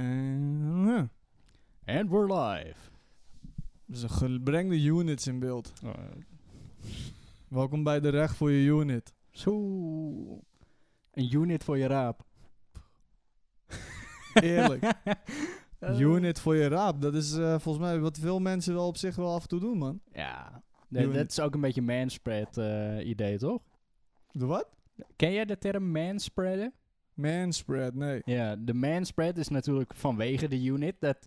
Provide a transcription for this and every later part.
Eh, And we're live. Ze ge- breng de units in beeld. Welkom bij de recht voor je unit. Zo. Een unit voor je raap. Eerlijk. Eh, Unit voor je raap. Dat is eh, volgens mij wat veel mensen wel op zich wel af en toe doen, man. Ja. Nee, Unit. dat is ook een beetje manspread eh idee, toch? De wat? Ken jij de term manspreaden? Manspread, nee. Ja, de manspread is natuurlijk vanwege de unit dat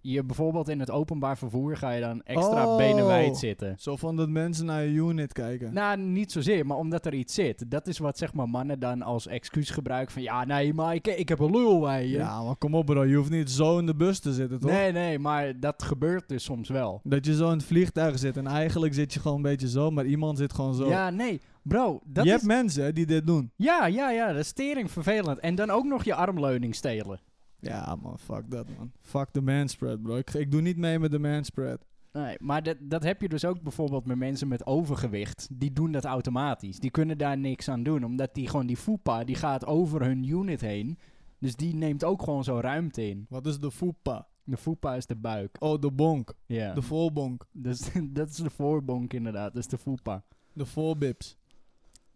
je bijvoorbeeld in het openbaar vervoer ga je dan extra Oh. benen wijd zitten. Zo van dat mensen naar je unit kijken. Nou, niet zozeer, maar omdat er iets zit. Dat is wat zeg maar mannen dan als excuus gebruiken van ja, nee, maar ik, ik heb een lul bij je. ja, maar kom op bro. Je hoeft niet zo in de bus te zitten, toch? nee, nee, maar dat gebeurt dus soms wel. Dat je zo in het vliegtuig zit en eigenlijk zit je gewoon een beetje zo, maar iemand zit gewoon zo. Ja, nee, bro, dat je is... hebt mensen hè, die dit doen. Ja, ja, ja, dat is tering vervelend. En dan ook nog je armleuning stelen. Ja man, fuck dat man. Fuck de manspread bro. Ik, ik doe niet mee met de manspread. Nee, maar dat, dat heb je dus ook bijvoorbeeld met mensen met overgewicht. Die doen dat automatisch. Die kunnen daar niks aan doen, omdat die gewoon die foepa, die gaat over hun unit heen. Dus die neemt ook gewoon zo ruimte in. Wat is de foepa? De foepa is de buik. Oh, de bonk. Ja. De volbonk. Dus dat is de voorbonk inderdaad, dat is de foepa. De volbips.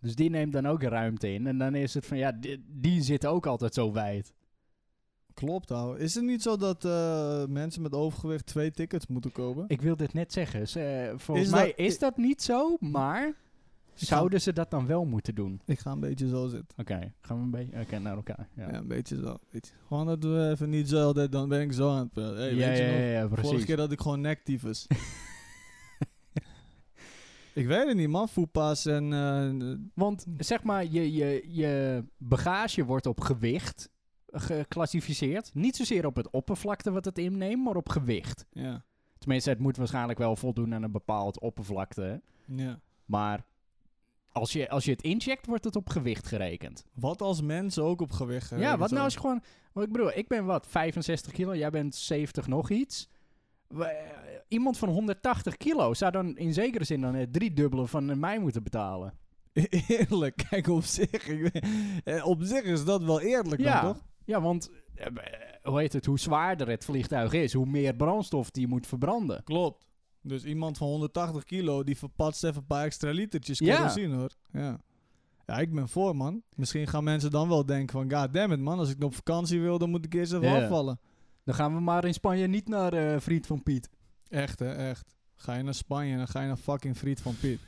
Dus die neemt dan ook ruimte in. En dan is het van, ja, die, die zitten ook altijd zo wijd. Klopt ouwe. Is het niet zo dat eh, mensen met overgewicht twee tickets moeten kopen? Ik wil dit net zeggen. Dus, eh, volgens Is mij dat- Hm. is dat niet zo, maar zouden ze dat dan wel moeten doen? Ik ga een beetje zo zitten. Oké, gaan we een beetje oké, naar elkaar. Ja, Ja, een beetje zo. Weet je. Gewoon dat we even niet zo altijd, dan ben ik zo aan het praten. Hey, ja, weet je ja, nog? ja, ja, precies. Vorige keer dat ik gewoon nektyfus. ik weet het niet man, foepa's en... eh, Want zeg maar, je, je, je bagage wordt op gewicht geclassificeerd. Niet zozeer op het oppervlakte wat het inneemt, maar op gewicht. ja. Tenminste, het moet waarschijnlijk wel voldoen aan een bepaald oppervlakte. ja. Maar als je, als je het incheckt, wordt het op gewicht gerekend. Wat als mensen ook op gewicht ja, gerekend wat nou zijn? als je gewoon... Want ik bedoel, ik ben wat, 65 kilo, jij bent 70 nog iets. We- eh, Iemand van 180 kilo zou dan in zekere zin dan het driedubbele van eh, mij moeten betalen. Eerlijk, kijk op zich. ik weet- eh, op zich is dat wel eerlijk dan, Ja. toch? Ja, want eh, hoe heet het, hoe zwaarder het vliegtuig is, hoe meer brandstof die moet verbranden. Klopt. Dus iemand van 180 kilo die verpatst even een paar extra litertjes Ja. kerosine hoor. Ja. Ja, ik ben voor man. Misschien gaan mensen dan wel denken van god damn it man, als ik op vakantie wil, dan moet ik eerst even Ja. afvallen. Dan gaan we maar in Spanje niet naar eh, Vriend van Piet. Echt hè, echt. Ga je naar Spanje en dan ga je naar fucking Friet van Piet.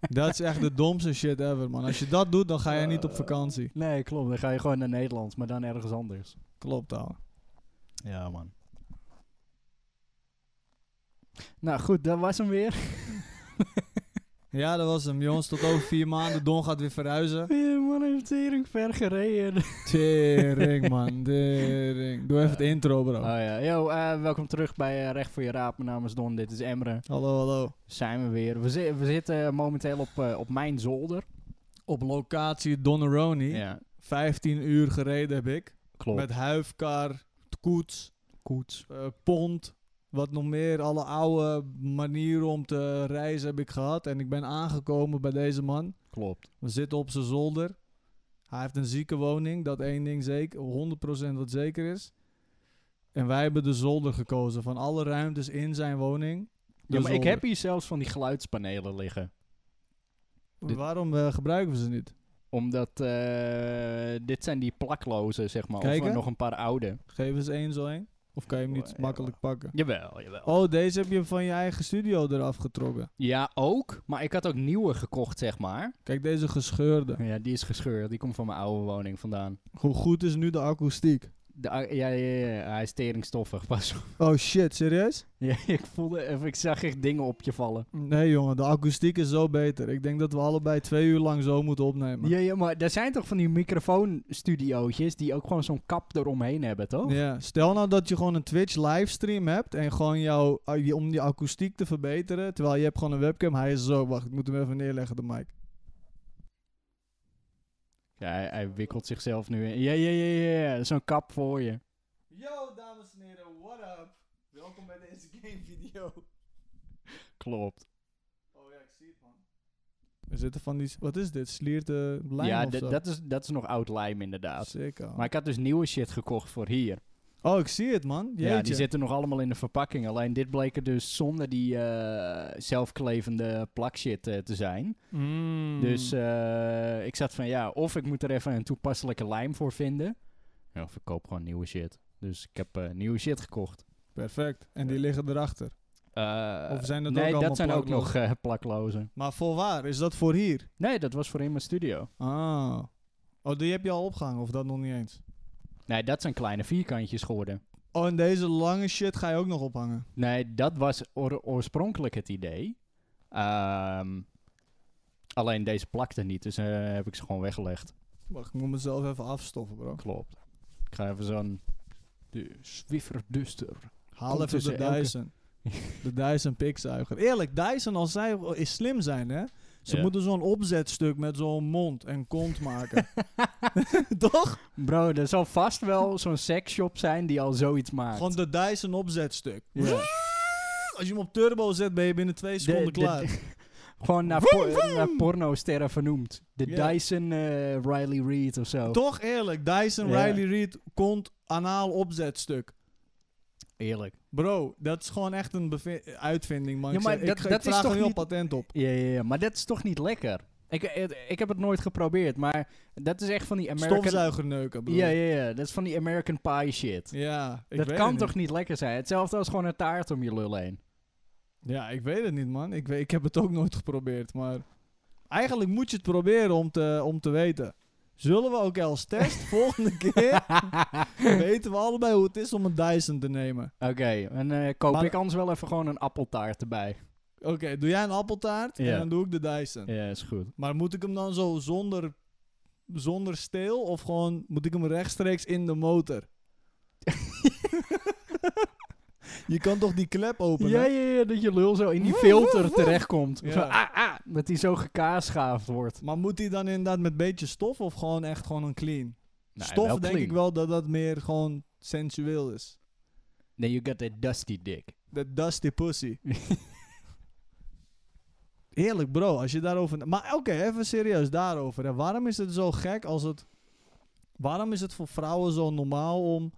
dat is echt de domste shit ever man. Als je dat doet, dan ga je niet op Eh. vakantie. Nee, klopt. Dan ga je gewoon naar Nederland, maar dan ergens anders. Klopt ouwe. Ja, man. Nou goed, dat was hem weer. Ja, dat was hem jongens. Tot over vier maanden. Don gaat weer verhuizen. Ja, man heeft tering ver gereden. Tering, man. Tering. Doe even het intro, bro. Oh ja, yo, eh, welkom terug bij eh, Recht voor je Raap. Mijn naam is Don, dit is Emre. Hallo, hallo. Zijn we weer. We, zi- we zitten momenteel op, eh, op mijn zolder. Op locatie Donneroni. Ja, 15 uur gereden heb ik. klopt. Met huifkar, koets, koets. eh, pont. Wat nog meer. Alle oude manieren om te reizen heb ik gehad. En ik ben aangekomen bij deze man. Klopt. We zitten op zijn zolder. Hij heeft een zieke woning. Dat één ding zeker. 100% wat zeker is. En wij hebben de zolder gekozen. Van alle ruimtes in zijn woning. Ja, maar ik zolder. heb hier zelfs van die geluidspanelen liggen. Dit- Waarom eh, gebruiken we ze niet? Omdat eh, dit zijn die plaklozen, zeg maar. Of Kijken? eh, nog een paar oude. Geef eens één zo één. Of kan je hem niet Ja, makkelijk pakken? Jawel, jawel. Oh, deze heb je van je eigen studio eraf getrokken. Ja, ook. Maar ik had ook nieuwe gekocht, zeg maar. Kijk, deze gescheurde. Ja, die is gescheurd. Die komt van mijn oude woning vandaan. Hoe goed is nu de akoestiek? De, a- ja, ja, ja, hij is teringstoffig. Pas op. Oh shit, serieus? Ja, ik voelde even, ik zag echt dingen op je vallen. Nee jongen, de akoestiek is zo beter. Ik denk dat we allebei twee uur lang zo moeten opnemen. Ja, ja, maar er zijn toch van die microfoonstudiootjes die ook gewoon zo'n kap eromheen hebben, toch? Ja, stel nou dat je gewoon een Twitch livestream hebt en gewoon jouw, ah, je- om die akoestiek te verbeteren, terwijl je hebt gewoon een webcam, hij is zo, wacht, ik moet hem even neerleggen, de mic. Ja, hij, hij wikkelt zichzelf nu in. Ja, ja, ja, ja, ja. zo'n kap voor je. Yo, dames en heren, what up? Welkom bij deze game video. Klopt. Oh ja, ik zie het man. Er zitten van die... Wat is dit? Slierte lijm ja, of d- zo? Oh. dat is, dat is nog oud lijm inderdaad. Sicko. Maar ik had dus nieuwe shit gekocht voor hier. Oh, ik zie het, man. Jeetje. Ja, die zitten nog allemaal in de verpakking. Alleen dit bleek er dus zonder die eh, zelfklevende plakshit eh, te zijn. Mm. Dus eh, ik zat van ja, of ik moet er even een toepasselijke lijm voor vinden. Ja, of ik koop gewoon nieuwe shit. Dus ik heb eh, nieuwe shit gekocht. Perfect. En die liggen erachter. Of zijn dat Eh, nee, ook dat allemaal zijn ook nog plaklozen? eh, plaklozen. Maar voorwaar, is dat voor hier? Nee, dat was voor in mijn studio. Ah. Oh, die heb je al opgehangen of dat nog niet eens? Nee, dat zijn kleine vierkantjes geworden. Oh, en deze lange shit ga je ook nog ophangen. Nee, dat was oor- oorspronkelijk het idee. Ehm, alleen deze plakte niet, dus eh, heb ik ze gewoon weggelegd. Wacht, ik moet mezelf even afstoffen, bro. Klopt. Ik ga even zo'n... De Zwifferduster. Haal Komt even de tussen elke- Dyson. de Dyson pikzuiger. Eerlijk, Dyson als zij is slim zijn, hè? Ze Ja. moeten zo'n opzetstuk met zo'n mond en kont maken. Toch? Bro, er zal vast wel zo'n seksshop zijn die al zoiets maakt. Gewoon de Dyson opzetstuk. Ja. Als je hem op turbo zet, ben je binnen twee seconden de- klaar. Gewoon naar, por- naar pornosterren vernoemd. De Ja. Dyson eh, Riley Reid of zo. Toch eerlijk, Dyson Ja. Riley Reid kont anaal opzetstuk. Eerlijk. Bro, dat is gewoon echt een beve- uitvinding, man. Ja, Ik maar zeg- ik, dat- ga- ik dat is vraag toch er heel niet- patent op. Ja, ja, ja, maar dat is toch niet lekker? Ik, het- ik heb het nooit geprobeerd, maar dat is echt van die American... Stofzuigerneuken, bro. Ja, ja, ja. Dat is van die American Pie shit. Ja, ik dat weet kan het toch niet. niet lekker zijn? Hetzelfde als gewoon een taart om je lul heen. Ja, ik weet het niet, man. Ik, weet, ik heb het ook nooit geprobeerd, maar... Eigenlijk moet je het proberen om te, om te weten. Zullen we ook als test volgende keer... weten we allebei hoe het is om een Dyson te nemen. Oké, en eh, koop Maar- ik anders wel even gewoon een appeltaart erbij. Oké, doe jij een appeltaart en Ja. dan doe ik de Dyson. Ja, is goed. Maar moet ik hem dan zo zonder, zonder steel of gewoon moet ik hem rechtstreeks in de motor? je kan toch die klep openen? Ja, ja, ja, dat je lul zo in die filter terechtkomt. Ja. Zo, ah, ah, dat die zo gekaasgaafd wordt. Maar moet die dan inderdaad met beetje stof of gewoon echt gewoon een clean? Nee, stof wel denk clean. ik wel dat dat meer gewoon sensueel is. Nee, you got that dusty dick. Dat dusty pussy. Eerlijk bro, als je daarover... na- Maar oké, even serieus daarover. Hè. Waarom is het zo gek als het... Waarom is het voor vrouwen zo normaal om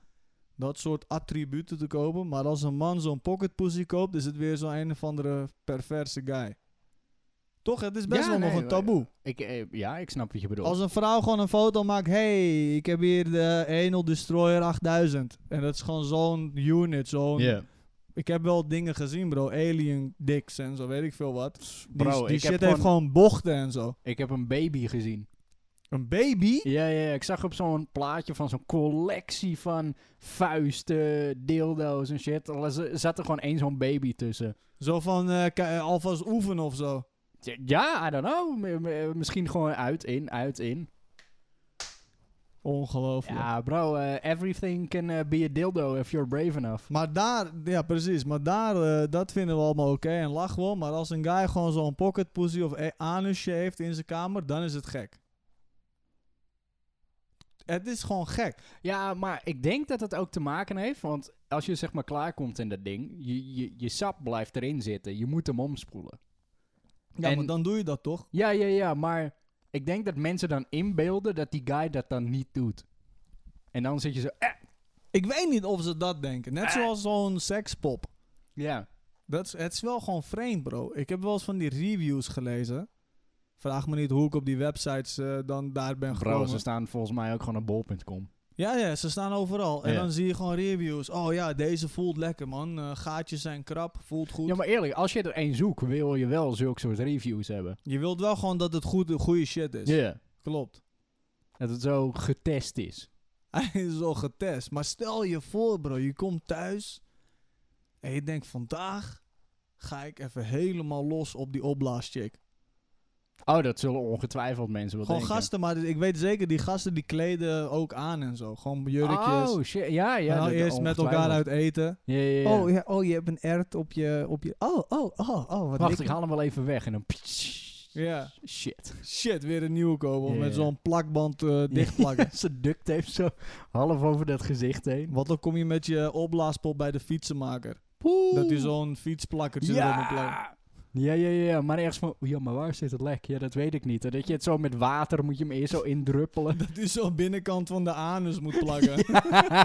dat soort attributen te kopen? Maar als een man zo'n pocket pussy koopt, is het weer zo'n een of andere perverse guy. Toch, het is best Ja, wel nog nee, een taboe. Ik, eh, ja, ik snap wat je bedoelt. Als een vrouw gewoon een foto maakt, hey, ik heb hier de Enel Destroyer 8000. En dat is gewoon zo'n unit, zo'n... Ja. Ik heb wel dingen gezien, bro. Alien dicks en zo, weet ik veel wat. Die, Bro, die ik, shit heb heeft gewoon, gewoon bochten en zo. ik heb een baby gezien. Een baby? Ja, ja, ja, ik zag op zo'n plaatje van zo'n collectie van vuisten, dildo's en shit. Er was- er zat er gewoon één zo'n baby tussen. Zo van eh, k- eh, alvast oefenen of zo. Ja, I don't know. M- m- misschien gewoon uit, in, uit, in. Ongelooflijk. Ja, bro, eh, everything can eh, be a dildo if you're brave enough. Maar daar, ja precies, maar daar, eh, dat vinden we allemaal oké en lach wel. Maar als een guy gewoon zo'n pocket pussy of e- anusje heeft in zijn kamer, dan is het gek. Het is gewoon gek. Ja, maar ik denk dat het ook te maken heeft, want als je zeg maar klaarkomt in dat ding, je, je, je sap blijft erin zitten. Je moet hem omspoelen. Ja, En- maar dan doe je dat toch? Ja, ja, ja, maar ik denk dat mensen dan inbeelden dat die guy dat dan niet doet. En dan zit je zo, eh, Ik weet niet of ze dat denken. Net zoals zo'n sekspop. ja. Dat is, het is wel gewoon vreemd, bro. Ik heb wel eens van die reviews gelezen. Vraag me niet hoe ik op die websites eh, dan daar ben Bro, gekomen. ze staan volgens mij ook gewoon op bol.com. Ja, ja, ze staan overal. En Ja. dan zie je gewoon reviews. Oh ja, deze voelt lekker, man. Eh, gaatjes zijn krap, voelt goed. Ja, maar eerlijk, als je er één zoekt, wil je wel zulke soort reviews hebben. Je wilt wel gewoon dat het goed, goede shit is. Ja. Klopt. Dat het zo getest is. Hij is al getest. Maar stel je voor, bro. Je komt thuis. En je denkt, vandaag ga ik even helemaal los op die opblaascheck. Oh, dat zullen ongetwijfeld mensen wel Gewoon denken. gasten, maar ik weet zeker, die gasten die kleden ook aan en zo. Gewoon jurkjes. Oh, shit. Ja, ja. en dan dat- eerst met elkaar ongetwijfeld. uit eten. Ja, ja, ja. Oh, ja, oh, je hebt een ert op je... Op je oh, oh, oh, oh. Wat Wacht, dik- ik haal hem wel even weg en dan... pssst. Ja. Shit. Shit, weer een nieuwe kopen. Of Ja, met ja. zo'n plakband eh, dichtplakken. Zijn duct tape zo half over dat gezicht heen. Want dan kom je met je opblaaspop bij de fietsenmaker. Poeh. Dat hij zo'n fietsplakkertje erop moet plakken. Ja! Ja, ja, ja, ja, maar ergens van, ja, maar waar zit het lek? Ja, dat weet ik niet. En dat je het zo met water moet je hem eerst zo indruppelen. Dat u zo binnenkant van de anus moet plakken.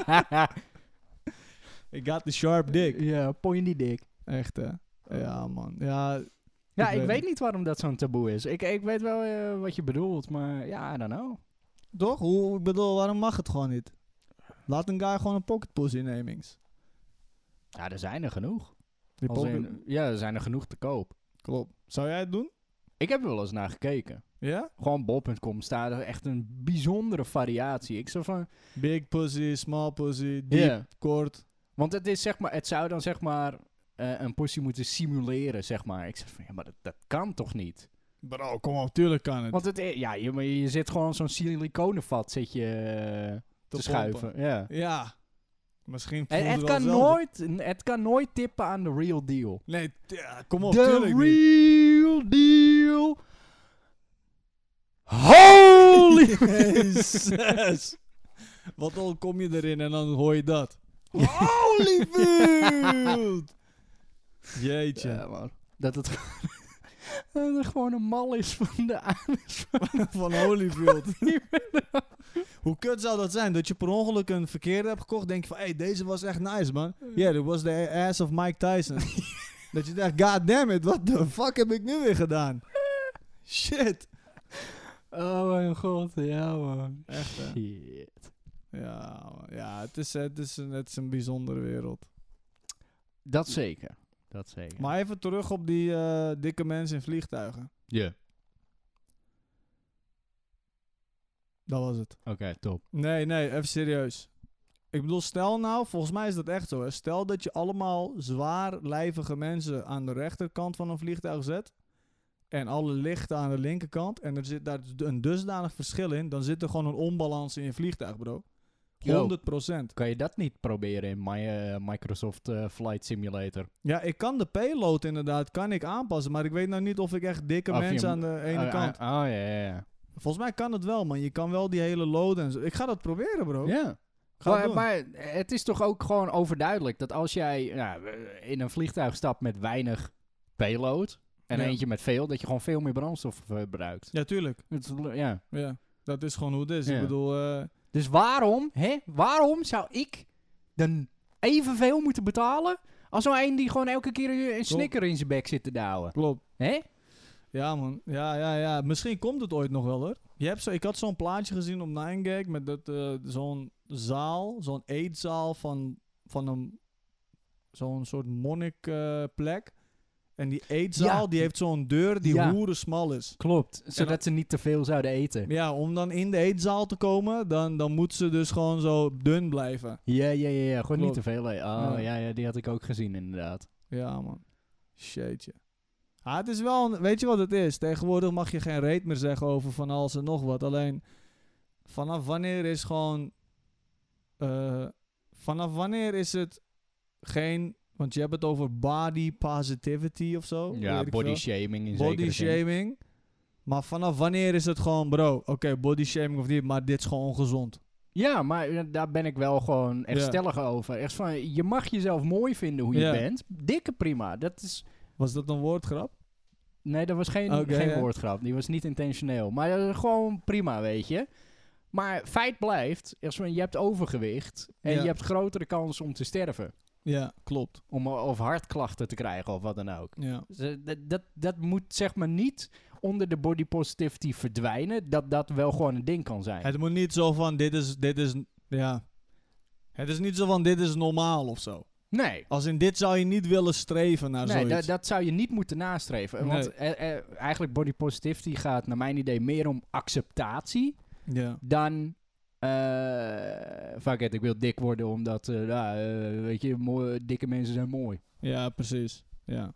Ik got the sharp dick. Ja, pointy dik. Echt, hè? Ja, man. Ja, Ja, Ik ik, weet weet niet waarom dat zo'n taboe is. Ik, ik weet wel eh, wat je bedoelt, maar ja, I don't know. toch? Hoe, ik bedoel, waarom mag het gewoon niet? Laat een guy gewoon een pocketpoes innemings. Ja, er zijn er genoeg. Die Als pocket- in- ja, er zijn er genoeg te koop. Klopt. Zou jij het doen? Ik heb er wel eens naar gekeken. Ja? Gewoon bol.com staat er echt een bijzondere variatie. Ik zo van, Big pussy, small pussy, ja. diep, kort. Want het, is, zeg maar, het zou dan zeg maar eh, een portie moeten simuleren, zeg maar. Ik zeg van, ja, maar dat, dat kan toch niet? Bro, kom op, tuurlijk kan het. Want het, i- ja, je, maar je zit gewoon zo'n siliconenvat zit je eh, te, pompen. schuiven. Ja. Ja. Misschien voelt En het wel kan, hetzelfde. nooit, het kan nooit tippen aan de real deal. Nee, t- ja, kom op, De tuurlijk niet. real deal. Holy. Jezus. Wat al kom je erin en dan hoor je dat. Ja. Holyfield! Jeetje. Ja, man. Dat het, dat het gewoon een mal is van de anus. Van Holyfield. Hoe kut zou dat zijn? Dat je per ongeluk een verkeerde hebt gekocht. Denk je van, hé, hey, deze was echt nice, man. Yeah, that was the ass of Mike Tyson. dat je dacht, god damn it, what the fuck heb ik nu weer gedaan? Shit. Oh mijn god, ja man. Echt, hè? Shit. Ja, man. ja het, is, het, is een, het is een bijzondere wereld. Dat zeker. Dat zeker. Maar even terug op die eh, dikke mensen in vliegtuigen. Ja. Dat was het. Oké, top. Nee, nee, even serieus. Ik bedoel, stel nou, volgens mij is dat echt zo. Hè? Stel dat je allemaal zwaarlijvige mensen aan de rechterkant van een vliegtuig zet. En alle lichten aan de linkerkant. En er zit daar d- een dusdanig verschil in. Dan zit er gewoon een onbalans in je vliegtuig, bro. 100 Kan je dat niet proberen in my, eh, Microsoft eh, Flight Simulator? Ja, ik kan de payload inderdaad, kan ik aanpassen. Maar ik weet nou niet of ik echt dikke Of je mensen aan hem- de ene Ah, kant. ah, Oh, ja, ja, ja. Volgens mij kan het wel, man. Je kan wel die hele load en zo. Ik ga dat proberen, bro. Ja. Ga het Maar, doen. maar het is toch ook gewoon overduidelijk dat als jij nou, in een vliegtuig stapt met weinig payload en Ja. eentje met veel, dat je gewoon veel meer brandstof eh, verbruikt. Ja, tuurlijk. Het is- ja. Ja, dat is gewoon hoe het is. Ik Ja. bedoel... eh, Dus waarom, hè, waarom zou ik dan evenveel moeten betalen als zo'n een die gewoon elke keer een- een snicker in zijn bek zit te douwen? Klopt. Hè? Ja, man. Ja, ja, ja. Misschien komt het ooit nog wel, hoor. Je hebt zo, ik had zo'n plaatje gezien op 9gag met dat, eh, zo'n zaal, zo'n eetzaal van, van een, zo'n soort monnikplek. plek en die eetzaal, Ja. die heeft zo'n deur die Ja. hoeren smal is. Klopt. Zodat ze niet te veel zouden eten. Ja, om dan in de eetzaal te komen, dan, dan moet ze dus gewoon zo dun blijven. Ja, ja, ja, ja. Gewoon Klopt. niet te veel. hè. Oh, Ja. ja. Ja, die had ik ook gezien inderdaad. Ja, man. Shitje. Ah, het is wel, een- weet je wat het is? Tegenwoordig mag je geen reet meer zeggen over van alles en nog wat. Alleen, vanaf wanneer is gewoon, eh, vanaf wanneer is het geen, want je hebt het over body positivity of zo. weet Ja, ik veel. Oh, body shaming in Body zekere zin. shaming. Maar vanaf wanneer is het gewoon, bro, oké, body shaming of niet, maar dit is gewoon ongezond. Ja, maar eh, daar ben ik wel gewoon echt Ja. stellig over. Echt van, je mag jezelf mooi vinden hoe je Ja. bent. Dikke prima. Dat is... Was dat een woordgrap? Nee, dat was geen, Oké, geen ja. woordgrap. Die was niet intentioneel. Maar dat is gewoon prima, weet je. Maar feit blijft, echt van, je hebt overgewicht en Ja. je hebt grotere kans om te sterven. Ja, klopt. Om, eh, of hartklachten te krijgen of wat dan ook. Ja. Dus, eh, Dat, dat, dat moet zeg maar niet onder de body positivity verdwijnen. Dat dat wel gewoon een ding kan zijn. Het moet niet zo van dit is, dit is, ja. Het is niet zo van dit is normaal of zo. nee. Als in dit zou je niet willen streven naar Nee, da- Ah, zoiets. dat zou je niet moeten nastreven. Want Nee. eh, eh, eigenlijk body positivity gaat naar mijn idee meer om acceptatie ja. dan... eh fuck it, ik wil dik worden omdat, eh, ja, eh, weet je, mooi- dikke mensen zijn mooi. ja, precies. Ja.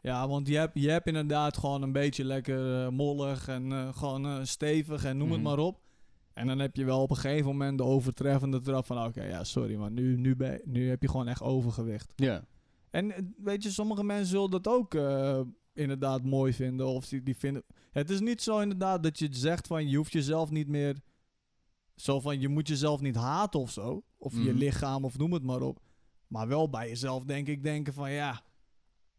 Ja, want je hebt, je hebt inderdaad gewoon een beetje lekker eh, mollig en eh, gewoon eh, stevig en noem Mhm. het maar op. En dan heb je wel op een gegeven moment de overtreffende trap van... Oké, ja, sorry, maar nu, nu, ben, nu heb je gewoon echt overgewicht. Ja. En eh, weet je, sommige mensen zullen dat ook eh, inderdaad mooi vinden. Of die, die vinden... Het is niet zo inderdaad dat je het zegt van je hoeft jezelf niet meer... Zo van je moet jezelf niet haten of zo. Of je Mhm. lichaam of noem het maar op. Maar wel bij jezelf denk ik denken van ja...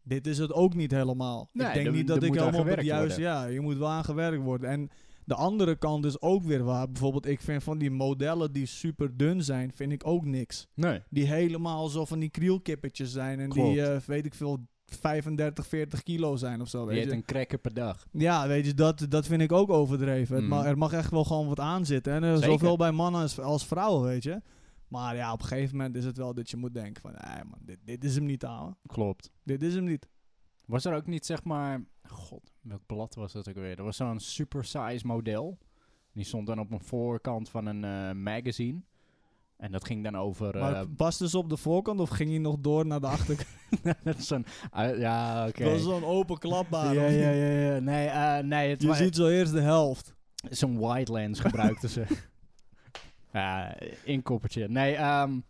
dit is het ook niet helemaal. Nee, ik denk er- niet er dat ik moet aan helemaal op het gewerkt juiste... Ja, je moet wel aan gewerkt worden. En de andere kant is ook weer waar. Bijvoorbeeld, ik vind van die modellen die super dun zijn, vind ik ook niks. Nee. Die helemaal zo van die krielkippetjes zijn. En Klopt. die, eh, weet ik veel, 35, 40 kilo zijn of zo. Je Weet eet je. een cracker per dag. Ja, weet je, dat, dat vind ik ook overdreven. Het Mm. ma- er mag echt wel gewoon wat aan zitten. En eh, Zeker. zowel bij mannen als, als vrouwen, weet je. Maar ja, op een gegeven moment is het wel dat je moet denken van... Nee man, dit, dit is hem niet, ouwe. Klopt. Dit is hem niet. Was er ook niet, zeg maar... God, welk blad was dat ook weer? Er was zo'n supersize model. Die stond dan op een voorkant van een eh, magazine. En dat ging dan over... eh, Maar was dus op de voorkant of ging hij nog door naar de achterkant? dat is zo'n... ah, ja, oké. Dat was zo'n open klapbaar. Ja, of ja, niet? ja, ja. Nee, eh, nee het Je was ziet zo eerst de helft. zo'n wide lens gebruikten ze. Ja, inkoppertje. Nee, ehm,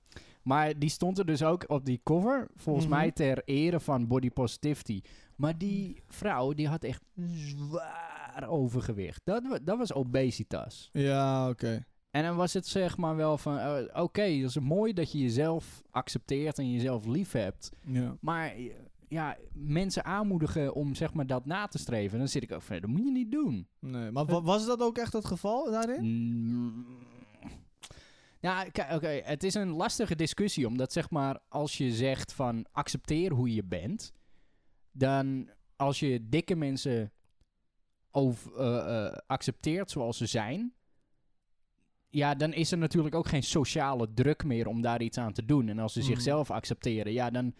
maar die stond er dus ook op die cover, volgens Mhm. mij ter ere van body positivity. Maar die vrouw, die had echt zwaar overgewicht. Dat, wa- dat was obesitas. Ja, oké. En dan was het zeg maar wel van, eh, oké, dat is mooi dat je jezelf accepteert en jezelf lief hebt. Ja. Maar eh, ja, mensen aanmoedigen om zeg maar dat na te streven. Dan zit ik ook van, dat moet je niet doen. Nee, maar wa- was dat ook echt het geval daarin? Mm. Ja, ki- oké, het is een lastige discussie. Omdat zeg maar, als je zegt van accepteer hoe je bent, dan als je dikke mensen over, eh, eh, accepteert zoals ze zijn, ja, dan is er natuurlijk ook geen sociale druk meer om daar iets aan te doen. En als ze Mhm. zichzelf accepteren, ja, dan.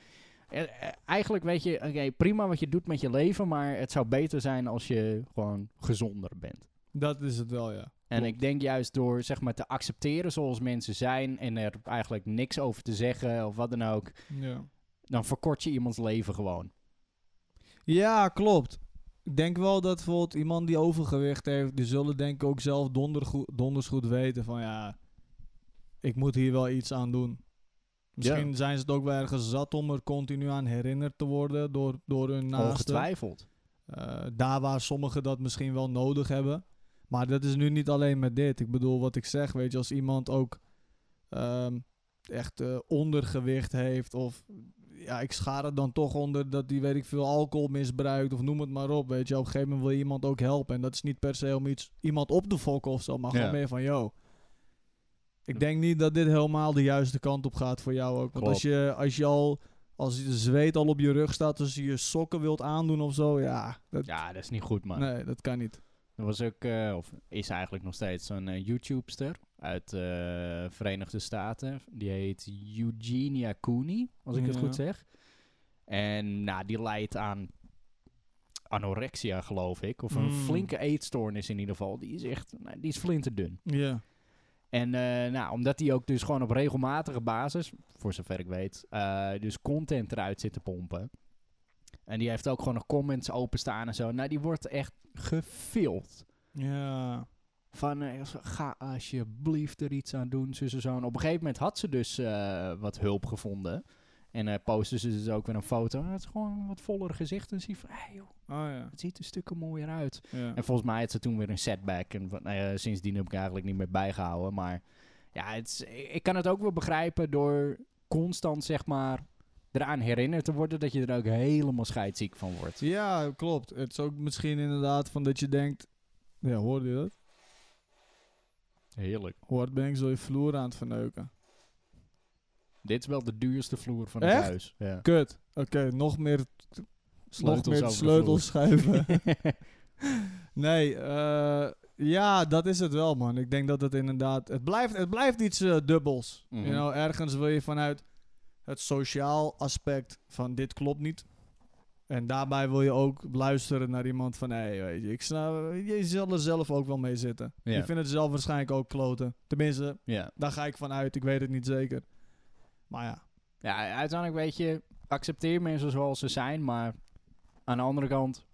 eh, eh, Eigenlijk weet je, oké, prima wat je doet met je leven, maar het zou beter zijn als je gewoon gezonder bent. Dat is het wel, ja. En Klopt. ik denk juist door zeg maar, te accepteren zoals mensen zijn en er eigenlijk niks over te zeggen of wat dan ook, Ja, dan verkort je iemands leven gewoon. ja klopt. Ik denk wel dat bijvoorbeeld iemand die overgewicht heeft, die zullen denk ik ook zelf dondergoe- donders goed weten van ja, ik moet hier wel iets aan doen. Misschien zijn ze het ook wel ergens zat om er continu aan herinnerd te worden door, door hun naasten. Ongetwijfeld. Eh, daar waar sommigen dat misschien wel nodig hebben. Maar dat is nu niet alleen met dit. Ik bedoel, wat ik zeg, weet je, als iemand ook ehm, echt eh, ondergewicht heeft of ja, ik schaar het dan toch onder dat die, weet ik veel, alcohol misbruikt of noem het maar op, weet je. Op een gegeven moment wil je iemand ook helpen en dat is niet per se om iets, iemand op te fokken of zo, maar gewoon Ja. meer van, yo, ik denk niet dat dit helemaal de juiste kant op gaat voor jou ook. Want als je, als je al, als je zweet al op je rug staat, als je je sokken wilt aandoen of zo, ja, dat, Ja, dat is niet goed, man. nee, dat kan niet. Er was ook, eh, of is eigenlijk nog steeds, een eh, YouTubester uit de Verenigde Staten. Die heet Eugenia Cooney, als ik het Ja. goed zeg. En nou, die leidt aan anorexia, geloof ik. Of een Mm. flinke eetstoornis in ieder geval. Die is echt, nou, die is flinterdun. Ja, En eh, nou, omdat hij ook dus gewoon op regelmatige basis, voor zover ik weet, eh, dus content eruit zit te pompen. En die heeft ook gewoon nog comments openstaan en zo. Nou, die wordt echt gefild. ja, Van, eh, ga alsjeblieft er iets aan doen, zus en zo. En op een gegeven moment had ze dus eh, wat hulp gevonden. En eh postte ze dus ook weer een foto. En het is gewoon een wat voller gezicht. En zie je van, hey joh, oh ja, het ziet er stukken mooier uit. ja. En volgens mij had ze toen weer een setback. En van, nou ja, sindsdien heb ik eigenlijk niet meer bijgehouden. Maar ja, het is, ik ik kan het ook wel begrijpen door constant, zeg maar, eraan herinnerd te worden dat je er ook helemaal scheidziek van wordt. Ja, klopt. Het is ook misschien inderdaad van dat je denkt... Ja, hoorde je dat? Heerlijk. Hoort ben ik zo je vloer aan het verneuken. Dit is wel de duurste vloer van het Echt? huis. Ja. Kut. Oké, nog meer, nog meer over de sleutels schuiven. vloer. nee, eh, ja, dat is het wel, man. Ik denk dat het inderdaad... Het blijft, het blijft iets eh, dubbels. Mhm. you know, ergens wil je vanuit het sociaal aspect van dit klopt niet. En daarbij wil je ook luisteren naar iemand van... Hé, hey, weet je, ik snap, je zal er zelf ook wel mee zitten. Ja. Je vindt het zelf waarschijnlijk ook kloten. Tenminste, ja. Daar ga ik van uit, ik weet het niet zeker. Maar ja, ja, uiteindelijk weet je, accepteer mensen zoals ze zijn. Maar aan de andere kant,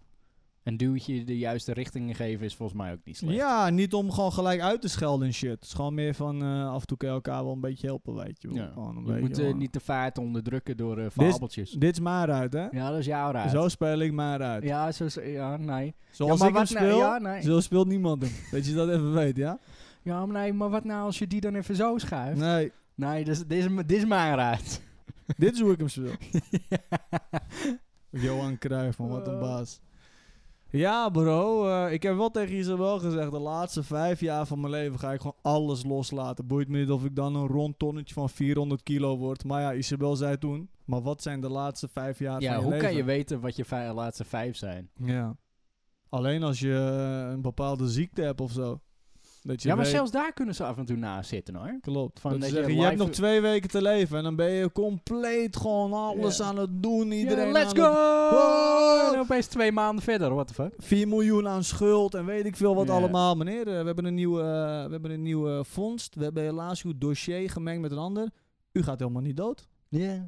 een duwtje de juiste richting geven is volgens mij ook niet slecht. ja niet om gewoon gelijk uit te schelden en shit. Het is gewoon meer van eh, af en toe kan je elkaar wel een beetje helpen, weet je. wel. Ja. Gewoon een Je beetje, moet eh, gewoon- niet de vaart onderdrukken door eh is- fabeltjes. Dit is maar uit, hè? Ja, dat is jouw raad. Zo speel ik maar uit. Ja, zo, zo- ja, nee. Zoals ja, maar ik hem wat nou- speel, ja, nee. zo speelt niemand hem. dat je dat even weet, ja? Ja, maar nee, maar wat nou als je die dan even zo schuift? Nee, Nee, dit is, dit is, m- dit is mijn raad. dit is hoe ik hem speel. Johan Cruijff, man, Eh. wat een baas. Ja, bro. eh, ik heb wel tegen Isabel gezegd, de laatste vijf jaar van mijn leven ga ik gewoon alles loslaten. Boeit me niet of ik dan een rond tonnetje van 400 kilo word. Maar ja, Isabel zei toen, maar wat zijn de laatste vijf jaar Ja, van hoe je leven? kan je weten wat je vij- laatste vijf zijn? Ja. Alleen als je eh, een bepaalde ziekte hebt of zo. Dat je ja, maar weet- zelfs daar kunnen ze af en toe naast zitten hoor. Klopt. van dat dat ze je zeggen, je hebt live- nog twee weken te leven. En dan ben je compleet gewoon alles Ja. aan het doen. Iedereen Ja, let's aan go! het- Wow! En opeens twee maanden verder, what the fuck? 4 miljoen aan schuld en weet ik veel wat Ja. allemaal. Meneer, eh, we hebben een nieuw, eh, we hebben een nieuw eh, fonds. We hebben helaas uw dossier gemengd met een ander. U gaat helemaal niet dood. Ja.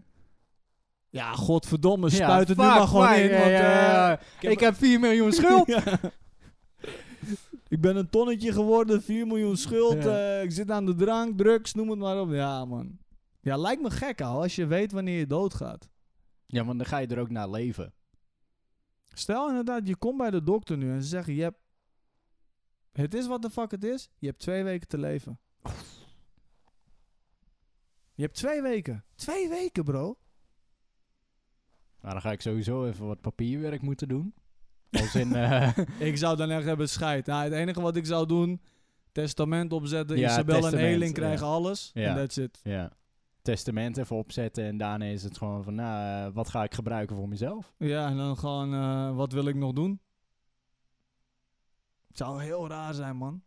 Ja, godverdomme, spuit het nu fuck, maar gewoon fuck, in. ja, want, ja, ja. eh, heb- Ik heb 4 miljoen schuld. Ja. ik ben een tonnetje geworden, 4 miljoen schuld. Ja. eh, ik zit aan de drank, drugs, noem het maar op. Ja, man. Ja, lijkt me gek, al als je weet wanneer je doodgaat. Ja, want dan ga je er ook naar leven. Stel inderdaad, je komt bij de dokter nu en ze zeggen, je hebt... Het is wat de fuck het is, je hebt twee weken te leven. Je hebt twee weken. Twee weken, bro. Nou, dan ga ik sowieso even wat papierwerk moeten doen. Als in, eh, Ik zou dan echt hebben scheid. Nou, het enige wat ik zou doen, testament opzetten. Ja, Isabel en testament, Elin ja. krijgen alles. En Ja. that's it. ja, testament even opzetten en daarna is het gewoon van, nou, eh, wat ga ik gebruiken voor mezelf? Ja, en dan gewoon, eh, wat wil ik nog doen? Het zou heel raar zijn, man.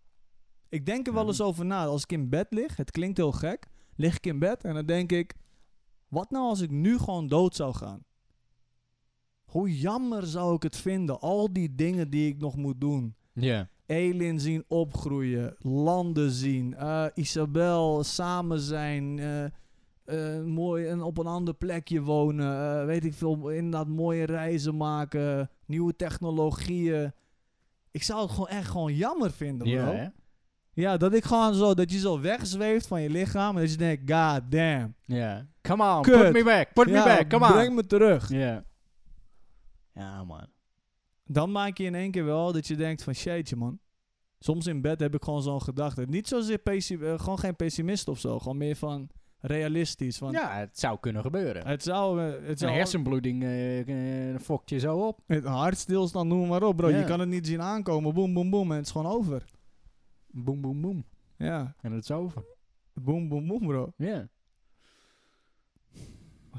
Ik denk er wel Ja. eens over na. Als ik in bed lig, het klinkt heel gek, lig ik in bed en dan denk ik, wat nou als ik nu gewoon dood zou gaan? Hoe jammer zou ik het vinden, al die dingen die ik nog moet doen. Ja. Elin zien opgroeien, landen zien, eh, Isabel samen zijn, eh, eh, mooi en op een ander plekje wonen, eh, weet ik veel, inderdaad mooie reizen maken, nieuwe technologieën. Ik zou het gewoon echt gewoon jammer vinden, bro. Ja, Ja, hè? dat ik gewoon zo, dat je zo wegzweeft van je lichaam en dat je denkt, god damn. Ja. Come on, Kut. put me back, put Ja, me back, come on. Breng me terug. Ja. Ja, man. Dan maak je in één keer wel dat je denkt van, shitje man. Soms in bed heb ik gewoon zo'n gedachte. Niet zozeer pessi- eh, gewoon geen pessimist of zo, gewoon meer van realistisch. Van, Ja, het zou kunnen gebeuren. Het zou, eh, het Een zou hersenbloeding eh, eh, fokt je zo op. Het hartstilstand, noem maar op, bro. Ja. Je kan het niet zien aankomen. Boom, boom, boom. En het is gewoon over. Boem, boem, boem. Ja. En het is over. Boom, boom, boom, bro. Ja.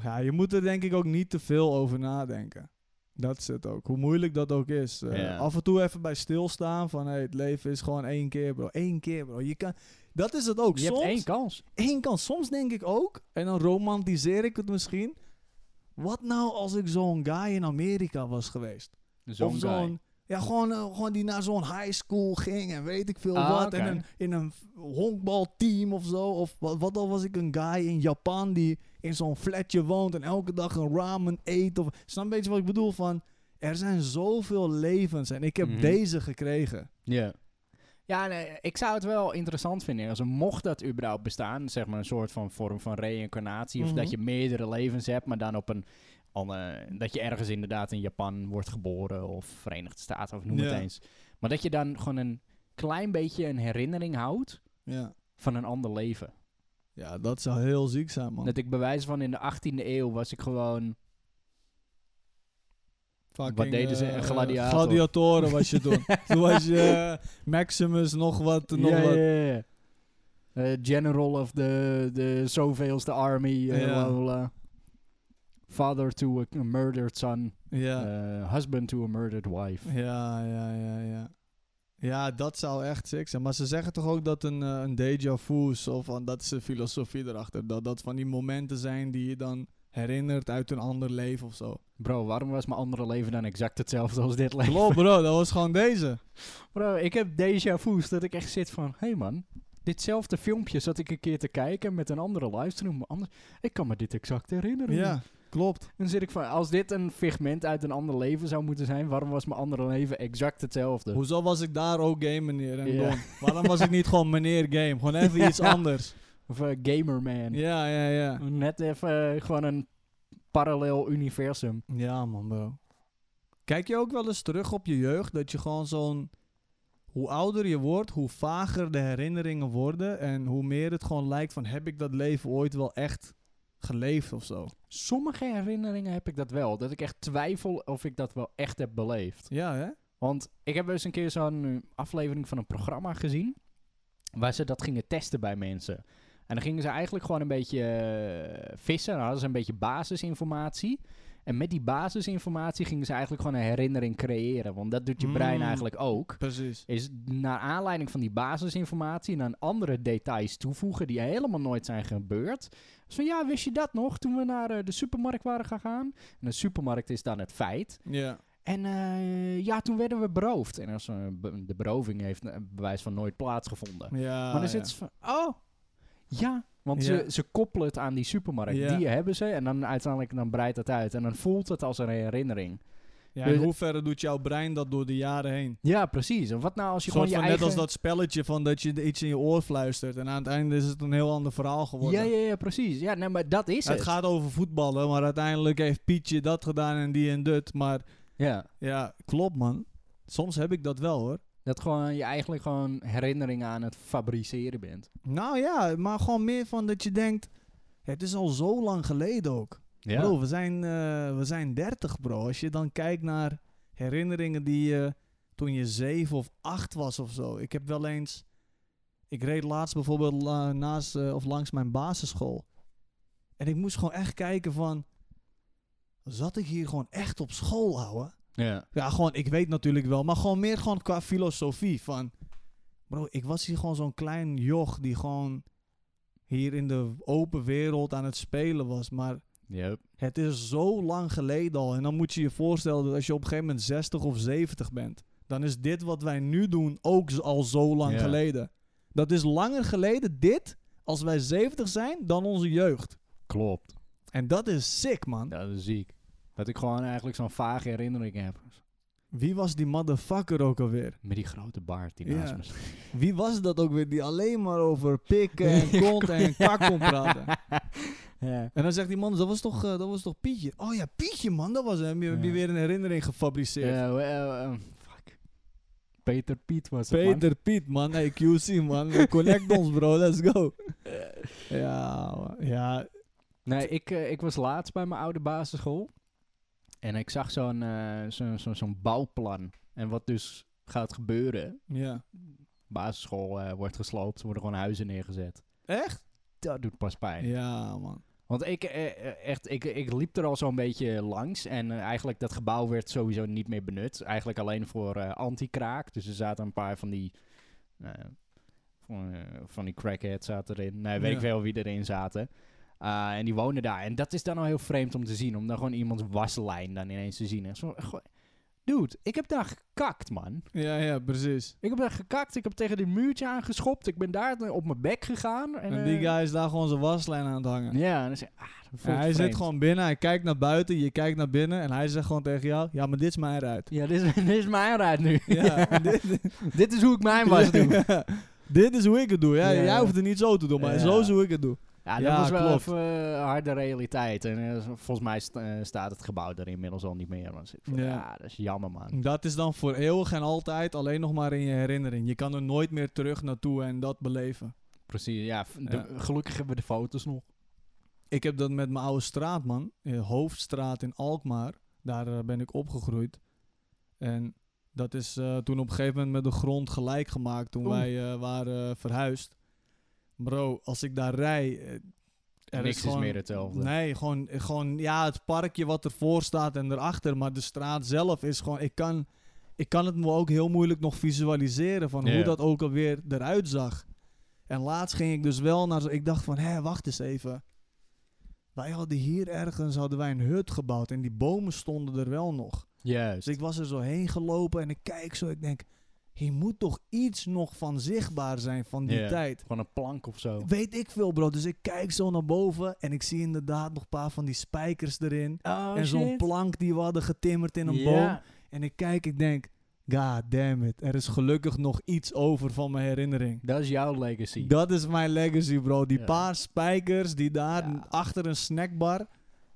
Ja, je moet er denk ik ook niet te veel over nadenken. Dat is het ook. Hoe moeilijk dat ook is. Eh, Ja. Af en toe even bij stilstaan van... Hey, het leven is gewoon één keer, bro. Eén keer, bro. Je kan... Dat is het ook. Je soms, hebt één kans. één kant. Soms denk ik ook, en dan romantiseer ik het misschien... Wat nou als ik zo'n guy in Amerika was geweest? Zo'n of guy. zo'n. Ja, gewoon, eh, gewoon die naar zo'n high school ging en weet ik veel Ah, wat. oké. En een, in een v- honkbalteam of zo. Of wat, wat al was ik een guy in Japan die in zo'n flatje woont en elke dag een ramen eet. Of, snap een beetje wat ik bedoel van. Er zijn zoveel levens en ik heb Mhm. deze gekregen. Ja. Ja, nee, ik zou het wel interessant vinden. Als er mocht dat überhaupt bestaan, zeg maar een soort van vorm van reïncarnatie. Of Mhm. dat je meerdere levens hebt, maar dan op een. ander- dat je ergens inderdaad in Japan wordt geboren of Verenigde Staten of noem Ja. het eens. Maar dat je dan gewoon een klein beetje een herinnering houdt Ja. van een ander leven. Oh. ja, dat zou heel ziek zijn, man. Dat ik bij wijze van in de 18e eeuw was ik gewoon. Fucking, Wat deden ze? eh, Een gladiator. Gladiatoren Oh, was je toen. toen was je eh, Maximus, nog wat, nog Ja, wat. ja, ja, ja. Eh, general of the, the zoveelste army. eh, Ja. bla, bla, bla. Father to a murdered son. Ja. eh, husband to a murdered wife. Ja, ja, ja, ja. Ja, dat zou echt sick zijn. Maar ze zeggen toch ook dat een, eh, een deja vu, zo van, dat is de filosofie erachter. Dat dat van die momenten zijn die je dan herinnert uit een ander leven of zo. Bro, waarom was mijn andere leven dan exact hetzelfde als dit leven? Klopt bro, dat was gewoon deze. Bro, ik heb déjà vu's dat ik echt zit van... Hé hey man, ditzelfde filmpje zat ik een keer te kijken met een andere livestream. maar Anders, ik kan me dit exact herinneren. Ja, klopt. Dan zit ik van, als dit een figment uit een ander leven zou moeten zijn... waarom was mijn andere leven exact hetzelfde? Hoezo was ik daar ook game meneer en Ja. Don? Waarom was ik niet gewoon meneer game? Gewoon even iets Ja. anders. Of eh, gamer man. Ja, ja, ja. Net even eh, gewoon een parallel universum. Ja, man, bro. Kijk je ook wel eens terug op je jeugd? Dat je gewoon zo'n. Hoe ouder je wordt, hoe vager de herinneringen worden. En hoe meer het gewoon lijkt van: heb ik dat leven ooit wel echt geleefd of zo. Sommige herinneringen heb ik dat wel. Dat ik echt twijfel of ik dat wel echt heb beleefd. Ja, hè? Want ik heb eens een keer zo'n eh, aflevering van een programma gezien. Waar ze dat gingen testen bij mensen. En dan gingen ze eigenlijk gewoon een beetje eh, vissen. Dan hadden ze een beetje basisinformatie. En met die basisinformatie gingen ze eigenlijk gewoon een herinnering creëren. Want dat doet je brein Mm. eigenlijk ook. Precies. Is naar aanleiding van die basisinformatie en aan andere details toevoegen die helemaal nooit zijn gebeurd. Dus van ja, wist je dat nog toen we naar eh, de supermarkt waren gegaan? En de supermarkt is dan het feit. Ja. En eh, ja, toen werden we beroofd. En als, eh, be- de beroving heeft eh, bij bewijs van nooit plaatsgevonden. ja maar dan ja. zit ze van, oh, ja. Want Ja. Ze, ze koppelen het aan die supermarkt. Ja. Die hebben ze en dan uiteindelijk dan breidt het uit. En dan voelt het als een herinnering. Ja, in hoeverre doet jouw brein dat door de jaren heen? Ja, precies. En wat nou als je Een soort gewoon van je net eigen... als dat spelletje van dat je iets in je oor fluistert. En aan het einde is het een heel ander verhaal geworden. Ja, ja, ja, precies. Ja, nee, maar dat is het het. gaat over voetballen, maar uiteindelijk heeft Pietje dat gedaan en die en dat. Maar Ja, ja, klopt man. Soms heb ik dat wel hoor. dat gewoon, je eigenlijk gewoon herinneringen aan het fabriceren bent. Nou ja, maar gewoon meer van dat je denkt... Het is al zo lang geleden ook. Ja. Bro, we zijn, eh, we zijn 30, bro. Als je dan kijkt naar herinneringen die je toen je 7 of 8 was of zo. Ik heb wel eens. Ik reed laatst bijvoorbeeld la- naast eh, of langs mijn basisschool. En ik moest gewoon echt kijken van. Zat ik hier gewoon echt op school, ouwe? ja. Ja, gewoon, ik weet natuurlijk wel, maar gewoon meer gewoon qua filosofie. Van, bro, ik was hier gewoon zo'n klein joch die gewoon hier in de open wereld aan het spelen was. Maar Yep. het is zo lang geleden al. En dan moet je je voorstellen dat als je op een gegeven moment 60 of 70 bent, dan is dit wat wij nu doen ook z- al zo lang Ja. geleden. Dat is langer geleden dit, als wij 70 zijn, dan onze jeugd. Klopt. En dat is sick, man. Dat is ziek. Dat ik gewoon eigenlijk zo'n vage herinnering heb. Wie was die motherfucker ook alweer? Met die grote baard die Ja. naast me staat. Wie was dat ook weer die alleen maar over pikken en kont en kak kon praten? ja. En dan zegt die man, dat was toch, eh, dat was toch Pietje? Oh ja, Pietje, man, dat was hem. Die Ja. hebben weer een herinnering gefabriceerd. Ja, wel, eh, fuck. Peter Piet was het, man. Peter Piet, man. Hey, QC, man. Connect ons, bro. Let's go. Ja, man. ja. Nee, ik, eh, ik was laatst bij mijn oude basisschool. En ik zag zo'n eh, zo'n zo'n zo'n bouwplan. En wat dus gaat gebeuren. ja. Basisschool eh, wordt gesloopt. Er worden gewoon huizen neergezet. Echt? Dat doet pas pijn. Ja, man. Want ik, eh, eh, echt, ik, ik liep er al zo'n beetje langs. En eh, eigenlijk dat gebouw werd sowieso niet meer benut. Eigenlijk alleen voor eh, anti-kraak. Dus er zaten een paar van die... eh, van, eh, van die crackheads zaten erin. Nee, weet Ja. ik wel wie erin zaten. Ah, en die wonen daar. En dat is dan al heel vreemd om te zien. Om dan gewoon iemands waslijn dan ineens te zien. En zo, goh, dude, ik heb daar gekakt, man. Ja, ja, precies. Ik heb daar gekakt. Ik heb tegen die muurtje aangeschopt. Ik ben daar op mijn bek gegaan. En, En, die eh, guy is daar gewoon zijn waslijn aan het hangen. Ja, en dan zeg ik, ah, dat En voelt hij vreemd. zit gewoon binnen, hij kijkt naar buiten, je kijkt naar binnen en hij zegt gewoon tegen jou, ja, maar dit is mijn ruit. Ja, dit is, dit is mijn raad nu. Ja, dit, dit is hoe ik mijn was doen. Ja, Ja. Dit is hoe ik het doe. Ja, Ja. Jij hoeft het niet zo te doen, maar Ja. zo is hoe ik het doe. dat Ja, was wel klopt. even eh, harde realiteit. En eh, volgens mij st- eh, staat het gebouw er inmiddels al niet meer. Want ik van, Ja. Mm, ja. dat is jammer, man. Dat is dan voor eeuwig en altijd alleen nog maar in je herinnering. Je kan er nooit meer terug naartoe en dat beleven. Precies, ja. f- de- Ja. gelukkig hebben we de foto's nog. Ik heb dat met mijn oude straat, man. Eh, Hoofdstraat in Alkmaar. Daar eh, ben ik opgegroeid. En dat is eh, toen op een gegeven moment met de grond gelijk gemaakt toen Oeh. wij eh, waren eh, verhuisd. Bro, als ik daar rij... eh, Er Niks is gewoon- meer hetzelfde. Nee, gewoon, eh, gewoon ja, het parkje wat ervoor staat en erachter. Maar de straat zelf is gewoon... Ik kan, ik kan het me ook heel moeilijk nog visualiseren van hoe Ja. dat ook alweer eruit zag. En laatst ging ik dus wel naar... zo- Ik dacht van, hé, wacht eens even. Wij hadden hier ergens hadden wij een hut gebouwd en die bomen stonden er wel nog. Dus Juist. ik was er zo heen gelopen en ik kijk zo, ik denk, hier moet toch iets nog van zichtbaar zijn van die Ja. tijd. Gewoon een plank of zo. Weet ik veel, bro. Dus ik kijk zo naar boven en ik zie inderdaad nog een paar van die spijkers erin. Oh, en zo'n plank die we hadden getimmerd in een boom. En ik kijk, ik denk, god damn it, er is gelukkig nog iets over van mijn herinnering. Dat is jouw legacy. Dat is mijn legacy, bro. Die Ja. paar spijkers die daar Ja. achter een snackbar.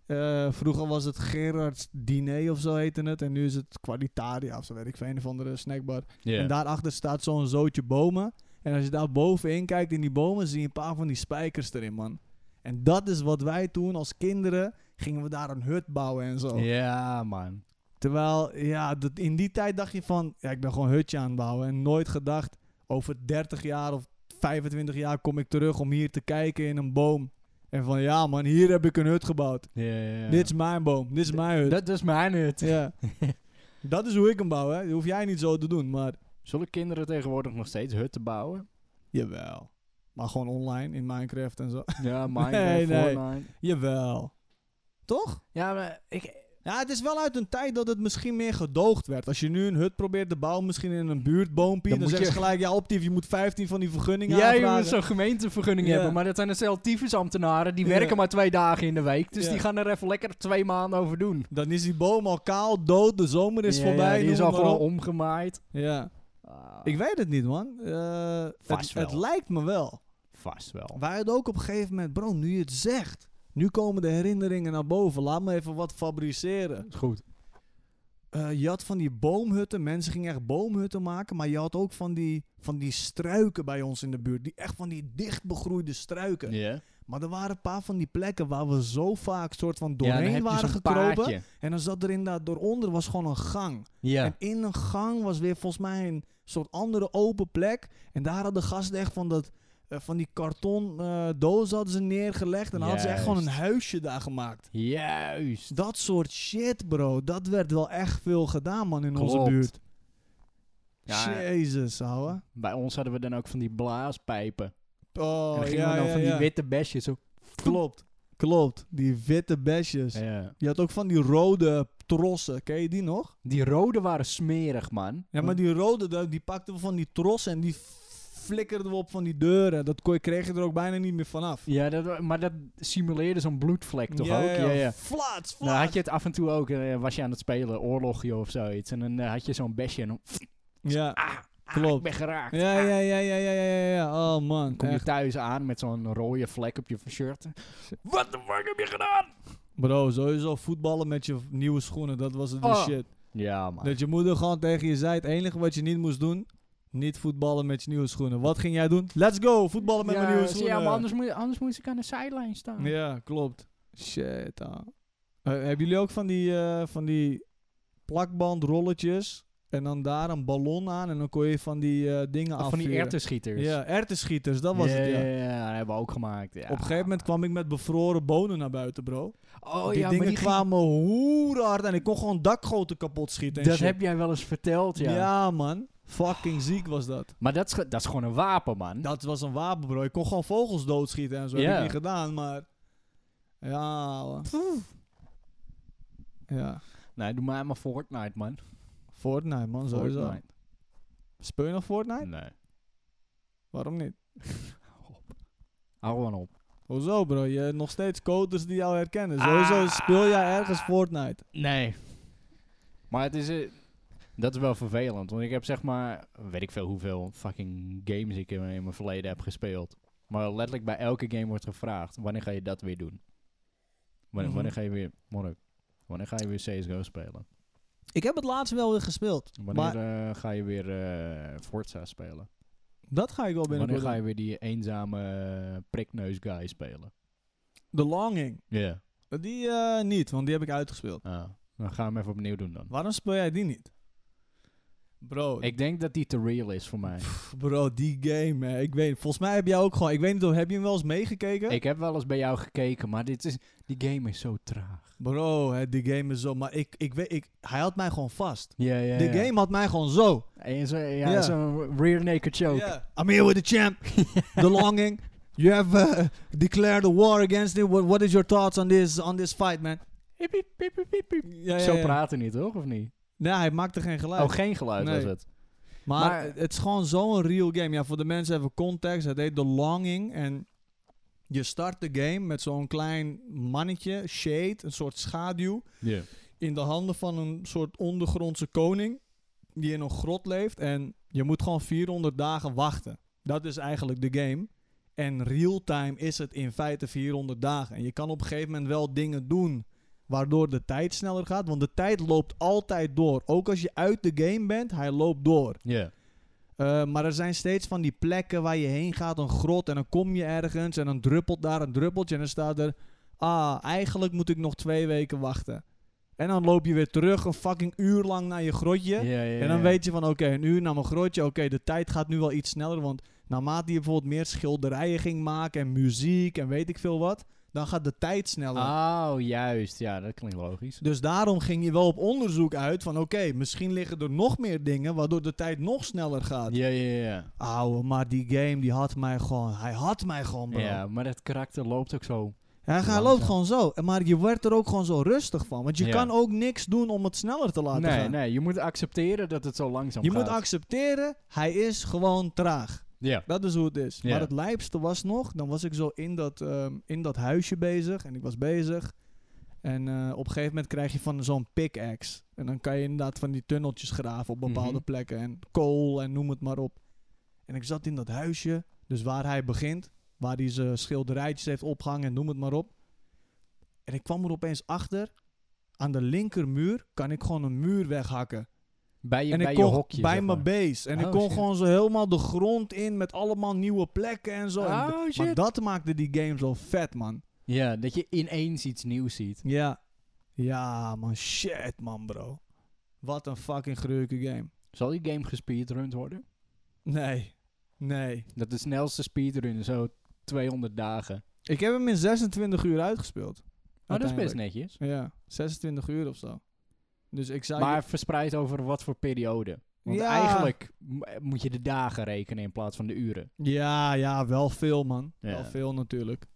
eh, vroeger was het Gerards Diner of zo heette het. En nu is het Qualitaria of zo weet ik veel. Een of andere snackbar. Ja. En daarachter staat zo'n zootje bomen. En als je daar bovenin kijkt in die bomen, zie je een paar van die spijkers erin, man. En dat is wat wij toen als kinderen gingen we daar een hut bouwen en zo. Ja, man. Terwijl, ja, dat, in die tijd dacht je van, ja, ik ben gewoon een hutje aan het bouwen. En nooit gedacht, over 30 jaar of 25 jaar kom ik terug om hier te kijken in een boom. En van, ja man, hier heb ik een hut gebouwd. Ja, ja, ja. Dit is mijn boom, dit is mijn hut. Dat is mijn hut. ja. dat is hoe ik hem bouw, hè. Dat hoef jij niet zo te doen, maar... Zullen kinderen tegenwoordig nog steeds hutten bouwen? Jawel. Maar gewoon online, in Minecraft en zo. Ja, eh, Nee, Minecraft, nee. Fortnite. Jawel. Toch? Ja, maar ik... Ja, het is wel uit een tijd dat het misschien meer gedoogd werd. Als je nu een hut probeert te bouwen, misschien in een buurtboompje, dan, Dan moet zeggen je- ze gelijk, ja, optief, je moet 15 van die vergunningen Ja, je aanvragen. moet zo'n gemeentevergunning Ja. hebben, maar dat zijn dus zelftyfusambtenaren. Die Ja. werken maar twee dagen in de week, dus Ja. die gaan er even lekker twee maanden over doen. Dan is die boom al kaal, dood, de zomer is Ja, voorbij. ja, die noem is het al maar gewoon op. omgemaaid. Ja. Ah, Ik weet het niet, man. Eh, Vast het, het wel. lijkt me wel. vast wel. Wij hadden ook op een gegeven moment, bro, nu je het zegt. Nu komen de herinneringen naar boven. Laat me even wat fabriceren. Is goed. Eh, je had van die boomhutten. Mensen gingen echt boomhutten maken. Maar je had ook van die, van die struiken bij ons in de buurt. Die, echt van die dichtbegroeide struiken. Ja. Maar er waren een paar van die plekken waar we zo vaak soort van dan doorheen heb je waren zo'n gekropen. paadje. En dan zat er inderdaad, dooronder was gewoon een gang. Ja. En in een gang was weer volgens mij een soort andere open plek. En daar hadden gasten echt van, dat, eh, van die karton eh doos hadden ze neergelegd. En dan hadden ze echt gewoon een Juist. huisje daar gemaakt. Juist. Dat soort shit, bro. Dat werd wel echt veel gedaan, man, in Klopt. onze buurt. Ja, Jezus, ouwe. bij ons hadden we dan ook van die blaaspijpen. Oh, en dan gingen ja, we dan ja, van die ja. witte besjes zo. Klopt, klopt. Die witte besjes. Ja. Je had ook van die rode trossen. Ken je die nog? Die rode waren smerig, man. Ja, maar die rode, da- die pakten we van die trossen en die flikkerden we op van die deuren. Dat kon je- kreeg je er ook bijna niet meer vanaf. Ja, dat, wa- maar dat simuleerde zo'n bloedvlek toch ook? Ja, ja. Nou, Flats, Dan had flats. je het af en toe ook, eh, was je aan het spelen, oorlogje of zoiets. En dan eh, had je zo'n besje en dan, Ja, ah, ik klopt. ben geraakt. Ja, ja, ja, ja, ja, ja, ja, ja. Oh man, Dan kom je echt. thuis aan met zo'n rode vlek op je shirt. Wat de fuck heb je gedaan? Bro, sowieso voetballen met je nieuwe schoenen, dat was het de Oh. shit. Ja, man. Dat je moeder gewoon tegen je zei, het enige wat je niet moest doen, niet voetballen met je nieuwe schoenen. Wat ging jij doen? Let's go, voetballen met ja, mijn nieuwe zie je, schoenen. maar anders moet, anders moet ik aan de zijlijn staan. Ja, klopt. Shit, ah. Eh, hebben jullie ook van die, eh, van die plakbandrolletjes en dan daar een ballon aan en dan kon je van die eh, dingen Of af van die ertenschieters. Ja, ertenschieters, dat was het, ja. ja, dat hebben we ook gemaakt. Ja. Op een gegeven moment kwam ik met bevroren bonen naar buiten, bro. oh, die ja, dingen maar die ging- kwamen hoe hard en ik kon gewoon dakgoten kapot schieten en Dat shit. heb jij wel eens verteld, ja. ja. man. Fucking ziek was dat. Maar dat is, ge- dat is gewoon een wapen, man. Dat was een wapen, bro. Ik kon gewoon vogels doodschieten en zo. Heb Ja. ik niet gedaan, maar... Ja, ouwe. Ja. Nee, doe mij maar Fortnite, man. Fortnite, man, sowieso. Fortnite. Speel je nog Fortnite? Nee. Waarom niet? Hou gewoon op. Hoezo, bro? Je hebt nog steeds coders die jou Ah. herkennen. Sowieso speel jij ergens Fortnite. Nee. Maar het is... eh, dat is wel vervelend. Want ik heb zeg maar... Weet ik veel hoeveel fucking games ik in, in mijn verleden heb gespeeld. Maar letterlijk bij elke game wordt gevraagd... Wanneer ga je dat weer doen? Wanneer, Mhm. wanneer ga je weer... Morgen. Wanneer ga je weer CSGO spelen? Ik heb het laatst wel weer gespeeld. Wanneer Maar eh, ga je weer eh, Forza spelen? dat ga ik wel Wanneer binnenkort ga doen. je weer die eenzame eh, prikneus guy spelen? The Longing. Ja. Die eh, niet, want die heb ik uitgespeeld. Ah, dan gaan we hem even opnieuw doen dan. Waarom speel jij die niet? Bro, Ik denk dat die te real is voor mij. pff, bro die game, hè. Ik weet, volgens mij heb jij ook gewoon... Ik weet niet of... Heb je hem wel eens meegekeken? Ik heb wel eens bij jou gekeken, maar dit is, die game is zo traag. Bro, hè, die game is zo... Maar ik, ik weet... Ik, hij had mij gewoon vast. Ja, ja, De game had mij gewoon zo. En zo, ja, Ja. zo'n rear naked choke. Yeah. I'm here with the champ. the longing. You have uh, declared a war against it. What, what is your thoughts on this on this fight, man? Hiep, hiep, hiep, hiep, hiep, hiep. Ja, ja, Zo ja. praten niet, toch? Of niet? Nee, hij maakte geen geluid. Oh, geen geluid Nee. was het. maar, maar- het- het is gewoon zo'n real game. Ja, voor de mensen even context. Het heet The Longing. En je start de game met zo'n klein mannetje, shade, een soort schaduw. Ja. in de handen van een soort ondergrondse koning die in een grot leeft en je moet gewoon 400 dagen wachten. Dat is eigenlijk de game. En real-time is het in feite 400 dagen. En je kan op een gegeven moment wel dingen doen waardoor de tijd sneller gaat, want de tijd loopt altijd door. Ook als je uit de game bent, hij loopt door. Ja. Eh, maar er zijn steeds van die plekken waar je heen gaat, een grot en dan kom je ergens en dan druppelt daar een druppeltje en dan staat er, ah, eigenlijk moet ik nog twee weken wachten. En dan loop je weer terug een fucking uur lang naar je grotje. Ja, ja, En dan ja. weet je van oké, een uur naar mijn grootje. Oké, de tijd gaat nu wel iets sneller. Want naarmate je bijvoorbeeld meer schilderijen ging maken en muziek en weet ik veel wat, dan gaat de tijd sneller. Oh, juist. Ja, dat klinkt logisch. Dus daarom ging je wel op onderzoek uit van oké, misschien liggen er nog meer dingen waardoor de tijd nog sneller gaat. Ja, ja, ja. Auwe, maar die game die had mij gewoon, hij had mij gewoon bro. Ja, maar dat karakter loopt ook zo. Hij gaat- Langzaam. loopt gewoon zo, En maar je werd er ook gewoon zo rustig van. Want je Ja. kan ook niks doen om het sneller te laten nee, gaan. nee, je moet accepteren dat het zo langzaam Je gaat. moet accepteren, hij is gewoon traag. Ja. Dat is hoe het is. Ja. Maar het lijpste was nog, dan was ik zo in dat, ehm, in dat huisje bezig en ik was bezig. En eh, op een gegeven moment krijg je van zo'n pickaxe. En dan kan je inderdaad van die tunneltjes graven op bepaalde Mhm. plekken. En kool en noem het maar op. En ik zat in dat huisje, dus waar hij begint. Waar hij zijn schilderijtjes heeft opgehangen en noem het maar op. En ik kwam er opeens achter. Aan de linkermuur kan ik gewoon een muur weghakken Bij je, en bij ik je kon hokje. bij zeg mijn maar. base. En Oh, ik kon shit. gewoon zo helemaal de grond in met allemaal nieuwe plekken en zo. En Oh, d- Maar shit. dat maakte die game zo vet, man. Ja, dat je ineens iets nieuws ziet. Ja. Ja, man. Shit, man, bro. Wat een fucking gruwelijke game. Zal die game gespeedrund worden? Nee. Nee. Dat de snelste speedrun, zo 200 dagen. Ik heb hem in 26 uur uitgespeeld. Maar Oh, dat is best Uiteindelijk. netjes. Ja. 26 uur of zo. Dus ik zou... Maar verspreid over wat voor periode. Want Ja. eigenlijk m- moet je de dagen rekenen in plaats van de uren. Ja, ja. Wel veel, man. Ja. Wel veel natuurlijk.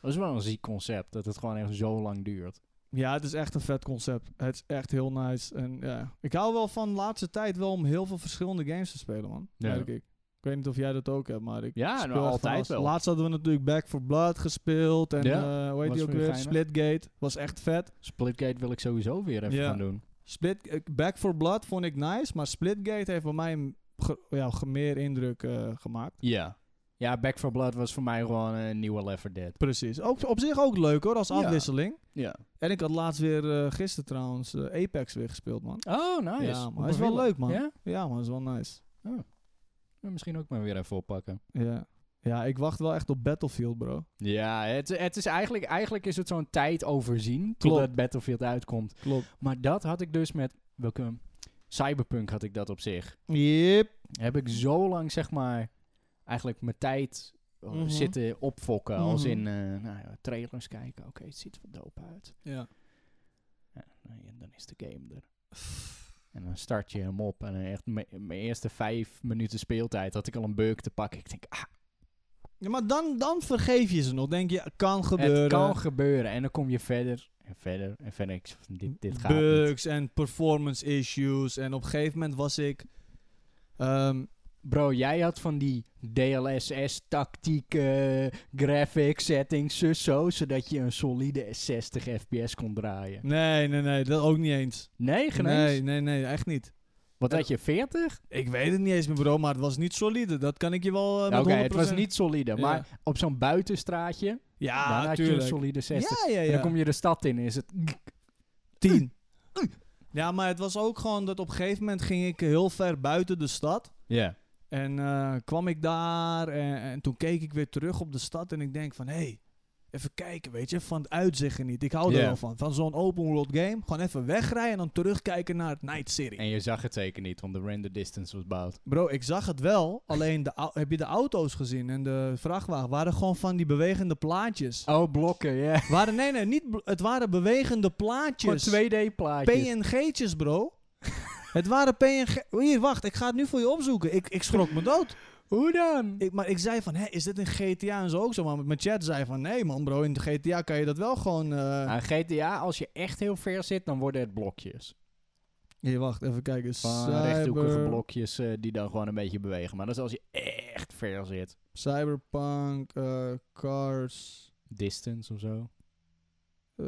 Dat is wel een ziek concept, dat het gewoon echt zo lang duurt. Ja, het is echt een vet concept. Het is echt heel nice. En ja, ik hou wel van de laatste tijd wel om heel veel verschillende games te spelen, man. Ja. Merk ik. Ik weet niet of jij dat ook hebt, maar ik Ja, speel nou, echt van altijd alles. wel. Laatst hadden we natuurlijk Back for Blood gespeeld. En Ja, eh, hoe heet was die ook voor je weer? geinig. Splitgate. Was echt vet. Splitgate wil ik sowieso weer even Ja. gaan doen. Split, eh, Back for Blood vond ik nice, maar Splitgate heeft bij mij een ge- ja, ge- meer indruk eh, gemaakt. Ja. Ja, Back for Blood was voor mij gewoon een nieuwe Left 4 Dead. Precies. Ook, op zich ook leuk hoor, als Ja. afwisseling. Ja. En ik had laatst weer, eh, gisteren trouwens, eh, Apex weer gespeeld, man. Oh, nice. Ja, Hoe maar is wel beviel het? leuk, man. Ja? Ja, man, is wel nice. Ja, Misschien ook maar weer even oppakken. Ja. Ja, ik wacht wel echt op Battlefield, bro. Ja, het, het is eigenlijk, eigenlijk is het zo'n tijd overzien totdat Klopt. Battlefield uitkomt. Klopt. Maar dat had ik dus met welke Cyberpunk had ik dat op zich. Yep. Heb ik zo lang zeg maar eigenlijk mijn tijd eh, Mhm. zitten opfokken als Mhm. in eh, nou ja, trailers kijken. Oké, het ziet er dope uit. Ja. Ja, nou ja, dan is de game er. En dan start je hem op. En dan echt mijn mijn eerste vijf minuten speeltijd had ik al een beuk te pakken. Ik denk, ah, ja maar dan, dan vergeef je ze nog. Denk je, kan gebeuren. Het kan gebeuren. En dan kom je verder en verder en verder. Ik zeg van, dit, dit gaat niet. Bugs en performance issues. En op een gegeven moment was ik... ehm, Bro, jij had van die DLSS-tactiek, graphics, settings, zus zo, zodat je een solide 60 fps kon draaien. nee, nee, nee. Dat ook niet eens. Nee, Eh, geen eens? Nee, nee, nee. Echt niet. Wat had je, 40? Ik weet het niet eens meer, bro. Maar het was niet solide. Dat kan ik je wel eh, Ja, met Oké, het 100%. was niet solide, Ja. maar op zo'n buitenstraatje, Ja, daar had je een tuurlijk. solide 60. Ja, ja, En dan ja. kom je de stad in en is het... Tien. Ja, maar het was ook gewoon dat op een gegeven moment ging ik heel ver buiten de stad. Ja. En eh, kwam ik daar en, en toen keek ik weer terug op de stad en ik denk van... Hé, hey, even kijken, weet je, van het uitzicht niet. Ik hou Ja. er wel van. Van zo'n open world game. Gewoon even wegrijden en dan terugkijken naar het Night City. En je zag het zeker niet, want de render distance was bouwd. Bro, ik zag het wel. Alleen de, au- heb je de auto's gezien en de vrachtwagen waren gewoon van die bewegende plaatjes. Oh, blokken, ja. Waren, nee, nee, niet, bl- het waren bewegende Gewoon plaatjes. 2D-plaatjes. PNG'tjes, bro. het waren PNG... Hier, wacht, ik ga het nu voor je opzoeken. Ik, ik schrok me dood. Hoe dan? Ik, maar ik zei van, hè, is dit in GTA en zo ook zo? Maar mijn chat zei van, nee man bro, in de GTA kan je dat wel gewoon... eh, Aan GTA, als je echt heel ver zit, dan worden het blokjes. Hier, wacht, even kijken. Van Cyber- rechthoekige blokjes eh, die dan gewoon een beetje bewegen. Maar dat is als je echt ver zit. Cyberpunk, eh, Cars... Distance of zo. eh,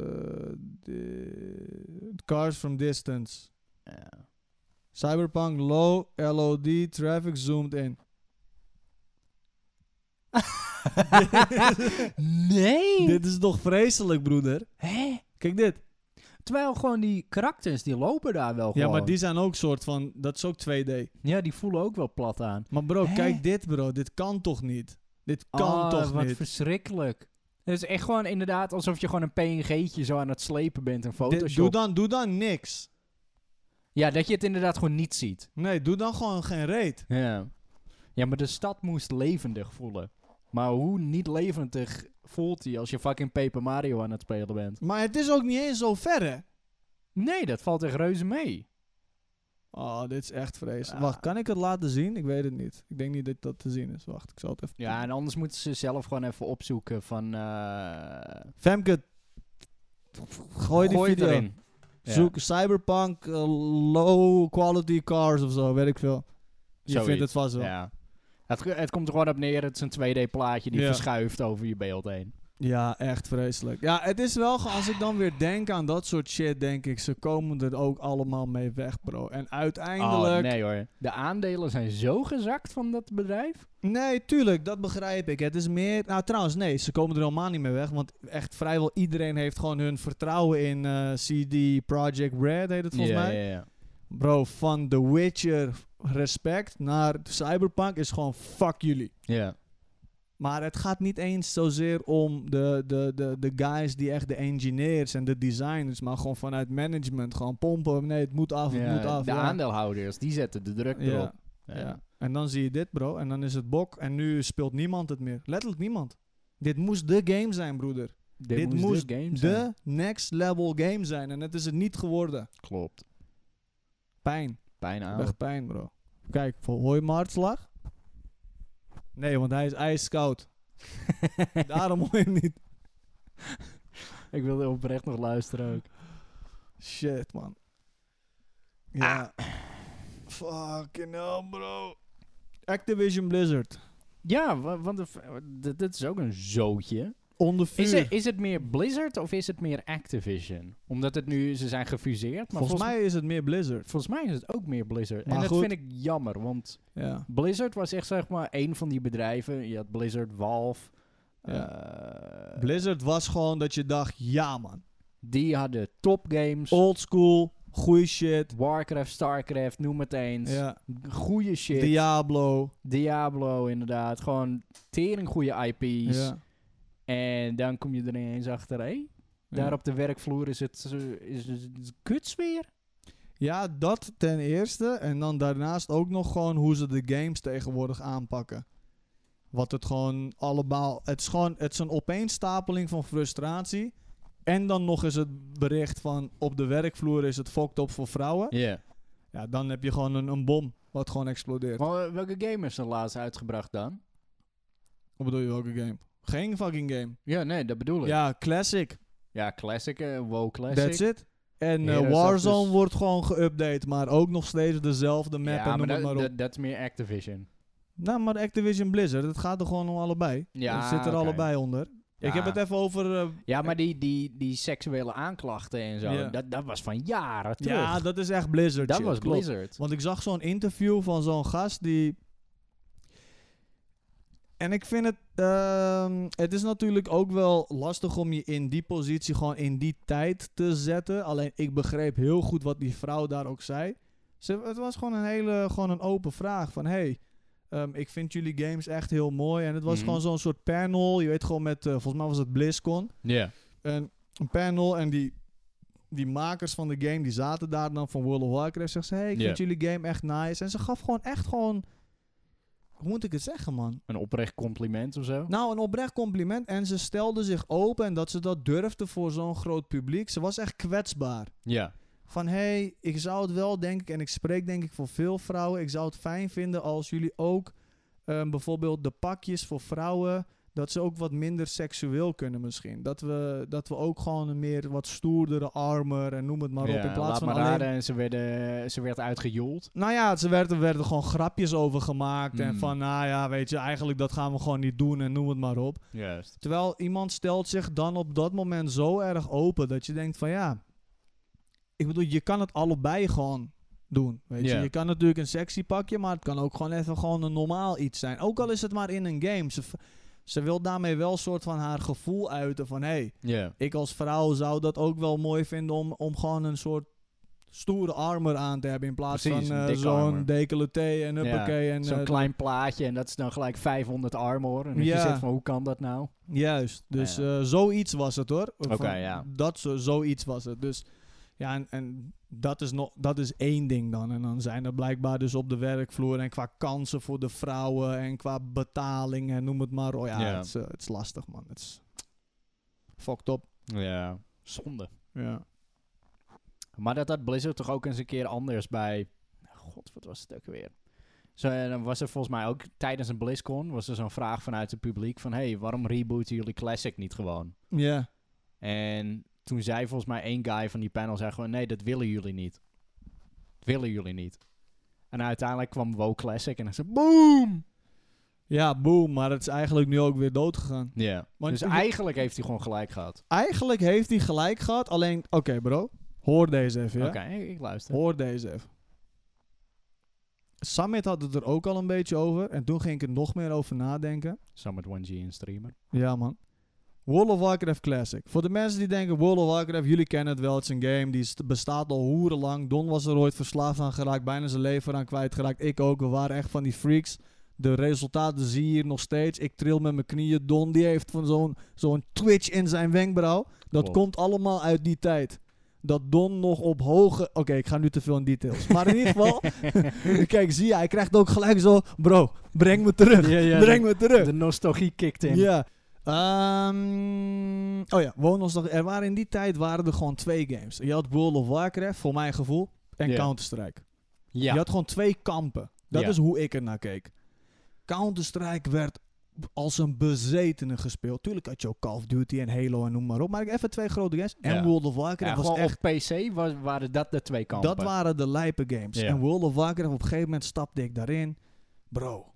di- cars from Distance. Ja. Cyberpunk low, LOD, traffic zoomed in. nee! Dit is toch vreselijk, broeder? Hè? Kijk dit. Terwijl gewoon die karakters, die lopen daar wel Ja, gewoon. maar die zijn ook soort van... Dat is ook 2D. ja, die voelen ook wel plat aan. Maar bro, Hè? kijk dit bro. Dit kan toch niet? Dit kan Ah, toch wat niet? verschrikkelijk. Het is echt gewoon inderdaad alsof je gewoon een PNG'tje zo aan het slepen bent in Dit- Photoshop. doe, dan, doe dan niks. Ja, dat je het inderdaad gewoon niet ziet. Nee, doe dan gewoon geen reet. Ja. ja, maar de stad moest levendig voelen. Maar hoe niet levendig voelt hij als je fucking Paper Mario aan het spelen bent? Maar het is ook niet eens zo ver, hè? Nee, dat valt echt reuze mee. Oh, dit is echt vreselijk. Ah. Wacht, kan ik het laten zien? Ik weet het niet. Ik denk niet dat dat te zien is. Wacht, ik zal het even... Ja, en anders moeten ze zelf gewoon even opzoeken van... eh, Femke, gooi die video. erin. Ja. Zoek cyberpunk, eh, low quality cars of zo, weet ik veel. Je Zoiets, vindt het vast wel. Ja, Ja. Het, het komt er gewoon op neer, het is een 2D plaatje die Ja. verschuift over je beeld heen. echt vreselijk. Ja, het is wel, ge- als ik dan weer denk aan dat soort shit, denk ik, ze komen er ook allemaal mee weg, bro. En uiteindelijk... Oh, nee hoor. De aandelen zijn zo gezakt van dat bedrijf. Nee, tuurlijk, dat begrijp ik. Het is meer. Nou, trouwens, nee, ze komen er helemaal niet meer weg. Want echt vrijwel iedereen heeft gewoon hun vertrouwen in eh, CD Project Red, heet het volgens mij. ja, ja. Bro, van The Witcher respect naar Cyberpunk is gewoon fuck jullie. Ja. Maar het gaat niet eens zozeer om de, de, de, de guys die echt de engineers en de designers, maar gewoon vanuit management. Gewoon pompen. Nee, het moet af, het Ja, moet af. de ja. aandeelhouders, die zetten de druk Ja, erop. ja. En dan zie je dit, bro. En dan is het bok. En nu speelt niemand het meer. Letterlijk niemand. Dit moest de game zijn, broeder. Dit, Dit moest moest de game zijn. De next level game zijn. En het is het niet geworden. Klopt. Pijn. Bijna. aan. Echt pijn, bro. Kijk, voor- hoor je mijn hartslag? Nee, want hij is ijskoud. Daarom hoor je hem niet. Ik wilde oprecht nog luisteren ook. Shit, man. Ja. Fucking hell, bro. Activision Blizzard. Ja, wa- want de v- dit dit is ook een zootje. Onder vuur. Is het, is het meer Blizzard of is het meer Activision? Omdat het nu, ze zijn gefuseerd. Maar volgens, mij is het meer Blizzard. volgens mij is het ook meer Blizzard. Maar en dat goed. vind ik jammer, want Ja. Blizzard was echt zeg maar één van die bedrijven. Je had Blizzard, Valve. eh, Blizzard was gewoon dat je dacht, ja man. die hadden topgames. Old school, goeie shit. Warcraft, Starcraft, noem het eens. Ja. Goeie shit. Diablo. Diablo inderdaad. Gewoon tering goede IP's. Ja. En dan kom je er ineens achter. Hé, daar op de werkvloer is het, eh, is het kuts weer. ja, dat ten eerste. En dan daarnaast ook nog gewoon hoe ze de games tegenwoordig aanpakken. Wat het gewoon allemaal... Het is gewoon het is een opeenstapeling van frustratie. En dan nog eens het bericht van op de werkvloer is het fucked up voor vrouwen. Ja. Ja, dan heb je gewoon een, een bom wat gewoon explodeert. Maar eh, welke game is er laatst uitgebracht dan? Wat bedoel je, welke game? Geen fucking game. Ja, nee, dat bedoel ik. Ja, Ja, classic. classic, eh, WoW Classic. That's it. En eh, Heroes of Warzone dus- wordt gewoon geüpdate, maar ook nog steeds dezelfde map ja, en maar noem het dat- maar op. dat- dat is meer Activision. Nou, maar Activision Blizzard, het gaat er gewoon om allebei. Ja, het zit er oké. allebei onder. Ik heb Ja. het even over... eh, Ja, maar die, die, die seksuele aanklachten en zo, Ja. dat, dat was van jaren terug. ja, dat is echt Blizzard. dat shit, was klopt. Blizzard. Want ik zag zo'n interview van zo'n gast die... En ik vind het... ehm, het is natuurlijk ook wel lastig om je in die positie gewoon in die tijd te zetten. Alleen ik begreep heel goed wat die vrouw daar ook zei. Ze, het was gewoon een hele gewoon een open vraag van... Hey, ehm, ik vind jullie games echt heel mooi. En het was Mhm. gewoon zo'n soort panel. Je weet gewoon met... eh, volgens mij was het BlizzCon. Ja. En een panel en die, die makers van de game, die zaten daar dan van World of Warcraft. Zegt ze, hey, ik Ja. vind jullie game echt nice. En ze gaf gewoon echt gewoon, hoe moet ik het zeggen man? Een oprecht compliment of zo. Nou, een oprecht compliment. En ze stelde zich open en dat ze dat durfde voor zo'n groot publiek. Ze was echt kwetsbaar. ja. Van, hey, ik zou het wel denk ik, en ik spreek denk ik voor veel vrouwen. Ik zou het fijn vinden als jullie ook ehm, bijvoorbeeld de pakjes voor vrouwen. Dat ze ook wat minder seksueel kunnen misschien. Dat we, dat we ook gewoon een meer wat stoerdere armor en noem het maar op. In plaats laat van maar alleen... raden, en ze, werden, ze werd uitgejoeld. Nou ja, ze werden, werden gewoon grapjes over gemaakt. En Mm. van, nou ja, weet je, eigenlijk dat gaan we gewoon niet doen en noem het maar op. Juist. Terwijl iemand stelt zich dan op dat moment zo erg open dat je denkt van ja, ik bedoel, je kan het allebei gewoon doen. Weet Ja. je? je kan natuurlijk een sexy pakje, maar het kan ook gewoon even gewoon een normaal iets zijn. Ook al is het maar in een game. Ze, v- ze wil daarmee wel een soort van haar gevoel uiten van... hey, Ja. ik als vrouw zou dat ook wel mooi vinden om, om gewoon een soort stoere armor aan te hebben... in plaats Precies, van een eh, dikke zo'n armor. decolleté en uppakee. en, Zo'n eh, klein plaatje en dat is dan gelijk 500 armor. En dat Ja. je zit van, hoe kan dat nou? Juist, dus Ah, ja. eh, zoiets was het hoor. Oké, Van ja. Dat zo, zoiets was het. Dus ja, en, en dat, is nog, dat is één ding dan. En dan zijn er blijkbaar dus op de werkvloer en qua kansen voor de vrouwen en qua betaling en noem het maar. Oh ja, Ja. Het, is, eh, het is lastig man. Het is fucked up. Ja. Zonde. Ja. Maar dat had Blizzard toch ook eens een keer anders bij... God, wat was het ook weer? Zo, eh, dan was er volgens mij ook tijdens een BlizzCon... was er zo'n vraag vanuit het publiek van... hey, waarom rebooten jullie Classic niet gewoon? Ja. En toen zei volgens mij één guy van die panel... zei gewoon, nee, dat willen jullie niet. Dat willen jullie niet. En uiteindelijk kwam WoW Classic en hij zei... Boom! ja, boom. Maar het is eigenlijk nu ook weer dood gegaan. Ja. Want Dus je- eigenlijk heeft hij gewoon gelijk gehad. Eigenlijk heeft hij gelijk gehad. Alleen, oké bro, hoor deze even. Ja? Oké, ik- ik luister. Hoor deze even. Summit had het er ook al een beetje over. En toen ging ik er nog meer over nadenken. Summit 1G en streamer. Ja, man. World of Warcraft Classic. Voor de mensen die denken, World of Warcraft, jullie kennen het wel. Het is een game die st- bestaat al hoerenlang. Don was er ooit verslaafd aan geraakt. Bijna zijn leven aan kwijtgeraakt. Ik ook. We waren echt van die freaks. De resultaten zie je hier nog steeds. Ik tril met mijn knieën. Don die heeft van zo'n zo'n twitch in zijn wenkbrauw. Dat Klopt. komt allemaal uit die tijd. Dat Don nog op hoge... Oké, ik ga nu te veel in details. Maar in ieder geval... kijk, zie je, hij krijgt ook gelijk zo... Bro, breng me terug. Ja, ja, breng me terug. De nostalgie kicked in. Ja. Ehm, oh ja, Wonos nog. Er waren in die tijd waren er gewoon twee games. Je had World of Warcraft, voor mijn gevoel, en Ja. Counter-Strike. Ja. Je had gewoon twee kampen. Dat Ja. is hoe ik er naar keek. Counter-Strike werd als een bezetene gespeeld. Tuurlijk had je ook Call of Duty en Halo en noem maar op. Maar ik even twee grote games. En Ja. World of Ja, Warcraft was gewoon echt... op PC was, waren dat de twee kampen. Dat waren de lijpe games. Ja. En World of Warcraft, op een gegeven moment stapte ik daarin. Bro,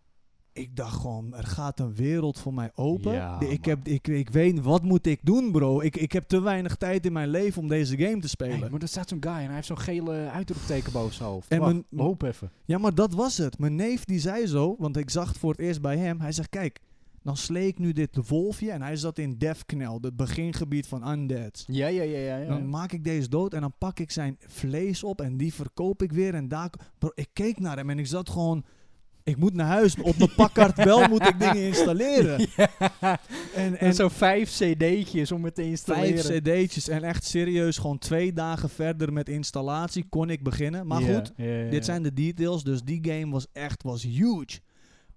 ik dacht gewoon, er gaat een wereld voor mij open. Ja, De- ik, man. heb, ik, ik weet, wat moet ik doen, bro? Ik, ik heb te weinig tijd in mijn leven om deze game te Hey, spelen. maar er staat zo'n guy en hij heeft zo'n gele uitroepteken boven zijn hoofd. En Wacht, mijn- we hopen even. ja, maar dat was het. Mijn neef die zei zo, want ik zag het voor het eerst bij hem. Hij zegt, kijk, dan slee ik nu dit wolfje. En hij zat in Deathknell, het begingebied van Undead. Ja, ja, ja, ja. Dan maak ik deze dood en dan pak ik zijn vlees op en die verkoop ik weer. En daar... Bro, ik keek naar hem en ik zat gewoon... Ik moet naar huis. Op mijn pakkart wel moet ik dingen installeren. En, En en zo'n vijf cd'tjes om het te installeren. vijf cd'tjes. En echt serieus, gewoon twee dagen verder met installatie kon ik beginnen. Maar Ja, goed, ja, ja, ja. dit zijn de details. Dus die game was echt was huge.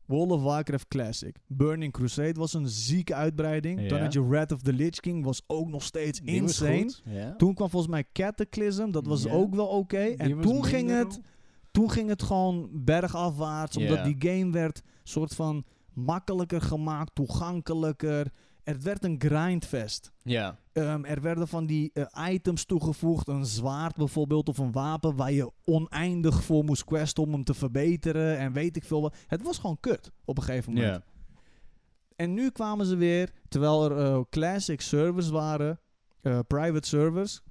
World of Warcraft Classic. Burning Crusade was een zieke uitbreiding. Dan Ja. had je Wrath of the Lich King. Was ook nog steeds Die was insane. goed. Ja. Toen kwam volgens mij Cataclysm, dat was Ja. ook wel oké. Die En was toen ging, minder het, ook. toen ging het gewoon bergafwaarts, omdat Ja. die game werd soort van makkelijker gemaakt, toegankelijker. Het werd een grindfest. Ja. Ehm, er werden van die eh, items toegevoegd, een zwaard bijvoorbeeld of een wapen waar je oneindig voor moest questen om hem te verbeteren en weet ik veel wat. Het was gewoon kut op een gegeven moment. Ja. En nu kwamen ze weer, terwijl er eh, classic servers waren, eh, private servers.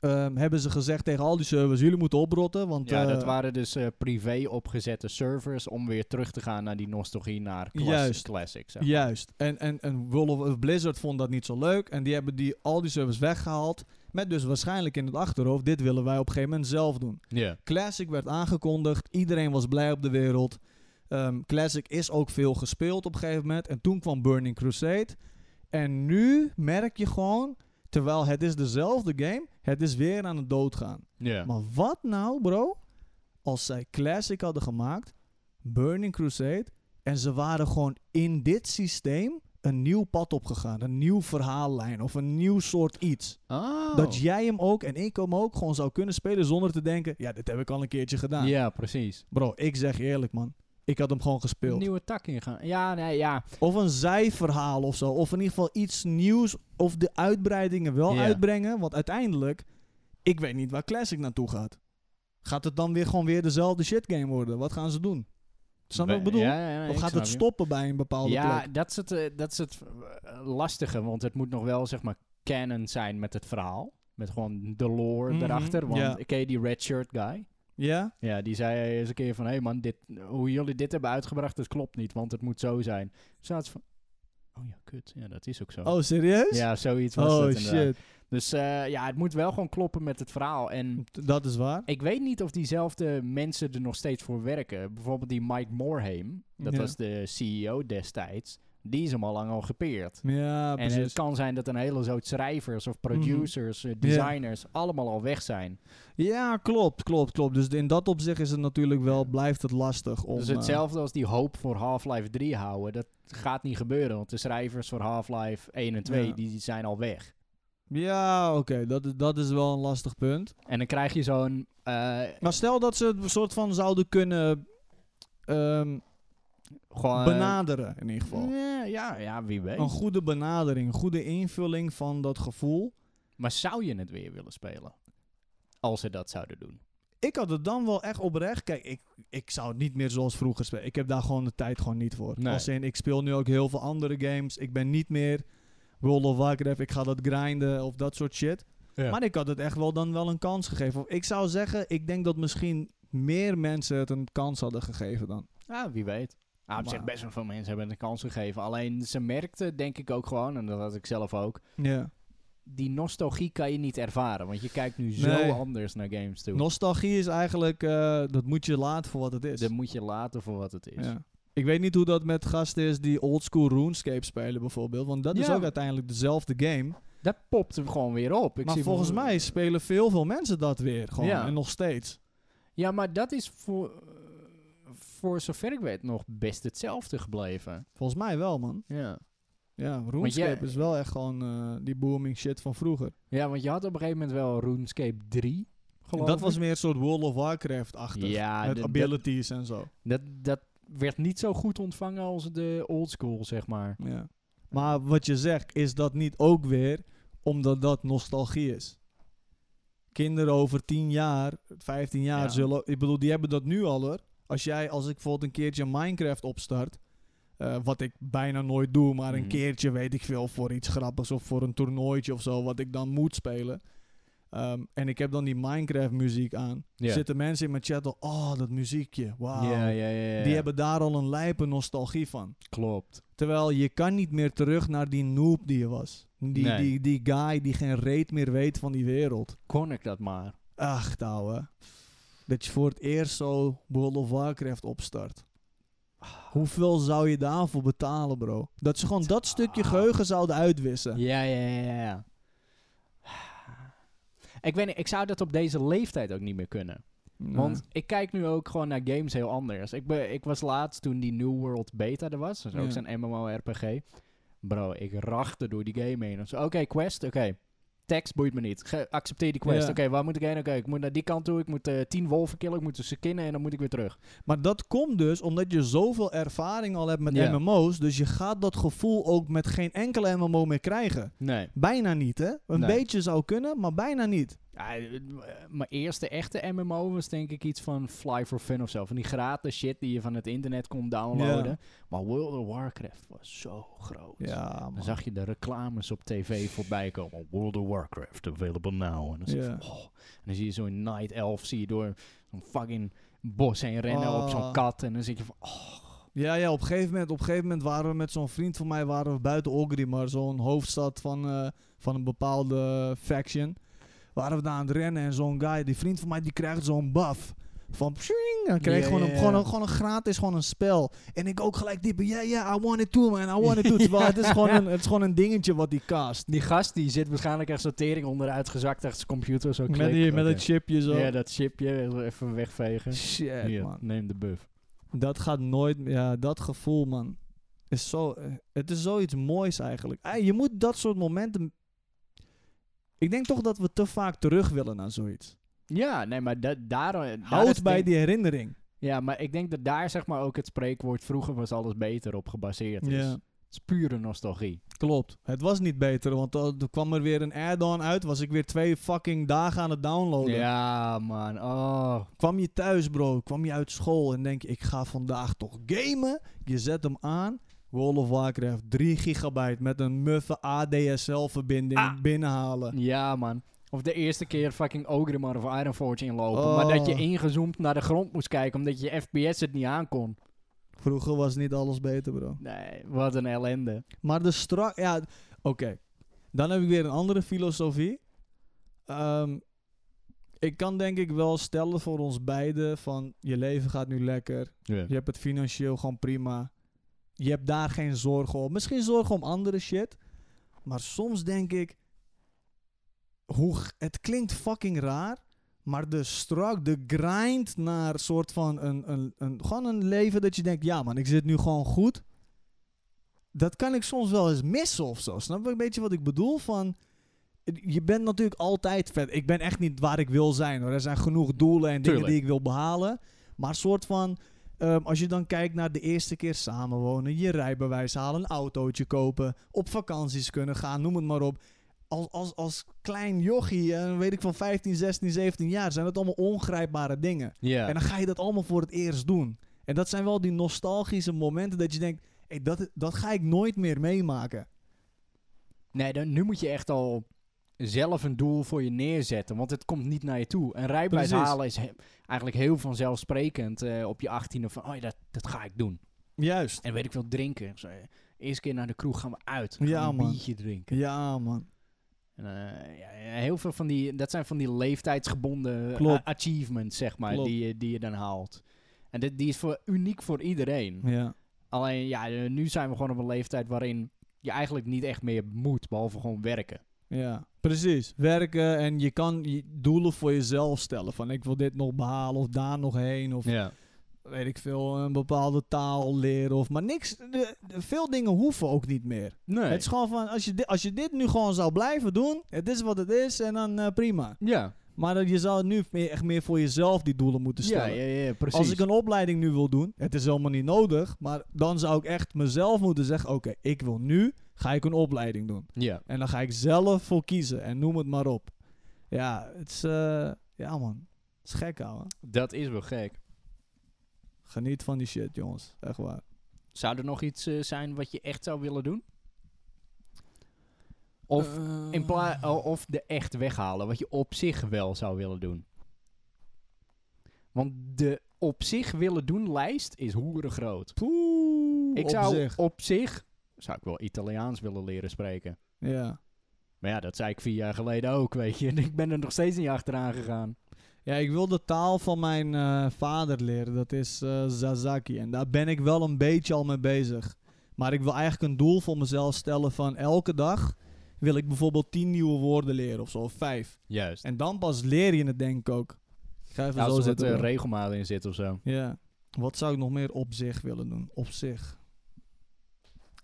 ehm, hebben ze gezegd tegen al die servers, jullie moeten oprotten. Want, Ja, eh, dat waren dus eh, privé opgezette servers om weer terug te gaan naar die nostalgie, naar klas- Juist. classic. Zeg maar. Juist. En, en, en World of Blizzard vond dat niet zo leuk. En die hebben die, al die servers weggehaald. Met dus waarschijnlijk in het achterhoofd, dit willen wij op een gegeven moment zelf doen. Ja. Classic werd aangekondigd. Iedereen was blij op de wereld. Ehm, Classic is ook veel gespeeld op een gegeven moment. En toen kwam Burning Crusade. En nu merk je gewoon, terwijl het is dezelfde game, het is weer aan het doodgaan. Ja. Maar wat nou, bro? Als zij Classic hadden gemaakt, Burning Crusade, en ze waren gewoon in dit systeem een nieuw pad opgegaan. Een nieuw verhaallijn of een nieuw soort iets. Oh. Dat jij hem ook en ik hem ook gewoon zou kunnen spelen zonder te denken... Ja, dit heb ik al een keertje gedaan. Ja, precies. Bro, ik zeg je eerlijk, man. Ik had hem gewoon gespeeld. Nieuwe tak ingaan. Ja, nee, ja. Of een zijverhaal of zo. Of in ieder geval iets nieuws. Of de uitbreidingen wel Ja. uitbrengen. Want uiteindelijk, ik weet niet waar Classic naartoe gaat. Gaat het dan weer gewoon weer dezelfde shitgame worden? Wat gaan ze doen? Snap je wat ik bedoel? Ja, ja, ja, ik of gaat snap het je. stoppen bij een bepaalde Ja, plek? dat is, het, eh, dat is het eh, lastige, want het moet nog wel, zeg maar, canon zijn met het verhaal. Met gewoon de lore Mhm, erachter. Want ja. ik ken je die red shirt guy. Ja? Ja, die zei eens een keer van, hé hey man, dit, hoe jullie dit hebben uitgebracht, dat klopt niet, want het moet zo zijn. Toen zaten ze van, Oh ja, kut. Ja, dat is ook zo. Oh, serieus? Ja, zoiets was oh het inderdaad. shit. Dus eh, ja, het moet wel gewoon kloppen met het verhaal. En Dat is waar. ik weet niet of diezelfde mensen er nog steeds voor werken. Bijvoorbeeld die Mike Morhaime, dat Ja. was de CEO destijds. Die is hem al lang al gepeerd. Ja, en het precies. Mhm. kan zijn dat een hele zoot schrijvers of producers, eh, designers, allemaal al weg zijn. Ja, klopt, klopt, klopt. Dus in dat opzicht is het natuurlijk wel, blijft het lastig om... dus eh, hetzelfde als die hoop voor Half-Life 3 houden, dat gaat niet gebeuren. Want de schrijvers voor Half-Life 1 en 2, Ja. die zijn al weg. ja, oké, dat, is- dat is wel een lastig punt. En dan krijg je zo'n. eh, Maar stel dat ze het een soort van zouden kunnen ehm, gewoon. benaderen, in ieder geval. Eh, Nee, ja, ja, wie weet. Een goede benadering, een goede invulling van dat gevoel. Maar zou je het weer willen spelen? Als ze dat zouden doen. Ik had het dan wel echt oprecht. Kijk, ik, ik zou het niet meer zoals vroeger spelen. Ik heb daar gewoon de tijd gewoon niet voor. Nee. Als in, ik speel nu ook heel veel andere games. Ik ben niet meer World of Warcraft. Ik ga dat grinden of dat soort shit. Ja. Maar ik had het echt wel dan wel een kans gegeven. Of ik zou zeggen, ik denk dat misschien meer mensen het een kans hadden gegeven dan. Ja, wie weet. Ah, op zich Maar- best wel veel mensen hebben het een kans gegeven. Alleen ze merkten, denk ik ook gewoon, en dat had ik zelf ook. Ja. Die nostalgie kan je niet ervaren. Want je kijkt nu zo Nee. anders naar games toe. Nostalgie is eigenlijk, eh, dat moet je laten voor wat het is. Dat moet je laten voor wat het is. Ja. Ik weet niet hoe dat met gasten is die oldschool RuneScape spelen bijvoorbeeld. Want dat is Ja. ook uiteindelijk dezelfde game. Dat popt er gewoon weer op. Ik maar zie volgens mij spelen veel, veel mensen dat weer. Gewoon. Ja. En nog steeds. Ja, maar dat is voor, eh, voor zover ik weet nog best hetzelfde gebleven. Volgens mij wel, man. Ja. Ja, RuneScape jij- is wel echt gewoon eh, die booming shit van vroeger. Ja, want je had op een gegeven moment wel RuneScape 3, geloof Dat was ik. meer een soort World of Warcraft-achtig. Ja, met de- abilities en zo. dat, dat werd niet zo goed ontvangen als de old school, zeg maar. Ja. Maar wat je zegt, is dat niet ook weer omdat dat nostalgie is? Kinderen over 10 jaar, 15 jaar Ja. zullen. Ik bedoel, die hebben dat nu al hoor. Als jij, als ik bijvoorbeeld een keertje Minecraft opstart. eh, wat ik bijna nooit doe, maar een Mhm. keertje weet ik veel voor iets grappigs of voor een toernooitje of zo, wat ik dan moet spelen. Ehm, en ik heb dan die Minecraft muziek aan. Ja. Zitten mensen in mijn chat al, oh dat muziekje, wauw. Ja, ja, ja, ja. Die hebben daar al een lijpe nostalgie van. Klopt. Terwijl je kan niet meer terug naar die noob die je was. Die, Nee. die, die guy die geen reet meer weet van die wereld. Kon ik dat maar. Ach, ouwe. Dat je voor het eerst zo World of Warcraft opstart. Hoeveel zou je daarvoor betalen, bro? Dat ze gewoon dat stukje geheugen zouden uitwissen. Ja, ja, ja, ja, ja. Ik weet niet, ik zou dat op deze leeftijd ook niet meer kunnen. Nee. Want ik kijk nu ook gewoon naar games heel anders. Ik, be, ik was laatst toen die New World Beta er was. Dat is ook Ja. zo'n MMORPG. Bro, ik rachte door die game heen. Zo, Oké, quest, oké. Tekst boeit me niet. Ge- accepteer die quest. Ja. Oké, waar moet ik heen? Oké, ik moet naar die kant toe. Ik moet eh, tien wolven killen. Ik moet ze kinnen en dan moet ik weer terug. Maar dat komt dus omdat je zoveel ervaring al hebt met Ja. MMO's. Dus je gaat dat gevoel ook met geen enkele MMO meer krijgen. Nee. Bijna niet, hè? Een Nee. beetje zou kunnen, maar bijna niet. Ja, eh, mijn eerste echte MMO was denk ik iets van Fly for Fun of zo. Van die gratis shit die je van het internet kon downloaden. Ja. Maar World of Warcraft was zo groot. Ja, Dan man. zag je de reclames op tv voorbij komen. World of Warcraft, available now. En dan, zie je Ja. van, oh. en dan zie je zo'n Night Elf zie je door zo'n fucking bos heen rennen op zo'n Oh. kat. En dan zit je van, oh, Ja, ja op, een gegeven moment, op een gegeven moment waren we met zo'n vriend van mij waren we buiten Ogrimar, zo'n hoofdstad van, eh, van een bepaalde faction. Waren we daar aan het rennen en zo'n guy, die vriend van mij, die krijgt zo'n buff. Van psing, dan kreeg Ja, gewoon, ja, Een, ja. gewoon, een, gewoon een gratis gewoon een spel. En ik ook gelijk diep, ja, ja, I want it too, man, I want it too. Terwijl het, is gewoon een, het is gewoon een dingetje wat die cast. die gast die zit waarschijnlijk echt sortering onderuit gezakt achter zijn computer. Zo Met, die, met het chipje zo. Ja, dat chipje even wegvegen. Shit, Hier, man. neem de buff. Dat gaat nooit. Ja, dat gevoel, man. Is zo, eh, het is zoiets moois eigenlijk. Eh, je moet dat soort momenten. Ik denk toch dat we te vaak terug willen naar zoiets. Ja, nee, maar da daar... daar is Houd het bij ding- die herinnering. Ja, maar ik denk dat daar zeg maar ook het spreekwoord vroeger was alles beter op gebaseerd is. Ja. Het is pure nostalgie. Klopt. Het was niet beter, want eh, er kwam er weer een add-on uit. Was ik weer twee fucking dagen aan het downloaden. Ja, man. Oh. Kwam je thuis, bro? Kwam je uit school en denk je, ik ga vandaag toch gamen? Je zet hem aan. World of Warcraft 3 gigabyte met een muffe ADSL-verbinding Ah. binnenhalen. Ja, man. Of de eerste keer fucking Ogrimmar of Iron Forge inlopen. Oh. Maar dat je ingezoomd naar de grond moest kijken omdat je FPS het niet aankon. Vroeger was niet alles beter, bro. Nee, wat een ellende. Maar de strak... Ja, d- oké. Dan heb ik weer een andere filosofie. Ehm, ik kan denk ik wel stellen voor ons beiden van... Je leven gaat nu lekker. Je hebt het financieel gewoon prima. Je hebt daar geen zorgen om. Misschien zorgen om andere shit. Maar soms denk ik... Hoe, g- het klinkt fucking raar. Maar de strak, de grind naar soort van een, een, een... Gewoon een leven dat je denkt... Ja man, ik zit nu gewoon goed dat kan ik soms wel eens missen of zo. Snap je een beetje wat ik bedoel? Van, je bent natuurlijk altijd vet. Ik ben echt niet waar ik wil zijn. Hoor. Er zijn genoeg doelen en dingen Tuurlijk. die ik wil behalen. Maar soort van, ehm, als je dan kijkt naar de eerste keer samenwonen, je rijbewijs halen, een autootje kopen, op vakanties kunnen gaan, noem het maar op. Als, als, als klein jochie, en weet ik van 15, 16, 17 jaar, zijn dat allemaal ongrijpbare dingen. Ja. En dan ga je dat allemaal voor het eerst doen. En dat zijn wel die nostalgische momenten dat je denkt... Hey, dat, dat ga ik nooit meer meemaken. Nee, dan, nu moet je echt al zelf een doel voor je neerzetten, want het komt niet naar je toe. Een rijbewijs Precies. halen is he- eigenlijk heel vanzelfsprekend eh, op je 18e van, oh ja, dat, dat ga ik doen. Juist. En weet ik veel, drinken. Zo, eh, eerste keer naar de kroeg gaan we uit, gaan Ja, een man. biertje drinken. Ja, man. En, eh, ja, ja, heel veel van die, dat zijn van die leeftijdsgebonden Klopt. a- achievements, zeg maar, Klopt. die, je- die je dan haalt. En dit, die is voor, uniek voor iedereen. Ja. Alleen, ja, eh, nu zijn we gewoon op een leeftijd waarin je eigenlijk niet echt meer moet, behalve gewoon werken. Ja. Precies. Werken en je kan je doelen voor jezelf stellen. Van ik wil dit nog behalen of daar nog heen. Of Ja. weet ik veel, een bepaalde taal leren. Of, maar niks. de- de- veel dingen hoeven ook niet meer. Nee. Het is gewoon van, als je, dit, als je dit nu gewoon zou blijven doen. Het is wat het is en dan eh, prima. ja. Maar dat je zou nu meer, echt meer voor jezelf die doelen moeten ja, stellen. ja, ja, precies. Als ik een opleiding nu wil doen, het is helemaal niet nodig, maar dan zou ik echt mezelf moeten zeggen: oké, ik wil nu, ga ik een opleiding doen. ja. En dan ga ik zelf voor kiezen en noem het maar op. Ja, het is, eh, ja man, het is gek ouwe. Dat is wel gek. Geniet van die shit, jongens, echt waar. Zou er nog iets eh, zijn wat je echt zou willen doen? Of, in pla- o- of de echt weghalen, wat je op zich wel zou willen doen. Want de op zich willen doen lijst is hoeren groot. Poeh, Ik op zou zich. op zich zou ik wel Italiaans willen leren spreken. Ja. Maar ja, dat zei ik vier jaar geleden ook, weet je. En ik ben er nog steeds niet achteraan gegaan. ja, ik wil de taal van mijn eh, vader leren, dat is eh Zazaki. En daar ben ik wel een beetje al mee bezig. Maar ik wil eigenlijk een doel voor mezelf stellen van elke dag wil ik bijvoorbeeld tien nieuwe woorden leren of zo, of vijf. Juist. En dan pas leer je het denk ik ook. Ik ga even Als zo er wat zitten. eh, bro. regelmaat in zit of zo. ja. Wat zou ik nog meer op zich willen doen? Op zich.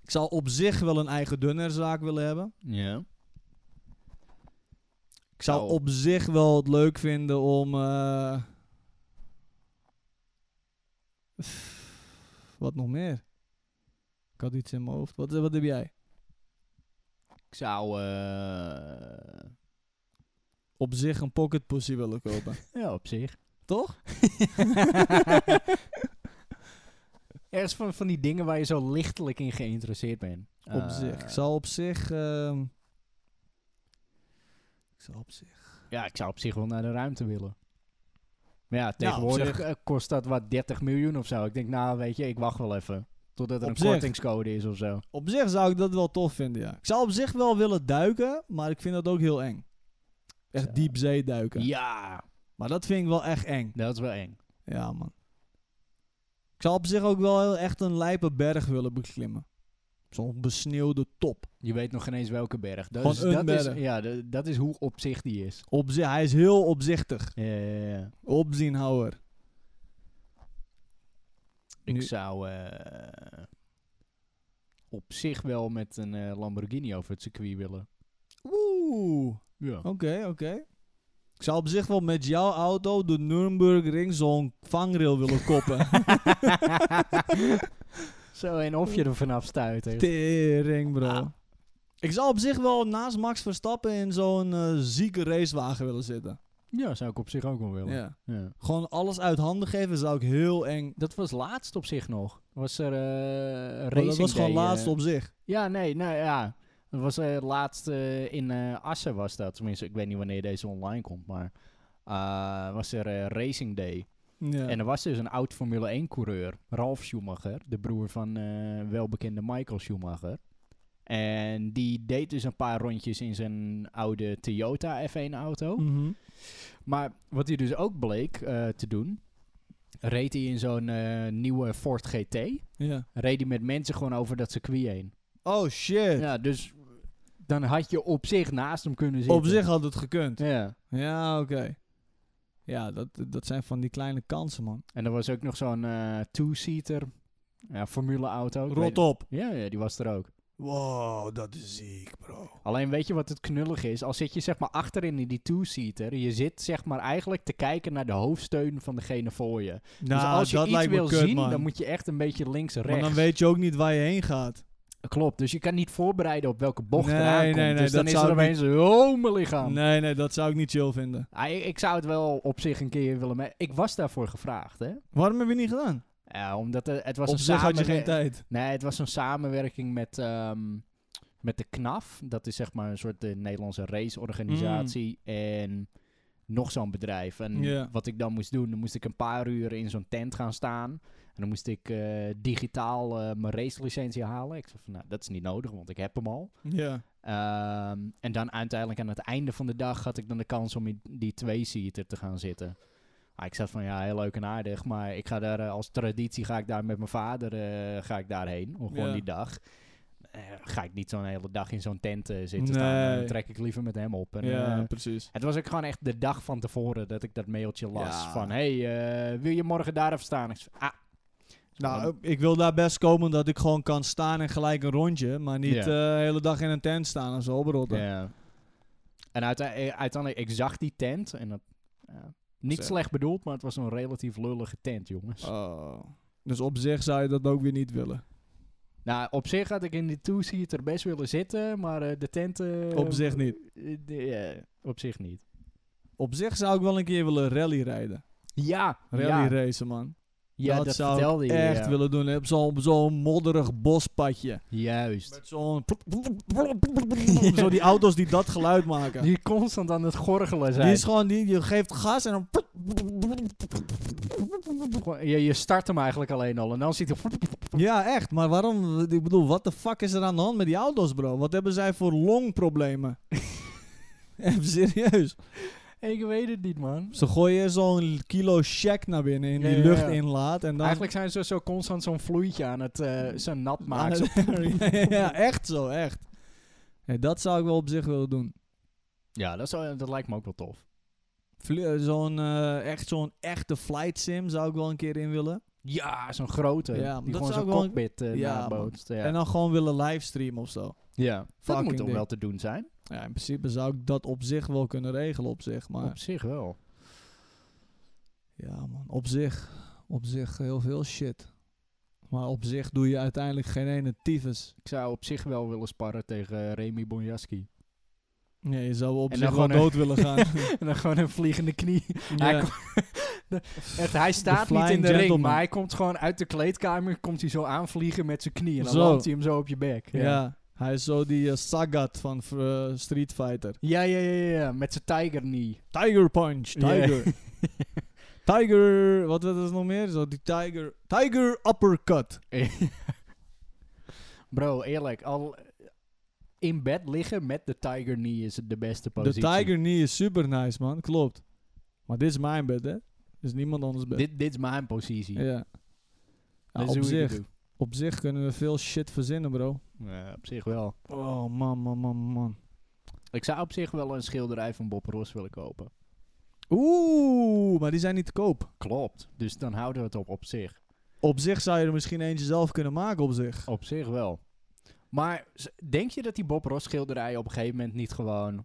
Ik zou op zich wel een eigen dunnerzaak willen hebben. Ja. Ik zou Nou. op zich wel het leuk vinden om... eh, Wat nog meer? Ik had iets in mijn hoofd. Wat, wat heb jij? Ik zou... eh, Op zich een pocket pussy willen kopen. Ja, op zich. Toch? Ergens van, van die dingen waar je zo lichtelijk in geïnteresseerd bent. Op Eh, zich. Ik zou op zich... ehm, Ik zou op zich... Ja, ik zou op zich wel naar de ruimte willen. Maar ja, Nou, op tegenwoordig eh, kost dat wat 30 miljoen of zo. Ik denk, nou weet je, ik wacht wel even. Totdat er Op een zich. kortingscode is of zo. Op zich zou ik dat wel tof vinden, ja. Ik zou op zich wel willen duiken, maar ik vind dat ook heel eng. Echt Zo. diep zee duiken. Ja, Maar dat vind ik wel echt eng. dat is wel eng. Ja, man. Ik zou op zich ook wel heel echt een lijpe berg willen beklimmen. Zo'n besneeuwde top. Je weet nog geen eens welke berg. Dat Gewoon is, een dat berg. Is, ja, dat, dat is hoe op zich die is. Op zich, hij is heel opzichtig. Ja, ja, ja. Opzienhouwer. Ik Nu- zou eh, op zich wel met een eh, Lamborghini over het circuit willen. Oeh. Ja. Oké, oké. Ik zou op zich wel met jouw auto de Nürnbergring zo'n vangrail willen koppen. Zo, en of je er vanaf stuit. hè. Tering, bro. Ah. Ik zou op zich wel naast Max Verstappen in zo'n eh, zieke racewagen willen zitten. Ja, zou ik op zich ook wel willen. Ja. Ja. Gewoon alles uit handen geven zou ik heel eng. Dat was laatst op zich nog. Was er eh Maar racing dat was gewoon Day, laatst eh. op zich. Ja, nee, nou ja. Dat was eh, laatst eh, in eh, Assen was dat. Tenminste, ik weet niet wanneer deze online komt, maar eh, was er eh, Racing Day. Ja. En er was dus een oud Formule 1-coureur, Ralf Schumacher, de broer van eh, welbekende Michael Schumacher. En die deed dus een paar rondjes in zijn oude Toyota F1-auto. Mhm. Maar wat hij dus ook bleek eh, te doen, reed hij in zo'n eh, nieuwe Ford GT. ja. Reed hij met mensen gewoon over dat circuit heen. Oh shit. Ja, dus dan had je op zich naast hem kunnen zitten. Op zich had het gekund. Ja. Ja, oké. Ja, dat, dat zijn van die kleine kansen, man. En er was ook nog zo'n eh, two-seater ja, Formule-auto. Ik weet- Rot op. Ja, ja, die was er ook. Wow, dat is ziek, bro. Alleen weet je wat het knullig is? Als zit je zeg maar achterin in die two-seater, je zit zeg maar eigenlijk te kijken naar de hoofdsteun van degene voor je. Nou, dus als je dat iets lijkt me wil kut, zien, man. dan moet je echt een beetje links en maar rechts. dan weet je ook niet waar je heen gaat. Klopt, dus je kan niet voorbereiden op welke bocht Nee, eraan komt. nee, nee, dus dan dat is zou er ik opeens een homelichaam. Nee, nee, dat zou ik niet chill vinden. Ah, ik, ik zou het wel op zich een keer willen... me- Ik was daarvoor gevraagd, hè. Waarom heb je niet gedaan? Ja, omdat het, het was Op een zich had je geen samenwer- tijd. Nee, het was een samenwerking met, ehm, met de KNAF. Dat is zeg maar een soort de Nederlandse raceorganisatie. En nog zo'n bedrijf. En Ja. wat ik dan moest doen, dan moest ik een paar uur in zo'n tent gaan staan. En dan moest ik eh, digitaal eh, mijn racelicentie halen. Ik zei van, nou, dat is niet nodig, want ik heb hem al. Ja. Ehm, en dan uiteindelijk aan het einde van de dag had ik dan de kans om in die twee-seater te gaan zitten. Ah, ik zat van ja, heel leuk en aardig, maar ik ga daar eh, als traditie ga ik daar met mijn vader eh, ga ik daarheen. Of gewoon Ja. die dag. Eh, ga ik niet zo'n hele dag in zo'n tent eh, zitten staan. Dan Nee. trek ik liever met hem op. En, Ja, eh, precies. het was ook gewoon echt de dag van tevoren dat ik dat mailtje las. Ja. Van hey, eh, wil je morgen daar even staan? Ik zei, ah. Nou, ik wil daar best komen dat ik gewoon kan staan en gelijk een rondje. Maar niet Ja. eh, de hele dag in een tent staan en zo, bro. Ja. En uite- eh, uiteindelijk, ik zag die tent en dat... ja, niet Zo. slecht bedoeld, maar het was een relatief lullige tent, jongens. Oh. Dus op zich zou je dat ook weer niet willen. Nou, op zich had ik in die two-seater best willen zitten, maar eh, de tent... eh, Op zich niet. eh, de- ja, op zich niet. Op zich zou ik wel een keer willen rally rijden. Ja, Rally ja, racen, man. ja, dat, zou vertelde ik je. echt ja. willen doen. Op zo'n op zo'n modderig bospadje. Juist. Met zo'n... Zo die auto's die dat geluid maken. Die constant aan het gorgelen zijn. Die is gewoon... Die, je geeft gas en dan... Gewoon- je, je start hem eigenlijk alleen al en dan ziet hij... Ja, echt. Maar waarom? Ik bedoel, wat de fuck is er aan de hand met die auto's, bro? Wat hebben zij voor longproblemen? Even serieus. Ik weet het niet, man. Ze gooien zo'n kilo check naar binnen in Ja, die ja, ja. luchtinlaat. En dan... Eigenlijk zijn ze zo constant zo'n vloeitje aan het... eh zo nat Maar- maken. ja, echt zo, echt. Nee, dat zou ik wel op zich willen doen. Ja, dat, zou, dat lijkt me ook wel tof. Vlie- eh, Zo'n eh, echt zo'n echte flight sim zou ik wel een keer in willen. Ja, zo'n grote. Ja, maar die dat gewoon zou zo'n ik wel- cockpit eh Ja, nabootst. Ja, En dan gewoon willen livestreamen of zo. ja. dat fucking moet toch ding. wel te doen zijn? Ja, in principe zou ik dat op zich wel kunnen regelen op zich. Maar Op zich wel. ja, man, op zich. Op zich heel veel shit. Maar op zich doe je uiteindelijk geen ene tyfus. Ik zou op zich wel willen sparren tegen eh, Remy Bonjaski. Nee, je zou op En zich dan wel gewoon dood willen gaan. en dan gewoon een vliegende knie. Hij, Ja. kom- de- echt, hij staat niet in flying de ring, gentleman. maar hij komt gewoon uit de kleedkamer. Komt hij zo aanvliegen met zijn knie. En dan Zo. landt hij hem zo op je bek. ja. Ja, hij is zo die eh, Sagat van eh, Street Fighter. ja, ja, ja, ja, ja, met zijn tiger knee. Tiger Punch, Ja. Tiger. tiger, wat was het nog meer? Zo die Tiger, Tiger Uppercut. Bro, eerlijk, al eh, in bed liggen met de tiger knee is het de beste De positie. Tiger knee is super nice, man. Klopt. Maar dit is mijn bed, hè? Dus niemand anders bed. Dit, dit is mijn positie. ja. Ja, Dit op, is hoe ik het zich, doe. op zich kunnen we veel shit verzinnen, bro. Ja, Eh, op zich wel. Oh, man, man, man, man. Ik zou op zich wel een schilderij van Bob Ross willen kopen. Oeh, maar die zijn niet te koop. Klopt. Dus dan houden we het op op zich. Op zich zou je er misschien eentje zelf kunnen maken, op zich. Op zich wel. Maar z- denk je dat die Bob Ross schilderijen op een gegeven moment niet gewoon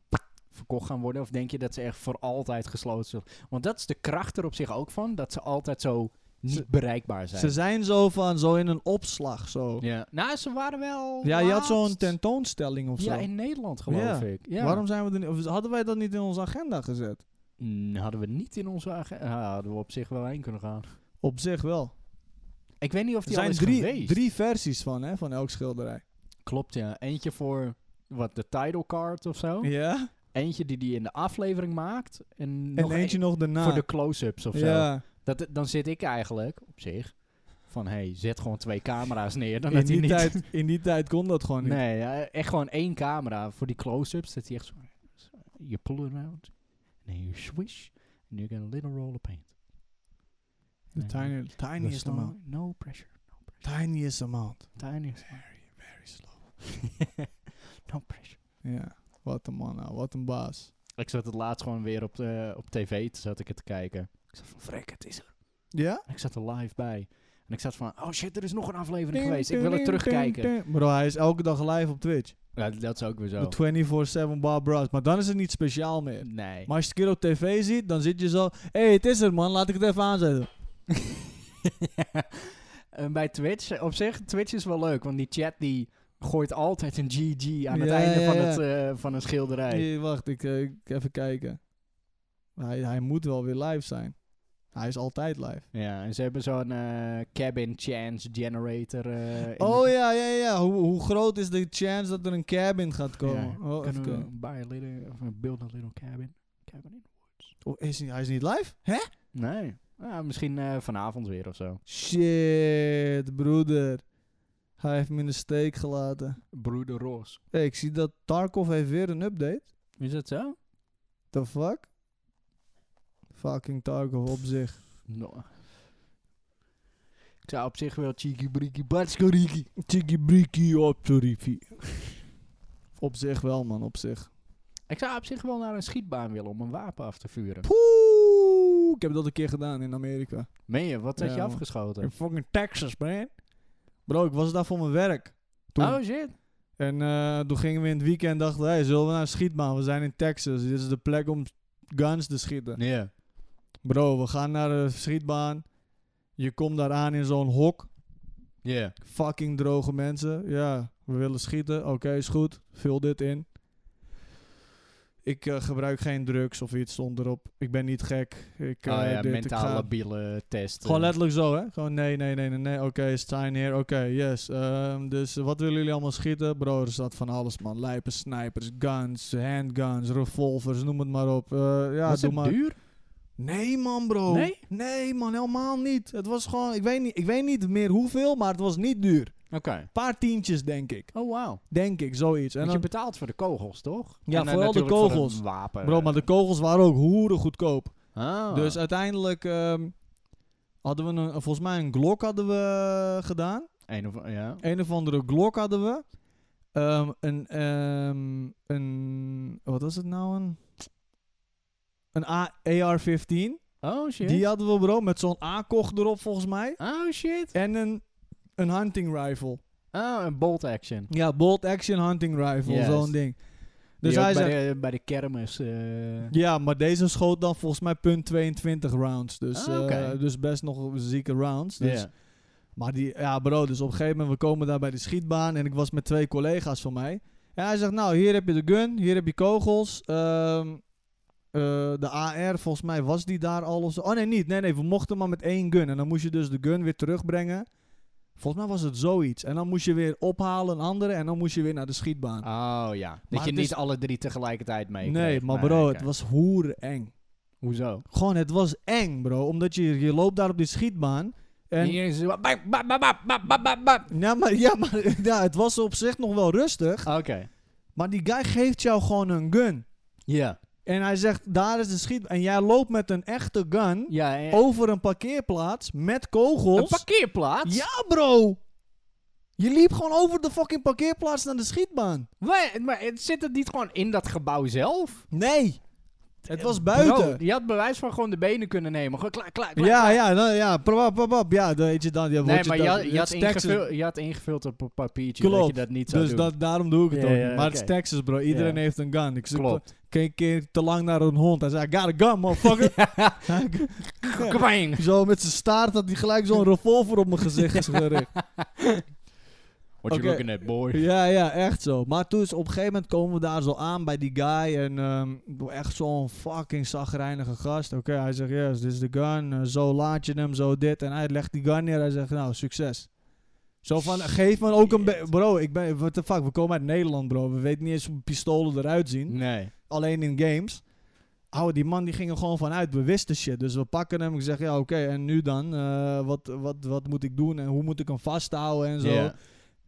verkocht gaan worden? Of denk je dat ze echt voor altijd gesloten zullen? Want dat is de kracht er op zich ook van, dat ze altijd zo niet Ze- bereikbaar zijn. Ze zijn zo van, zo in een opslag, zo. Ja, ja. Nou, ze waren wel. je had zo'n laatst- tentoonstelling of zo. Ja, in Nederland geloof Ja. ik. Ja. Waarom zijn we er niet... Of hadden wij dat niet in onze agenda gezet? Mm, hadden we niet in onze agenda. hadden we op zich wel heen kunnen gaan. Op zich wel. Ik weet niet of Er die al zijn is drie, geweest. drie versies van, hè, van elk schilderij. Klopt, ja. Eentje voor wat de title card of zo. Ja? Eentje die die in de aflevering maakt. En, En nog eentje nog een- daarna. voor de close-ups of zo. ja. Dat, dan zit ik eigenlijk op zich van, hey, zet gewoon twee camera's neer. Dan In dat hij die, niet... tijd, in die tijd kon dat gewoon niet. Nee, ja, echt gewoon één camera voor die close-ups. Dat hij echt zo... zo- Je pull it out. And then you swish. And you get a little roll of paint. The Nee. tiny, There's tiniest no, amount. no pressure. No pressure. Tiniest amount. Tiniest. Very slow. no pressure. Ja, wat een man nou, wat een baas. Ik zat het laatst gewoon weer op, de, op tv, toen zat ik het te kijken. Ik zat van, vrek, het is er. Ja? En ik zat er live bij. En ik zat van, oh shit, er is nog een aflevering geweest. Ik wil het terugkijken. Bro, hij is elke dag live op Twitch. Ja, dat is ook weer zo. Eh, De 24-7 Bar Bros. Maar dan is het niet speciaal meer. Nee. Maar als je het een keer op tv ziet, dan zit je zo... Hé, hey, het is er man, laat ik het even aanzetten. En bij Twitch, eh, op zich, Twitch is wel leuk, want die chat die gooit altijd een GG aan het Ja, einde ja, van, ja. Het, eh, van een schilderij. Nee, wacht, ik, eh, ik- even kijken. Hij, hij moet wel weer live zijn. Hij is altijd live. Ja, en ze hebben zo'n eh, cabin chance generator. eh, in Oh de- ja, ja, ja. Hoe, hoe groot is de chance dat er een cabin gaat komen? Ja, Oh, even Kunnen we kijken. buy a little, of eh, build a little cabin? cabin in? Oh, is hij, hij is niet live? Hè? Nee. Ah, misschien eh, vanavond weer of zo. Shit, broeder. Hij heeft me in de steek gelaten. Broeder Roos. Hey, ik zie dat Tarkov heeft weer een update. Is dat zo? The fuck? Fucking Tarkov op zich. No. Ik zou op zich wel cheeky breeky batskoriki. Tiki briki op tarifi. Op zich wel, man, op zich. Ik zou op zich wel naar een schietbaan willen om een wapen af te vuren. Poeh, ik heb dat een keer gedaan in Amerika. Meen je, wat had Ja, je man. afgeschoten? In fucking Texas, man. Bro, ik was daar voor mijn werk. Toen. Oh shit. En eh, toen gingen we in het weekend dachten we, hey, zullen we naar een schietbaan? We zijn in Texas, dit is de plek om guns te schieten. Ja. Bro, we gaan naar de schietbaan. Je komt daar aan in zo'n hok. Ja. Fucking droge mensen. Ja, we willen schieten. Oké, is goed. Vul dit in. Ik eh, gebruik geen drugs of iets stond erop. Ik ben niet gek. Ik, eh, Oh ja, dit, ik mentaal ga- labiele test. Gewoon letterlijk zo, hè? Gewoon nee, nee, nee, nee, nee. Oké, sign here. Oké, yes. Ehm, dus eh, wat willen jullie allemaal schieten? Bro, er staat van alles, man. Lijpen, snipers, guns, handguns, revolvers, noem het maar op. Eh, ja, Was doe het maar. duur? Nee, man, bro. Nee? Nee, man, helemaal niet. Het was gewoon, ik weet niet, ik weet niet meer hoeveel, maar het was niet duur. Oké. Paar tientjes, denk ik. Oh wauw. Denk ik, zoiets. En Want je dan, betaalt voor de kogels, toch? Ja, En dan vooral de natuurlijk voor het kogels. wapen. bro, maar de kogels waren ook hoeren goedkoop. Ah. Dus uiteindelijk ehm, hadden we een, volgens mij een Glock hadden we eh, gedaan. Een of, ja. Een of andere Glock hadden we. Ehm, een, ehm, een, wat was het nou? Een, een A- AR-15. Oh shit. Die hadden we bro, met zo'n AKOG erop volgens mij. Oh shit. En een, een hunting rifle. Oh, een bolt action. Ja, bolt action hunting rifle, Juist. zo'n ding. Dus Die ook hij bij, zei, de, bij de kermis. eh, ja, maar deze schoot dan volgens mij punt 22 rounds. Dus, Ah, eh, oké. dus best nog zieke rounds. Dus ja. Maar die, ja bro, dus op een gegeven moment, we komen daar bij de schietbaan en ik was met twee collega's van mij. En hij zegt, nou, hier heb je de gun, hier heb je kogels. ehm, eh, de AR, volgens mij was die daar al of zo. Oh nee, niet. Nee, nee, we mochten maar met één gun. En dan moest je dus de gun weer terugbrengen. Volgens mij was het zoiets. En dan moest je weer ophalen, een andere, en dan moest je weer naar de schietbaan. Oh ja. Dat Maar je het niet is- alle drie tegelijkertijd mee nee, kreeg. maar Nee, bro, oké. het was hoereng. Hoezo? Gewoon, het was eng, bro. Omdat je, je loopt daar op die schietbaan. En Hier is- bap, bap, bap, bap, bap, bap, bap, bap. Ja, maar, ja, maar ja, het was op zich nog wel rustig. Oké. Maar die guy geeft jou gewoon een gun. Ja. En hij zegt, daar is de schiet. En jij loopt met een echte gun Ja, en- over een parkeerplaats met kogels. een parkeerplaats? Ja, bro! Je liep gewoon over de fucking parkeerplaats naar de schietbaan. Maar, maar het- zit het niet gewoon in dat gebouw zelf? Nee! Het was Bro, buiten. die had bewijs van gewoon de benen kunnen nemen. Gewoon klaar, klaar, klaar. ja, ja, nou, ja, pap, pap, pap. Ja, dan weet je dan. Ja, Nee, word maar dat- je had, het je, had is Texas. ingevuld, je had ingevuld op een papiertje dat je Klopt. dat niet zou Dus doen. dat, daarom doe ik het Ja, ook. ja, niet. maar het is oké. Texas, bro. Iedereen Ja. heeft een gun. Ik zit Klopt. geen keer te lang naar een hond. Hij zei, I got a gun, motherfucker. Ja. Kwang. Zo met zijn staart had hij gelijk zo'n revolver op mijn gezicht is gericht. What you Oké. looking at, boy? Ja, ja, echt zo. Maar toen is op een gegeven moment komen we daar zo aan bij die guy. En ehm, echt zo'n fucking zagrijnige gast. Oké, hij zegt, yes, this is the gun. eh, zo laat je hem, zo dit. En hij legt die gun neer. Hij zegt, nou, succes. Zo van, geef me ook een... be- Shit. Bro, ik ben... What the fuck, we komen uit Nederland, bro. We weten niet eens hoe pistolen eruit zien. Nee. Alleen in games. Oude, die man die ging er gewoon vanuit, we wisten shit. Dus we pakken hem, ik zeg, ja oké, en nu dan? Eh, wat, wat, wat moet ik doen en hoe moet ik hem vasthouden en zo. Ja.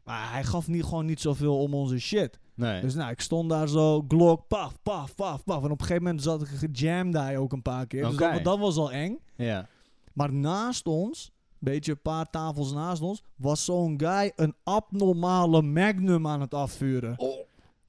Maar hij gaf niet, gewoon niet zoveel om onze shit. Nee. Dus nou, ik stond daar zo, Glock, paf, paf, paf, paf. En op een gegeven moment zat ik gejamd hij ook een paar keer. Dus Oké. dat, dat was al eng. ja. Maar naast ons, beetje een paar tafels naast ons, was zo'n guy een abnormale magnum aan het afvuren.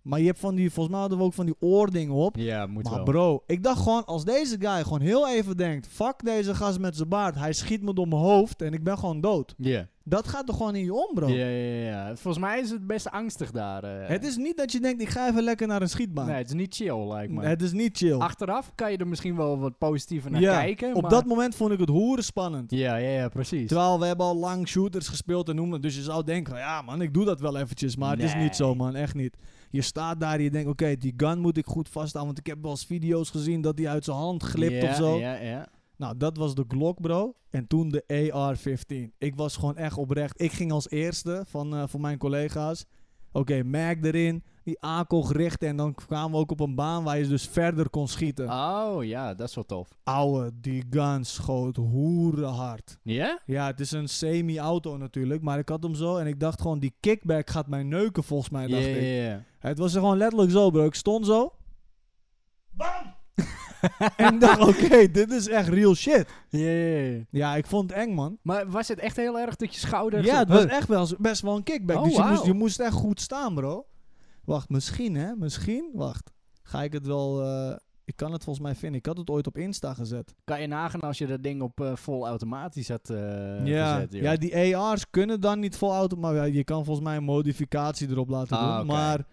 Maar je hebt van die, volgens mij hadden we ook van die oording op. Ja, moet maar wel. bro, ik dacht gewoon, als deze guy gewoon heel even denkt, fuck deze gast met zijn baard, hij schiet me door mijn hoofd en ik ben gewoon dood. Ja. Dat gaat toch gewoon in je om, bro? Ja, ja, ja, ja. Volgens mij is het best angstig daar. eh. Het is niet dat je denkt, ik ga even lekker naar een schietbaan. Nee, het is niet chill, lijkt me. het is niet chill. Achteraf kan je er misschien wel wat positiever naar Ja, kijken. Op maar- dat moment vond ik het hoeren spannend. Ja, ja, ja, precies. Terwijl we hebben al lang shooters gespeeld en noemen. Dus je zou denken, ja man, ik doe dat wel eventjes. Maar het is niet zo Nee. man, echt niet. Je staat daar en je denkt, oké, die gun moet ik goed vasthouden. Want ik heb wel eens video's gezien dat die uit zijn hand glipt ja, of zo. Ja, ja. Nou, dat was de Glock bro. En toen de AR-15. Ik was gewoon echt oprecht. Ik ging als eerste van, eh van mijn collega's. Oké, Mac erin. Die ACO gericht. En dan kwamen we ook op een baan waar je dus verder kon schieten. Oh, ja, dat is wel tof. Ouwe, die gun schoot hoerenhard. Ja? Ja, het is een semi-auto natuurlijk, maar ik had hem zo en ik dacht gewoon, die kickback gaat mij neuken volgens mij, Ja, dacht ik. ja, ja. Het was er gewoon letterlijk zo, bro. Ik stond zo. Bam! en ik dacht, oké, dit is echt real shit. Ja, ja, ja. Ja, ik vond het eng, man. Maar was het echt heel erg dat je schouder... Ja, zo- het was Huh. echt wel, eens- best wel een kickback, Oh, dus je moest, wauw. je moest echt goed staan, bro. Wacht, misschien hè, misschien, wacht. Ga ik het wel, eh, ik kan het volgens mij vinden. Ik had het ooit op Insta gezet. Kan je nagaan als je dat ding op eh, vol automatisch had eh, ja, gezet, joh. ja, die AR's kunnen dan niet vol auto, maar ja, je kan volgens mij een modificatie erop laten Ah, doen. oké. Maar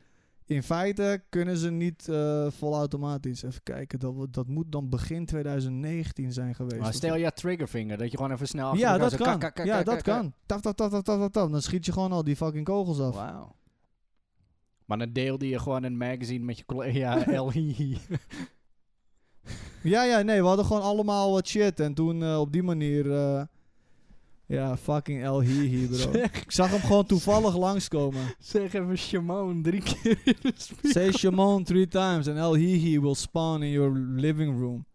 in feite kunnen ze niet eh vol automatisch. Even kijken, dat, wo- dat moet dan begin 2019 zijn geweest. Maar of stel zo. je triggervinger, dat je gewoon even snel... achter ja, elkaar dat zo kan. kak, kak, ja, kak, dat kak, kan. Taf, taf, taf, taf, taf, taf, taf. Dan schiet je gewoon al die fucking kogels af. Wauw. Maar dan deelde je gewoon een magazine met je collega LI. Ja, ja, nee, we hadden gewoon allemaal wat shit. En toen eh, op die manier... eh, ja, fucking El Hihi, bro. zeg, Ik zag hem gewoon toevallig langskomen. zeg even Shimon drie keer in de spiegel. Say Shimon three times and El Hihi will spawn in your living room.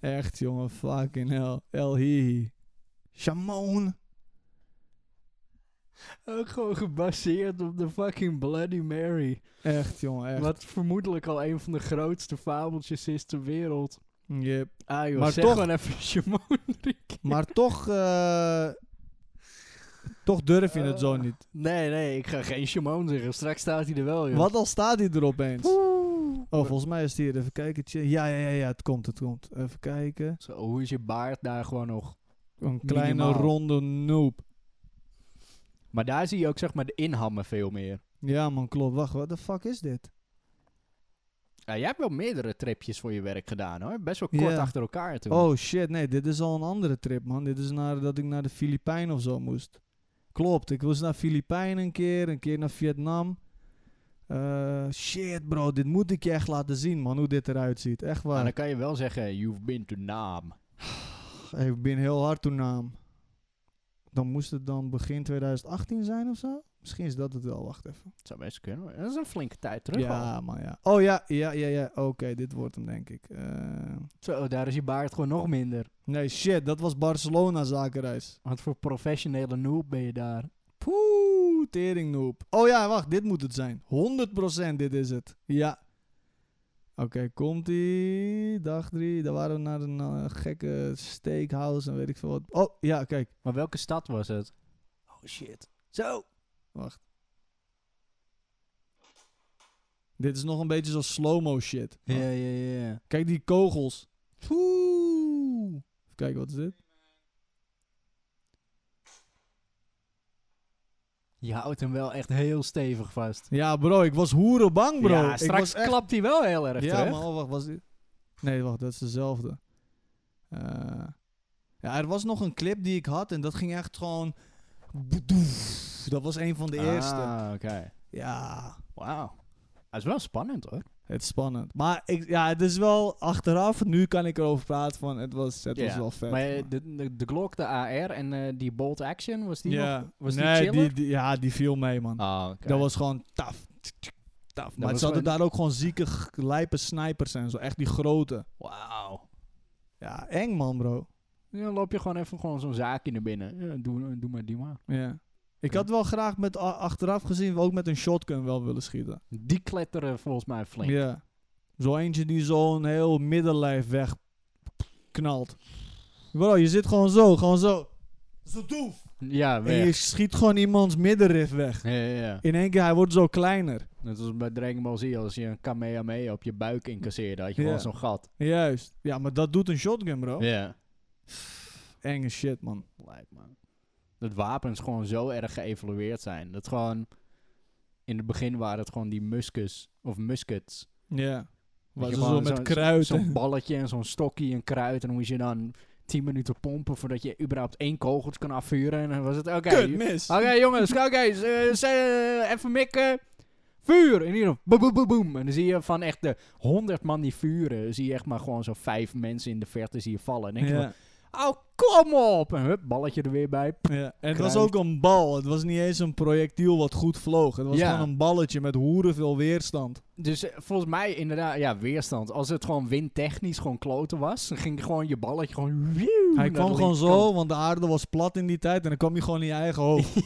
Echt jongen, fucking hell. El Hihi. Shimon. Ook gewoon gebaseerd op de fucking Bloody Mary. Echt jongen, echt. Wat vermoedelijk al een van de grootste fabeltjes is ter wereld. Yep. Ah joh, Maar zeg toch- gewoon even Shimon drie keer. Maar toch, eh, toch durf je het zo Eh, niet. Nee, nee, ik ga geen Shimon zeggen. Straks staat hij er wel, joh. Wat al staat hij er opeens? Oeh. Oh, volgens mij is het hier. Even kijken. Tje- Ja, ja, ja, ja, het komt, het komt. Even kijken. Zo, hoe is je baard daar gewoon nog? Een kleine Minimaal. ronde noob. Maar daar zie je ook zeg maar de inhammen veel meer. Ja man, klopt. Wacht, wat de fuck is dit? Ja, jij hebt wel meerdere tripjes voor je werk gedaan hoor. Best wel kort Ja. achter elkaar toen. Nou, Oh shit, nee, dit is al een andere trip, man. Dit is naar, dat ik naar de Filipijnen of zo moest. Klopt, ik was naar Filipijnen een keer, een keer naar Vietnam. Eh, shit, bro, dit moet ik je echt laten zien, man, hoe dit eruit ziet. Echt Maar waar. dan kan je wel zeggen, you've been to Naam. Hey, ik ben heel hard toen naam. Dan moest het dan begin 2018 zijn of zo? Misschien is dat het wel, wacht even. Dat zou best kunnen. hoor. Dat is een flinke tijd terug al. ja, man, ja. Oh ja, ja, ja, ja. Oké, dit wordt hem, denk ik. Eh, Zo, daar is je baard gewoon nog minder. nee, shit, dat was Barcelona zakenreis. Want voor professionele noob ben je daar. Poeh, teringnoep. Oh ja, wacht, dit moet het zijn. 100% dit is het. Ja. Oké, komt ie. Dag drie. Daar waren we naar een eh, gekke steakhouse en weet ik veel wat. Oh, ja, kijk. Maar welke stad was het? Oh shit. Zo. Dit is nog een beetje zoals slow-mo shit. Ja, ja, ja. Kijk die kogels. Oeh. Even kijken, wat is dit? Je houdt hem wel echt heel stevig vast. Ja, bro, ik was hoerenbang, bro. ja, ik straks was echt... klapt hij wel heel erg Ja, terug. maar oh, wacht, was dit? Nee, wacht, dat is dezelfde. Eh, ja, er was nog een clip die ik had en dat ging echt gewoon... boedoef. Dat was een van de eerste. Ah, oké. Ja, Wauw. Dat is wel spannend hoor. het is spannend. Maar ik, ja, het is wel achteraf, nu kan ik erover praten van het was, het was Ja, wel vet. maar man. eh, de, de, de Glock, de AR en eh, die Bolt Action, was die nog? ja. was die nee, chiller? die, die- Ja, die viel mee, man. Ah, oké. Dat was gewoon taf. tough. maar ze hadden daar ook gewoon zieke, g- lijpe snipers en zo. Echt die grote. Wauw. Ja, eng man, bro. Ja, dan loop je gewoon even gewoon zo'n zaakje naar binnen. Ja, doe, doe maar die maar. Ja. Ik Oké. had wel graag met, a- achteraf gezien, ook met een shotgun wel willen schieten. Die kletteren volgens mij flink. Ja. Zo eentje die zo'n heel middenlijf wegknalt. Bro, je zit gewoon zo, gewoon zo. Zo doef. Ja, En je weg. schiet gewoon iemands middenrif weg. Ja, ja, ja. In één keer, hij wordt zo kleiner. Net als bij Dragon Ball Z, als je een Kamehameha op je buik incasseerde, had je Ja. gewoon zo'n gat. Juist. Ja, maar dat doet een shotgun, bro. Ja. Enge shit, man. Lijp, man. Dat wapens gewoon zo erg geëvalueerd zijn. Dat gewoon... In het begin waren het gewoon die muskus of muskets. Ja. Weet Was je, zo, gewoon met zo'n- kruid. Zo'n balletje en zo'n stokje en kruid. En dan moest je dan 10 minuten pompen voordat je überhaupt één kogel kan afvuren. En dan was het, oké, Kut, mis. Oké jongens, oké, eh, z- eh, even mikken. Vuur! En hier, boem, boem, boem, boem. En dan zie je van echt de honderd man die vuren, zie je echt maar gewoon zo vijf mensen in de verte zie je vallen. En denk je Ja. van, oh, kom op! En hup, balletje er weer bij. Ja. En het was Kruid. ook een bal. Het was niet eens een projectiel wat goed vloog. Het was Ja. gewoon een balletje met hoerenveel weerstand. Dus eh, volgens mij inderdaad, ja, weerstand. Als het gewoon windtechnisch gewoon kloten was, dan ging gewoon je balletje gewoon... Hij wieuw naar kwam de gewoon linkerkant. zo, want de aarde was plat in die tijd. En dan kwam hij gewoon in je eigen hoofd.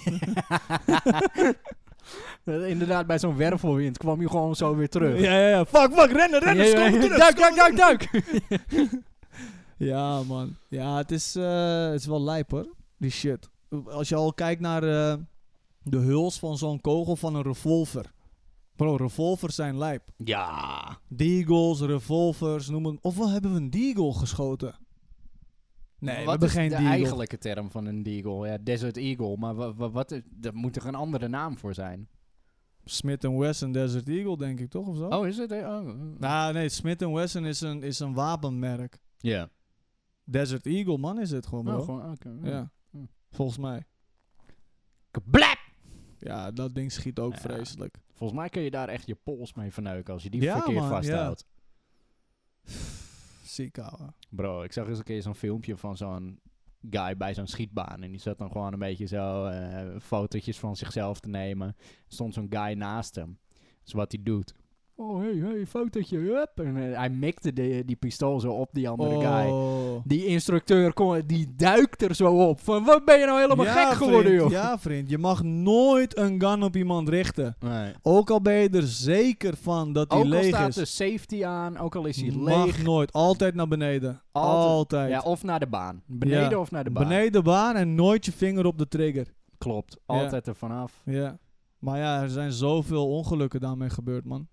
Eh, inderdaad, bij zo'n wervelwind kwam je gewoon zo weer terug. Ja, ja, ja. Fuck, fuck, rennen, rennen. Ja, ja, scoot, ja. terug, duik, scoot. duik, duik, duik! Ja, man. Ja, het is, eh, het is wel lijp hoor. Die shit. Als je al kijkt naar eh, de huls van zo'n kogel van een revolver. Bro, revolvers zijn lijp. Ja. Deagles, revolvers, noem het. Of wel hebben we een deagle geschoten? Nee, we wat hebben is geen de deagle. eigenlijke term van een deagle? Ja, Desert Eagle. Maar wa- wa- wat, is- daar moet er een andere naam voor zijn. Smith Wesson Desert Eagle, denk ik toch? Of zo? Oh, is het? eh, Oh. Nou, nee, Smith Wesson is een, is een wapenmerk. Ja. Desert Eagle, man, is het gewoon, bro. Oh, gewoon, oké. Ja, Hm. volgens mij. Kablap! Ja, dat ding schiet ook Ja. vreselijk. Volgens mij kun je daar echt je pols mee verneuken als je die Ja, verkeerd man, vasthoudt. Ziek, ouwe. Bro, ik zag eens een keer zo'n filmpje van zo'n guy bij zo'n schietbaan. En die zat dan gewoon een beetje zo eh fotootjes van zichzelf te nemen. Er stond zo'n guy naast hem. Dat is wat hij doet. Oh, hey, hey, fotootje. Hup. En eh, hij mikte de, die pistool zo op die andere guy. Oh. Die instructeur kon, die duikt er zo op. Van wat ben je nou helemaal Ja, gek geworden, vriend, joh? Ja, vriend. Je mag nooit een gun op iemand richten. Nee. Ook al ben je er zeker van dat hij Ook al leeg staat is. de safety aan, ook al is hij mag leeg. nooit. Altijd naar beneden. Altijd. Altijd. Ja, of naar de baan. Beneden Ja. of naar de baan. beneden de baan en nooit je vinger op de trigger. Klopt. Altijd er vanaf. Ja. Maar ja, er zijn zoveel ongelukken daarmee gebeurd, man.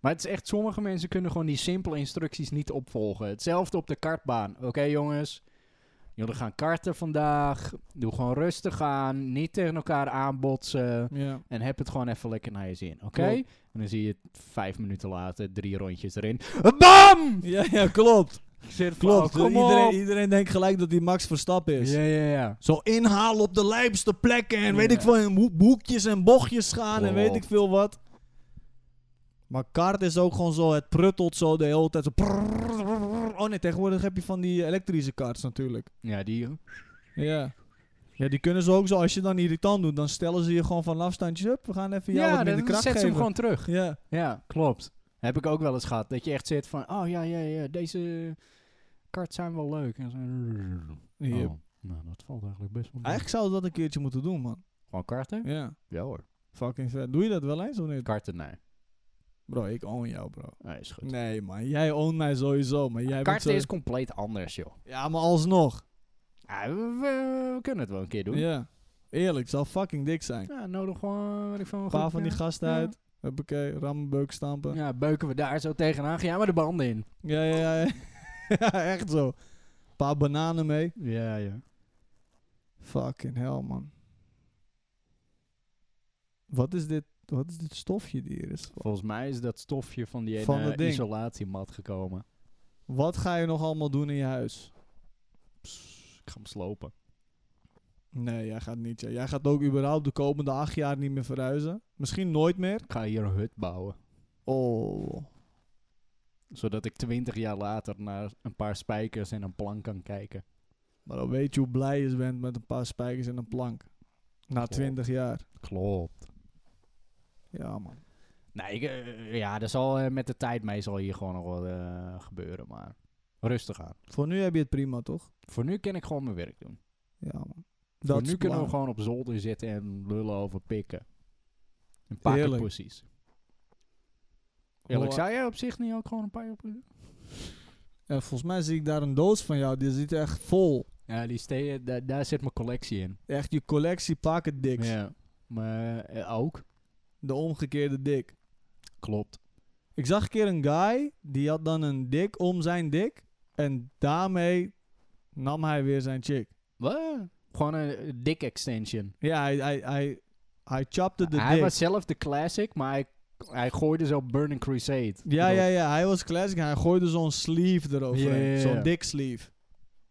Maar het is echt, sommige mensen kunnen gewoon die simpele instructies niet opvolgen. Hetzelfde op de kartbaan. Oké jongens, jullie gaan karten vandaag. Doe gewoon rustig aan. Niet tegen elkaar aanbotsen. Ja. En heb het gewoon even lekker naar je zin, oké? Klopt. En dan zie je het vijf minuten later, drie rondjes erin. BAM! Ja, ja klopt. Ik zit van, Klopt. oh, kom op. dus iedereen, iedereen denkt gelijk dat die Max Verstappen is. Ja, ja, ja. Zo inhalen op de lijpste plekken en weet Ja. ik veel, in hoek- hoekjes en bochtjes gaan en weet ik Klopt. veel wat. Maar kart is ook gewoon zo, het pruttelt zo de hele tijd. Zo prrrr. oh nee, tegenwoordig heb je van die elektrische karts natuurlijk. Ja, die... Ja. Ja, die kunnen ze ook zo, als je dan irritant doet, dan stellen ze je gewoon van afstandjes op. We gaan even jou wat minder dan kracht zet ze geven. hem gewoon terug. Ja, Ja, klopt. Heb ik ook wel eens gehad. Dat je echt zit van, oh ja, ja, ja, deze karts zijn wel leuk. En zo... Hier. Oh, nou, dat valt eigenlijk best wel mee. Eigenlijk zouden we dat een keertje moeten doen, man. Gewoon karten? Ja. Ja hoor. Fucking vet. Doe je dat wel eens of niet? Karten, nee. Bro, ik own jou, bro. Nee, eh, is goed. Nee, man. Jij own mij sowieso, maar jij bent zo... karten is compleet anders, joh. Ja, maar alsnog. Ah, we, we- we kunnen het wel een keer doen. Ja. Ja. Eerlijk, zou fucking dik zijn. nodig gewoon, weet ik veel, een Een paar groep, van die ja. gasten Ja. uit. Huppakee, rammen, beuk, stampen. Ja, beuken we daar zo tegenaan. Ga jij maar de banden in. Ja, ja, ja. ja. Ja, echt zo. paar bananen mee. Ja, ja. Fucking hell, man. Wat is dit, wat is dit stofje die hier is? Volgens mij is dat stofje van die Van ene dat ding. isolatiemat gekomen. Wat ga je nog allemaal doen in je huis? Pss, Dus ik ga hem slopen. Nee, jij gaat niet. ja. Jij gaat ook überhaupt de komende acht jaar niet meer verhuizen. Misschien nooit meer. Ik ga hier een hut bouwen. Oh. Zodat ik twintig jaar later naar een paar spijkers en een plank kan kijken. Maar dan weet je hoe blij je bent met een paar spijkers en een plank. Na Klopt. twintig jaar. Klopt. Ja, man. Nee, ik, eh, ja, dat zal eh, met de tijd mee zal hier gewoon nog wel eh, gebeuren, maar rustig aan. Voor nu heb je het prima, toch? Voor nu kan ik gewoon mijn werk doen. Ja, man. Voor is nu kunnen we belangrijk. gewoon op zolder zitten en lullen over pikken. Een paar keer Heerlijk. pussies. Eerlijk, Hoor- zou jij op zich niet ook gewoon een paar keer pussies? En volgens mij zie ik daar een doos van jou. Die zit echt vol. Ja, die steen, daar, daar zit mijn collectie in. Echt je collectie pakken diks. Ja, maar eh, ook. De omgekeerde dik. Klopt. Ik zag een keer een guy, die had dan een dik om zijn dik. En daarmee nam hij weer zijn chick. Wat? Gewoon een eh, dick extension. Ja, hij, hij, hij, hij chapte de hij dik. was zelf de classic, maar hij, hij gooide zo Burning Crusade. ja, erop. ja, ja, hij was classic. Hij gooide zo'n sleeve eroverheen. Ja, ja, ja. Zo'n dik sleeve.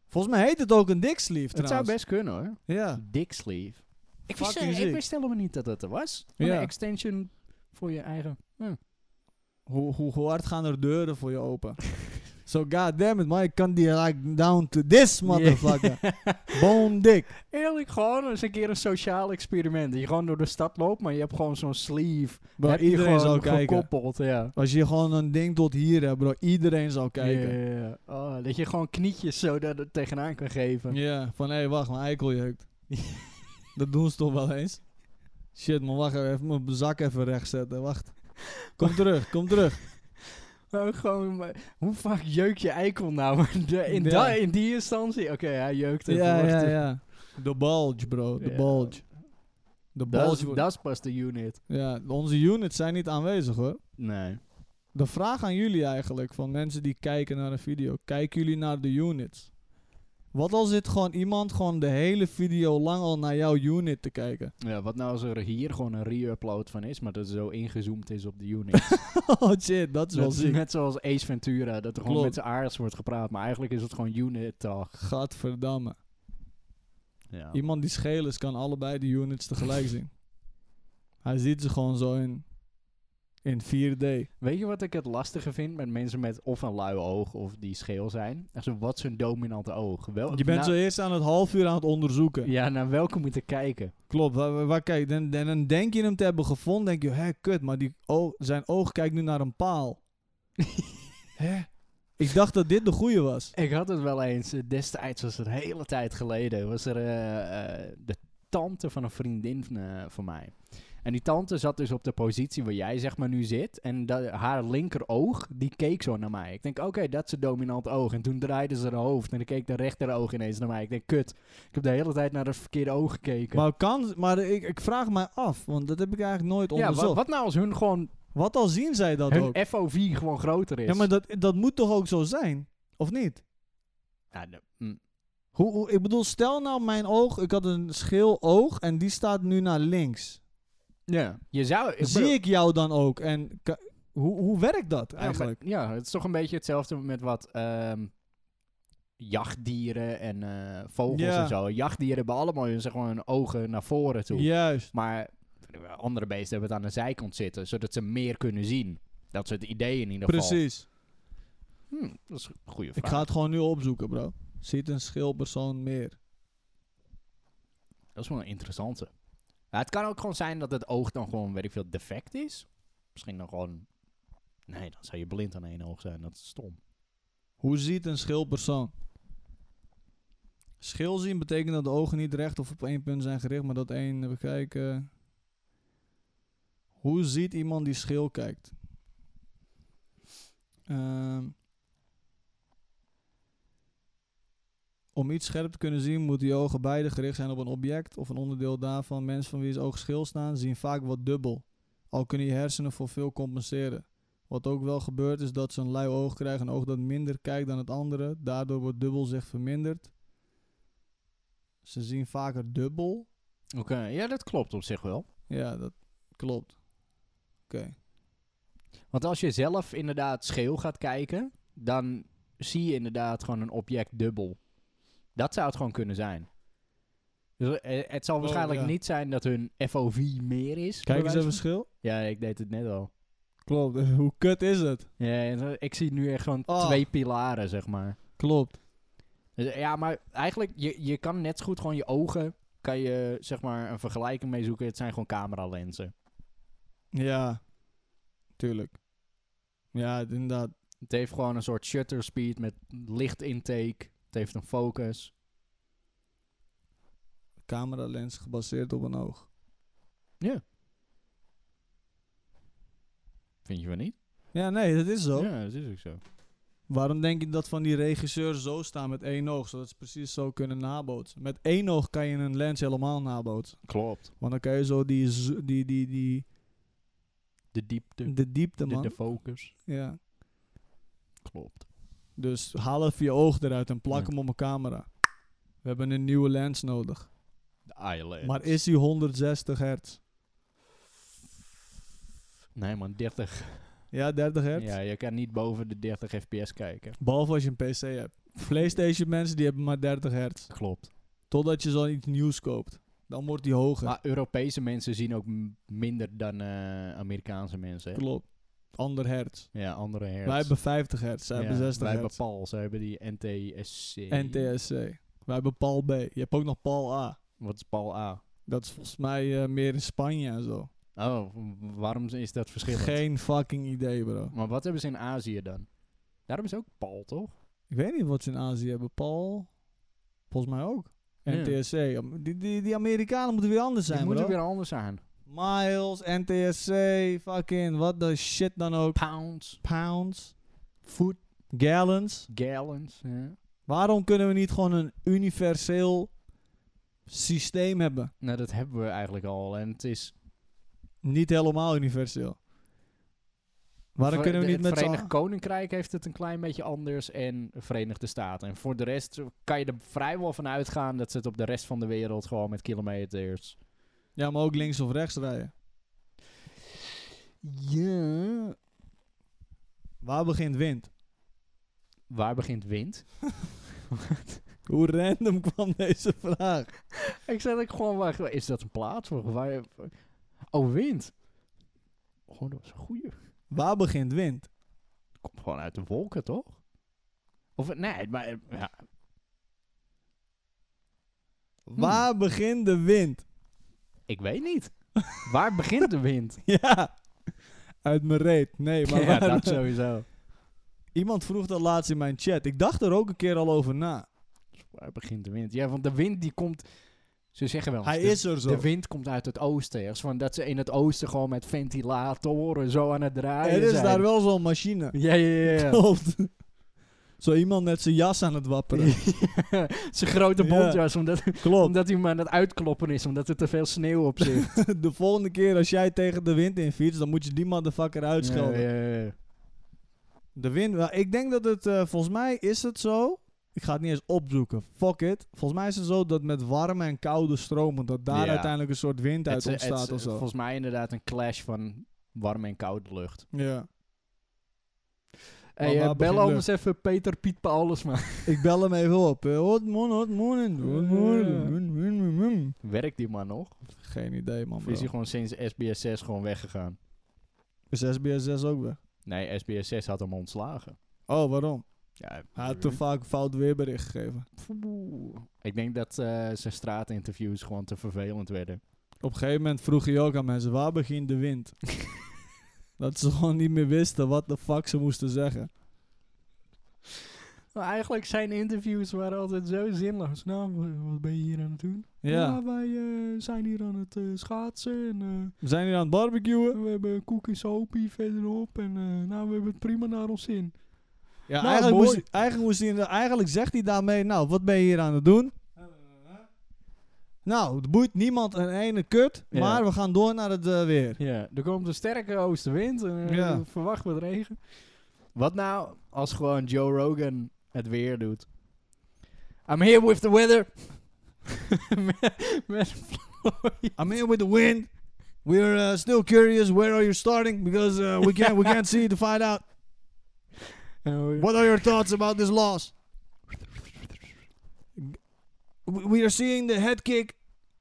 Volgens mij heet het ook een dik sleeve Het trouwens. zou best kunnen hoor. Ja, Dick sleeve. Ik wist, Fucking eh, sick. ik wist helemaal niet dat dat er was. Gewoon Ja. Een extension voor je eigen... hoe, hoe, hoe hard gaan er deuren voor je open? so goddammit, man. Ik kan die like down to this motherfucker. Bone dik. Eerlijk, gewoon eens een keer een sociaal experiment. Dat je gewoon door de stad loopt, maar je hebt gewoon zo'n sleeve. Bro, heb je iedereen gewoon zou kijken. gekoppeld, ja. Als je gewoon een ding tot hier hebt, bro. Iedereen zou kijken. Ja, ja, ja. Oh, dat je gewoon knietjes zo daar er tegenaan kan geven. Ja, van hé, wacht, mijn eikel jeukt. dat doen ze toch wel eens? Shit, man, wacht even. Even mijn zak even recht zetten. Wacht. Kom terug, kom terug. Maar ook Nou, gewoon, maar hoe vaak jeuk je eikel nou? De- in, Ja. da- in die instantie? Oké, hij jeukt even. Ja, wacht ja, even. ja. De bulge, bro. De Ja. bulge. De Dat is- bulge. wordt- Dat is pas de unit. Ja, onze units zijn niet aanwezig, hoor. Nee. De vraag aan jullie eigenlijk, van mensen die kijken naar een video. Kijken jullie naar de units? Wat als dit gewoon iemand gewoon de hele video lang al naar jouw unit te kijken? Ja, wat nou als er hier gewoon een re-upload van is, maar dat het zo ingezoomd is op de unit. oh shit, dat is wel dat is ziek. net zoals Ace Ventura, dat er gewoon Klopt. met z'n aards wordt gepraat, maar eigenlijk is het gewoon unit talk. Gadverdamme. Ja. Iemand die scheel is, kan allebei de units tegelijk zien. Hij ziet ze gewoon zo in, in 4D. Weet je wat ik het lastige vind met mensen met of een lui oog of die scheel zijn? Echt zo, wat is hun dominante oog? Wel, Je bent nou- zo eerst aan het half uur aan het onderzoeken. Ja, naar welke moeten kijken? Klopt, waar, waar- waar kijk dan, dan, dan denk je hem te hebben gevonden, denk je, hé, kut, maar die o- zijn oog kijkt nu naar een paal. hè? Ik dacht dat dit de goede was. Ik had het wel eens, eh, destijds was het een hele tijd geleden, was er eh, eh, de tante van een vriendin van, eh, van mij. En die tante zat dus op de positie waar jij zeg maar nu zit. En da- haar linkeroog, die keek zo naar mij. Ik denk, oké, dat is een dominant oog. En toen draaide ze haar hoofd en dan keek de rechteroog ineens naar mij. Ik denk, kut, ik heb de hele tijd naar het verkeerde oog gekeken. Maar, kan, maar ik, ik vraag mij af, want dat heb ik eigenlijk nooit ja, onderzocht. wat, wat, wat nou als hun gewoon, al zien zij dat hun ook? FOV gewoon groter is? Ja, maar dat, dat moet toch ook zo zijn? Of niet? Ja, de- mm. Hoe, hoe- ik bedoel, stel nou mijn oog, ik had een scheel oog en die staat nu naar links. Ja, je zou... ik Zie bedoel- ik jou dan ook? En ka- hoe, hoe werkt dat Ja, maar- eigenlijk? Ja, het is toch een beetje hetzelfde met wat ehm, jachtdieren en eh, vogels Ja. en zo. Jachtdieren hebben allemaal hun, zeg maar, hun ogen naar voren toe. Juist. Maar andere beesten hebben het aan de zijkant zitten, zodat ze meer kunnen zien. Dat is het idee in ieder geval. Precies. Hm, dat is een goede Ik vraag. ga het gewoon nu opzoeken, bro. Ziet een schilpersoon meer? Dat is wel een interessante. Ja, het kan ook gewoon zijn dat het oog dan gewoon, weet ik veel, defect is. Misschien dan gewoon... Nee, dan zou je blind aan één oog zijn. Dat is stom. Hoe ziet een schilpersoon? Schil zien betekent dat de ogen niet recht of op één punt zijn gericht, maar dat één, even kijken. Hoe ziet iemand die schil kijkt? Ehm, om iets scherp te kunnen zien, moeten die ogen beide gericht zijn op een object of een onderdeel daarvan. Mensen van wie zijn ogen schil staan, zien vaak wat dubbel, al kunnen je hersenen voor veel compenseren. Wat ook wel gebeurt is dat ze een lui oog krijgen, een oog dat minder kijkt dan het andere. Daardoor wordt dubbel zich verminderd. Ze zien vaker dubbel. Oké, ja, dat klopt op zich wel. Ja, dat klopt. Oké. Want als je zelf inderdaad scheel gaat kijken, dan zie je inderdaad gewoon een object dubbel. Dat zou het gewoon kunnen zijn. Dus, eh, het zal waarschijnlijk Oh, ja. niet zijn dat hun FOV meer is. bij Kijk eens wijze even van- verschil. Ja, ik deed het net al. Klopt. Hoe kut is het? Ja, en, eh, ik zie nu echt gewoon Oh. twee pilaren, zeg maar. Klopt. Dus, eh, ja, maar eigenlijk, je, je kan net zo goed gewoon je ogen, kan je zeg maar een vergelijking mee zoeken. Het zijn gewoon cameralenzen. Ja. tuurlijk. Ja, inderdaad. Het heeft gewoon een soort shutter speed met licht intake. Het heeft een focus. Cameralens gebaseerd op een oog. Vind je wel niet? Ja, nee, dat is zo. Ja, dat is ook zo. Waarom denk je dat van die regisseurs zo staan met één oog? Zodat ze precies zo kunnen nabootsen. Met één oog kan je een lens helemaal nabootsen. Klopt. Want dan kan je zo die, z- die, die, die De diepte, de, de diepte, de, man. focus. ja. Klopt. Dus haal even je oog eruit en plak Ja. hem op een camera. We hebben een nieuwe lens nodig. De eyelid. Maar is die 160 hertz? Nee man, 30. Ja, 30 hertz. Ja, je kan niet boven de 30 fps kijken. Behalve als je een PC hebt. PlayStation mensen die hebben maar 30 hertz. Klopt. Totdat je zoiets nieuws koopt. Dan wordt die hoger. Maar Europese mensen zien ook m- minder dan eh, Amerikaanse mensen. hè? Klopt. Ander hertz. Ja, andere hertz. Wij hebben 50 hertz. Zij Ja, hebben 60 Wij hebben hertz. PAL, zij hebben die NTSC. NTSC. Wij hebben PAL B. Je hebt ook nog PAL A. Wat is PAL A? Dat is volgens mij eh, meer in Spanje en zo. Oh, w- waarom is dat verschillend? Geen fucking idee, bro. Maar wat hebben ze in Azië dan? Daarom is ook PAL, toch? Ik weet niet wat ze in Azië hebben. PAL. Volgens mij ook. Ja. NTSC. Die, die, die Amerikanen moeten weer anders Die zijn, moeten bro. weer anders aan. Miles, NTSC, fucking wat de shit dan ook. Pounds, Pounds. foot, gallons. gallons. Ja. Waarom kunnen we niet gewoon een universeel systeem hebben? Nou, dat hebben we eigenlijk al. En het is... Niet helemaal universeel. Waarom Ver- kunnen we de- niet met Het z'n Verenigd Koninkrijk heeft het een klein beetje anders en Verenigde Staten. En voor de rest kan je er vrijwel van uitgaan dat ze het op de rest van de wereld gewoon met kilometers... Ja, maar ook links of rechts rijden. Ja. Waar begint wind? Waar begint wind? Hoe random kwam deze vraag? Ik zei dat ik gewoon wacht, is dat een plaats? Waar, waar- oh, wind. Oh, dat was een goeie. Waar begint wind? Komt gewoon uit de wolken, toch? Of nee, maar eh, ja, Hm. Waar begint de wind? ik weet niet. waar begint de wind? Ja. Uit mijn reet. Nee, maar ja, waar- dat sowieso. iemand vroeg dat laatst in mijn chat. Ik dacht er ook een keer al over na. Waar begint de wind? Ja, want de wind die komt. Ze zeggen wel. eens, Hij de, is er zo. De wind komt uit het oosten. Ergens van dat ze in het oosten gewoon met ventilatoren zo aan het draaien. Er is zijn. daar wel zo'n machine. Ja, ja, ja. ja. Klopt. Zo iemand met zijn jas aan het wapperen. Zijn grote Ja. bontjas, omdat, Klopt. omdat hij maar aan het uitkloppen is, omdat er te veel sneeuw op zit. De volgende keer als jij tegen de wind in fietst, dan moet je die motherfucker uitschelden. Ja, ja, ja. De wind, wel, ik denk dat het, eh, volgens mij is het zo. Ik ga het niet eens opzoeken. Fuck it. Volgens mij is het zo dat met warme en koude stromen, dat daar Ja. uiteindelijk een soort wind uit Het is- het ontstaat is of zo. Volgens mij inderdaad een clash van warme en koude lucht. Ja. Hey, eh, waar begint bel om lucht? eens even Peter Piet Paulus, man. Ik bel hem even op. Eh, Hot morning, hot morning, hot morning, mm, mm, mm, mm. Werkt die man nog? Geen idee, man. Of is Bro. hij gewoon sinds SBS 6 gewoon weggegaan? Is SBS6 ook weer? Nee, SBS 6 had hem ontslagen. Oh, waarom? Ja, Hij had te vaak fout weerbericht gegeven. Oeh. Ik denk dat eh, zijn straatinterviews gewoon te vervelend werden. Op een gegeven moment vroeg hij ook aan mensen, waar begint de wind? dat ze gewoon niet meer wisten wat de fuck ze moesten zeggen. Maar Nou, eigenlijk zijn interviews waren altijd zo zinloos. Nou, wa- wat ben je hier aan het doen? Ja, wij eh, zijn hier aan het eh, schaatsen en... eh, we zijn hier aan het barbecuen. We hebben koek en sopie verderop en eh, nou, we hebben het prima naar ons zin. Ja, Nou, eigenlijk, mooi. moest, hij- eigenlijk, moest hij, eigenlijk zegt hij daarmee, nou, wat ben je hier aan het doen? Nou, het boeit niemand een ene kut, Ja. maar we gaan door naar het eh, weer. Ja, er komt een sterke oostenwind en eh, Ja. verwacht wat regen. Wat nou als gewoon Joe Rogan het weer doet? I'm here with the weather. met, met Floyd. I'm here with the wind. We're eh, still curious, where are you starting? Because eh, we, can't, we can't see to find out. Nou, eh, What are your thoughts about this loss? We we are seeing the head kick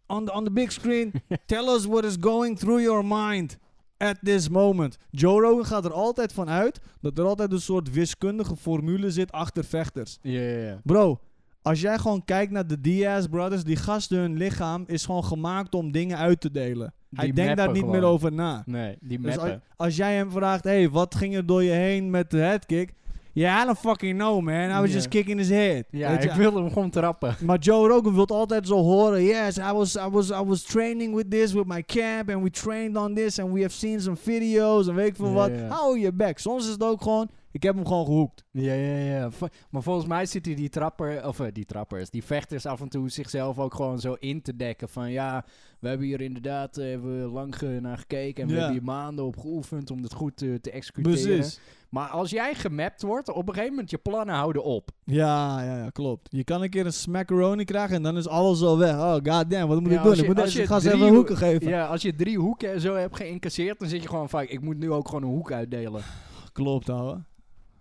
on the, on the big screen. Tell us what is going through your mind at this moment. Joe Rogan gaat er altijd van uit dat er altijd een soort wiskundige formule zit achter vechters. Ja, ja, ja. Bro, Als jij gewoon kijkt naar de Diaz Brothers, die gasten hun lichaam is gewoon gemaakt om dingen uit te delen. Hij Die denkt daar mappen niet meer gewoon. over na. Nee, die Dus als, mappen. als jij hem vraagt, hey, wat ging er door je heen met de headkick? Ja, I don't fucking know, man. I was Ja. just kicking his head. Ja, Weet je? ik wilde hem gewoon trappen. Maar Joe Rogan wil altijd zo horen. Yes, I was, I, was, I was training with this, with my camp. And we trained on this. And we have seen some videos. En weet ik veel Ja, wat. ja. Hou je bek. Soms is het ook gewoon, ik heb hem gewoon gehoekt. Ja, ja, ja. Vo- Maar volgens mij zitten die trapper, of eh, die trappers, die vechters af en toe zichzelf ook gewoon zo in te dekken. Van ja, we hebben hier inderdaad eh, hebben we lang ge- naar gekeken en Ja. we hebben hier maanden op geoefend om dit goed eh, te executeren. Maar als jij gemapt wordt, op een gegeven moment je plannen houden op. Ja, ja, ja, klopt. Je kan een keer een smackaroni krijgen en dan is alles al weg. Oh, goddamn, wat moet Ja, ik doen? als Ik je- moet als deze je gast drie even uur- hoeken geven. Ja, als je drie hoeken en zo hebt geïncasseerd, dan zit je gewoon vaak, ik moet nu ook gewoon een hoek uitdelen. Klopt, ouwe.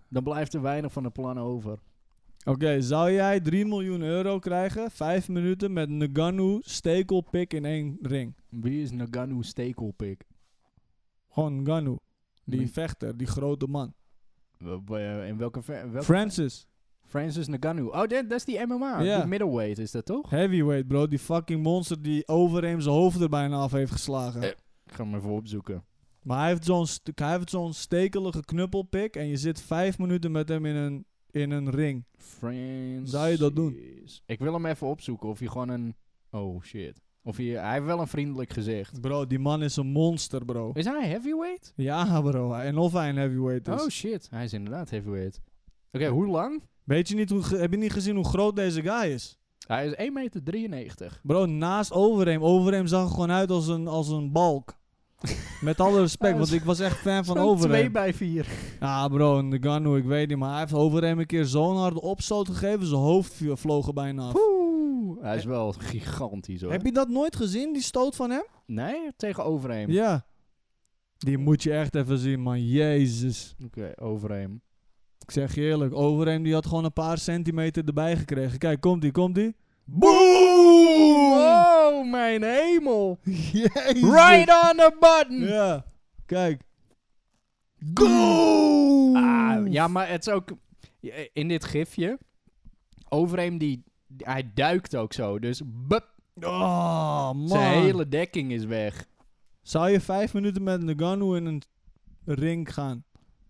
Dan blijft er weinig van de plannen over. Oké, zou jij 3 miljoen euro krijgen, 5 minuten met Nagano stekelpik in één ring? Wie is Nagano Stekelpik? Gewoon Nagano, die Wie? vechter, die grote man. W- eh, In welke, ver- in welke Francis. Francis Ngannou. Oh, dat dat is die MMA. Ja. Die middleweight is dat toch? Heavyweight, bro. Die fucking monster die overeem zijn hoofd er bijna af heeft geslagen. Eh. Ik ga hem even opzoeken. Maar hij heeft zo'n st- hij heeft zo'n stekelige knuppelpik en je zit vijf minuten met hem in een, in een ring. Francis. Zou je dat doen? Ik wil hem even opzoeken of hij gewoon een... Oh, shit. Of hij... Hij heeft wel een vriendelijk gezicht. Bro, die man is een monster, bro. Is hij heavyweight? Ja, bro. En of hij een heavyweight is. Oh, shit. Hij is inderdaad heavyweight. Oké, hoe lang? Weet je niet hoe, ge- heb je niet gezien hoe groot deze guy is? Hij is 1,93 meter. Bro, naast Overeem. Overeem zag er gewoon uit als een, als een balk. Met alle respect, Hij want was- ik was echt fan van 2 Overeem. bij 4. Ja, bro, Ngannou, ik weet niet, maar hij heeft Overeem een keer zo'n harde opstoot gegeven, zijn hoofd viel- vloog er bijna af. Oeh. Hij is wel gigantisch hoor. Heb je dat nooit gezien, die stoot van hem? Nee, tegen Overeem. Ja. Die moet je echt even zien, man. Jezus. Oké, Overeem. Ik zeg je eerlijk, Overeem die had gewoon een paar centimeter erbij gekregen. Kijk, komt die, komt die. Boom! Oh, mijn hemel. Jezus. Right on the button! Ja. Kijk. Go! Ah, Ah, ja, maar het is ook... eh, In dit gifje... Overeem die... Hij duikt ook zo, dus... bup, Oh, man. zijn hele dekking is weg. Zou je vijf minuten met Ngannou in een ring gaan?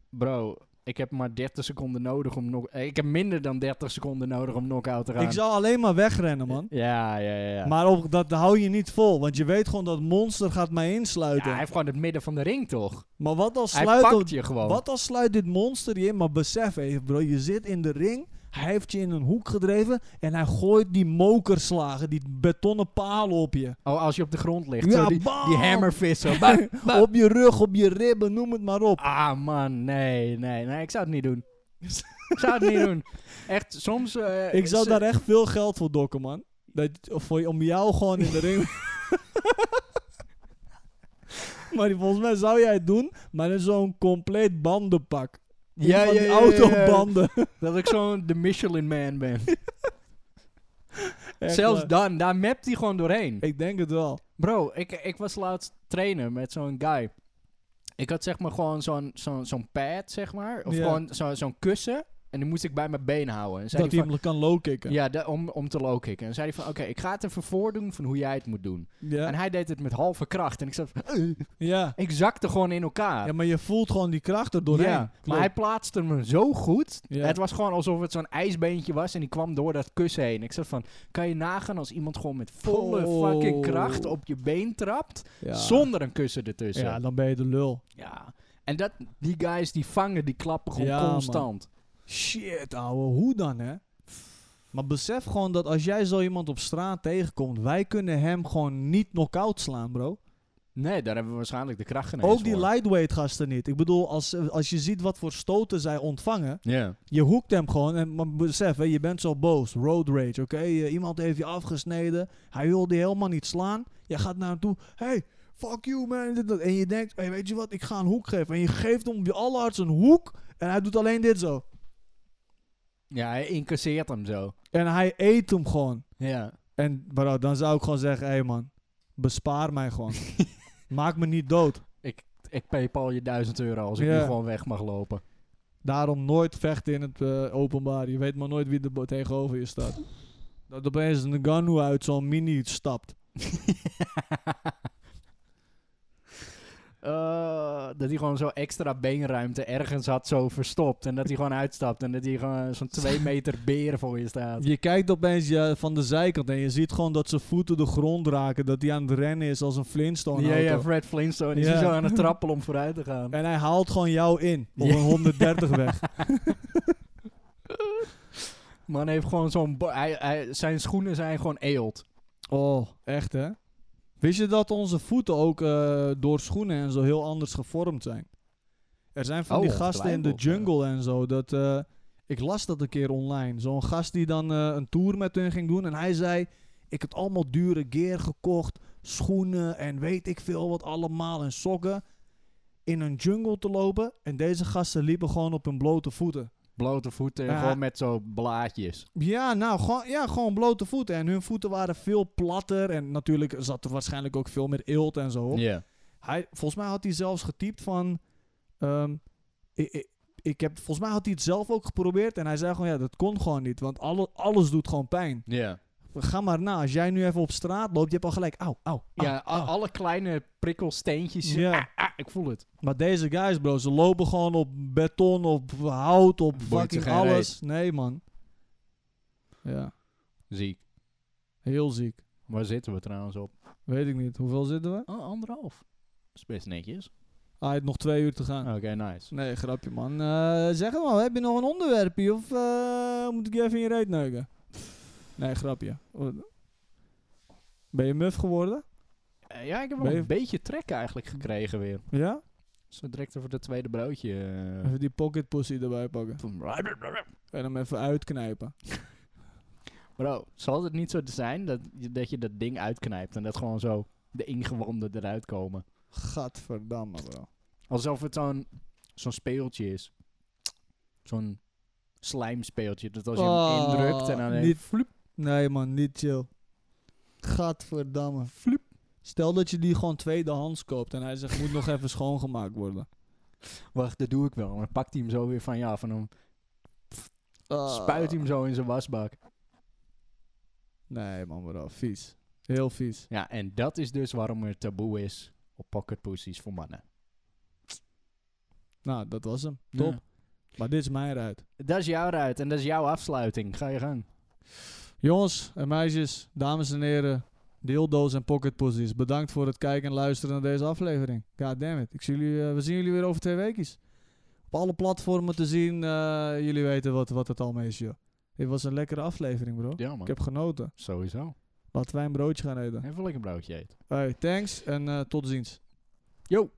Bro, ik heb maar 30 seconden nodig om... Nog, eh, ik heb minder dan 30 seconden nodig om knock-out te gaan. Ik zou alleen maar wegrennen, man. Ja, ja, ja. ja. Maar op, dat hou je niet vol, want je weet gewoon dat monster gaat mij Ja, insluiten. hij heeft gewoon het midden van de ring, toch? maar wat als, Hij sluit pakt je gewoon. wat als sluit dit monster je in? Maar besef even bro, je zit in de ring, hij heeft je in een hoek gedreven en hij gooit die mokerslagen, die betonnen palen op je. Oh, als je op de grond ligt. Ja, zo die, bam! die hammerfist. Zo. Bam, bam. Op je rug, op je ribben, noem het maar op. Ah man, nee, nee, nee, ik zou het niet doen. ik zou het niet doen. Echt, soms... eh, Ik zou ze- daar echt veel geld voor dokken, man. Dat, of voor, om jou gewoon in de ring... maar die- volgens mij zou jij het doen, maar in zo'n compleet bandenpak. Ja, van ja, die ja, ja, ja. autobanden. Dat ik zo'n de Michelin Man ben. Echt Zelfs waar. dan, daar mapt hij gewoon doorheen. Ik denk het wel. Bro, ik, ik was laatst trainen met zo'n guy. Ik had zeg maar gewoon zo'n zo'n zo'n pad, zeg maar. Of Ja. gewoon zo- zo'n kussen. En die moest ik bij mijn been houden. En zei dat hij hij van, hem kan low-kicken. ja, da- om, om te low kicken. En zei hij van, oké, ik ga het even voordoen van hoe jij het moet doen. Ja. En hij deed het met halve kracht. En ik zat van, "Eh." Ja. ik zakte gewoon in elkaar. ja, maar je voelt gewoon die kracht er doorheen. Ja, maar hij plaatste hem zo goed. Ja. Het was gewoon alsof het zo'n ijsbeentje was en die kwam door dat kussen heen. Ik zat van, kan je nagaan als iemand gewoon met volle Oh. fucking kracht op je been trapt, ja. zonder een kussen ertussen. Ja, Ja. dan ben je de lul. En dat, die guys die vangen die klappen gewoon Ja, man. constant. Shit, ouwe. Hoe dan, hè? Maar besef gewoon dat als jij zo iemand op straat tegenkomt, wij kunnen hem gewoon niet knock-out slaan, bro. Nee, daar hebben we waarschijnlijk de kracht genomen. Ook die lightweight gasten niet. Ik bedoel, als, als je ziet wat voor stoten zij ontvangen, Ja. je hoekt hem gewoon. En, maar besef, hè, je bent zo boos. Road rage, oké? Eh, iemand heeft je afgesneden. Hij wil die helemaal niet slaan. Je gaat naar hem toe. Hey, fuck you, man. Dit, dat. En je denkt, hey, weet je wat? Ik ga een hoek geven. En je geeft hem je allerhardst een hoek. En hij doet alleen dit zo. Ja, hij incasseert hem zo. En hij eet hem gewoon. Ja. En bro, dan zou ik gewoon zeggen, hé hey man, bespaar mij gewoon. Maak me niet dood. Ik paypal je 1000 euro als ik Ja. nu gewoon weg mag lopen. Daarom nooit vechten in het eh, openbaar. Je weet maar nooit wie er bo- tegenover je staat. Dat opeens een Ganu uit zo'n mini stapt. Eh, dat hij gewoon zo extra beenruimte ergens had zo verstopt. En dat hij gewoon uitstapt. En dat hij gewoon zo'n twee meter beer voor je staat. Je kijkt opeens ja, van de zijkant en je ziet gewoon dat zijn voeten de grond raken. Dat hij aan het rennen is als een Flintstone Ja, auto. ja, Fred Flintstone is Ja. er zo aan het trappelen om vooruit te gaan. En hij haalt gewoon jou in op Ja. een 130 weg. Man heeft gewoon zo'n... bo- Hij, hij, zijn schoenen zijn gewoon eelt. Oh, echt hè? Wist je dat onze voeten ook eh, door schoenen en zo heel anders gevormd zijn? Er zijn van Oh, die gasten in de ongetwijfeld, jungle en zo. Dat, eh, ik las dat een keer online. Zo'n gast die dan eh, een tour met hun ging doen. En hij zei, ik heb allemaal dure gear gekocht. Schoenen en weet ik veel wat allemaal. En sokken. In een jungle te lopen. En deze gasten liepen gewoon op hun blote voeten. Blote voeten, Ja. gewoon met zo'n blaadjes. Ja, nou, gewoon, ja, gewoon blote voeten. En hun voeten waren veel platter. En natuurlijk zat er waarschijnlijk ook veel meer eelt en zo op. Ja. Hij, volgens mij had hij zelfs getypt van... ehm, ik, ik, ik heb, volgens mij had hij het zelf ook geprobeerd. En hij zei gewoon, ja, dat kon gewoon niet. Want alle, alles doet gewoon pijn. Ja. Ga maar na. Als jij nu even op straat loopt, je hebt al gelijk... Auw, auw, auw. Ja, a- alle kleine prikkelsteentjes. Ja. Ah, ik voel het. Maar deze guys, bro, ze lopen gewoon op beton, op hout, op Boeit ze fucking geen alles. Nee, man. Ja, Ziek. heel ziek. Waar zitten we trouwens op? Weet ik niet. Hoeveel zitten we? Oh, anderhalf. is best netjes. Ah, je hebt nog twee uur te gaan. Oké, nice. Nee, grapje man. Eh, zeg het maar, heb je nog een onderwerpje of eh, moet ik je even in je reet neuken? Nee, grapje. Wat- Ben je muf geworden? Eh, ja, ik heb wel Ben je- een beetje trek eigenlijk gekregen weer. Ja? Zo direct over dat tweede broodje. eh, Even die pocket pussy erbij pakken. van- En hem even uitknijpen. Bro, zal het niet zo zijn dat je dat, je dat ding uitknijpt en dat gewoon zo de ingewanden eruit komen? Gadverdamme bro. Alsof het zo'n zo'n speeltje is. Zo'n slijmspeeltje. Dat als je hem Oh, indrukt en dan... niet- Nee man, niet chill. Gadverdamme. Floep. Stel dat je die gewoon tweedehands koopt en hij zegt moet nog even schoongemaakt worden. Wacht, dat doe ik wel. Maar dan pakt hij hem zo weer van ja, van hem. Oh. Spuit hij hem zo in zijn wasbak. Nee man bro, vies. Heel vies. Ja, en dat is dus waarom er taboe is op pocketpussies voor mannen. Nou, dat was hem. Top. Maar dit is mijn ruit. Dat is jouw ruit en dat is jouw afsluiting. Ga je gang. Jongens en meisjes, dames en heren, dildo's en pocketpussies. Bedankt voor het kijken en luisteren naar deze aflevering. God damn it. Ik zie jullie, eh, we zien jullie weer over twee weekjes. Op alle platformen te zien. eh, jullie weten wat, wat het allemaal is, joh. Dit was een lekkere aflevering, bro. Ja, man. Ik heb genoten. Sowieso. Laten wij een broodje gaan eten. Even lekker een broodje eten. Hey, thanks en eh, tot ziens. Yo!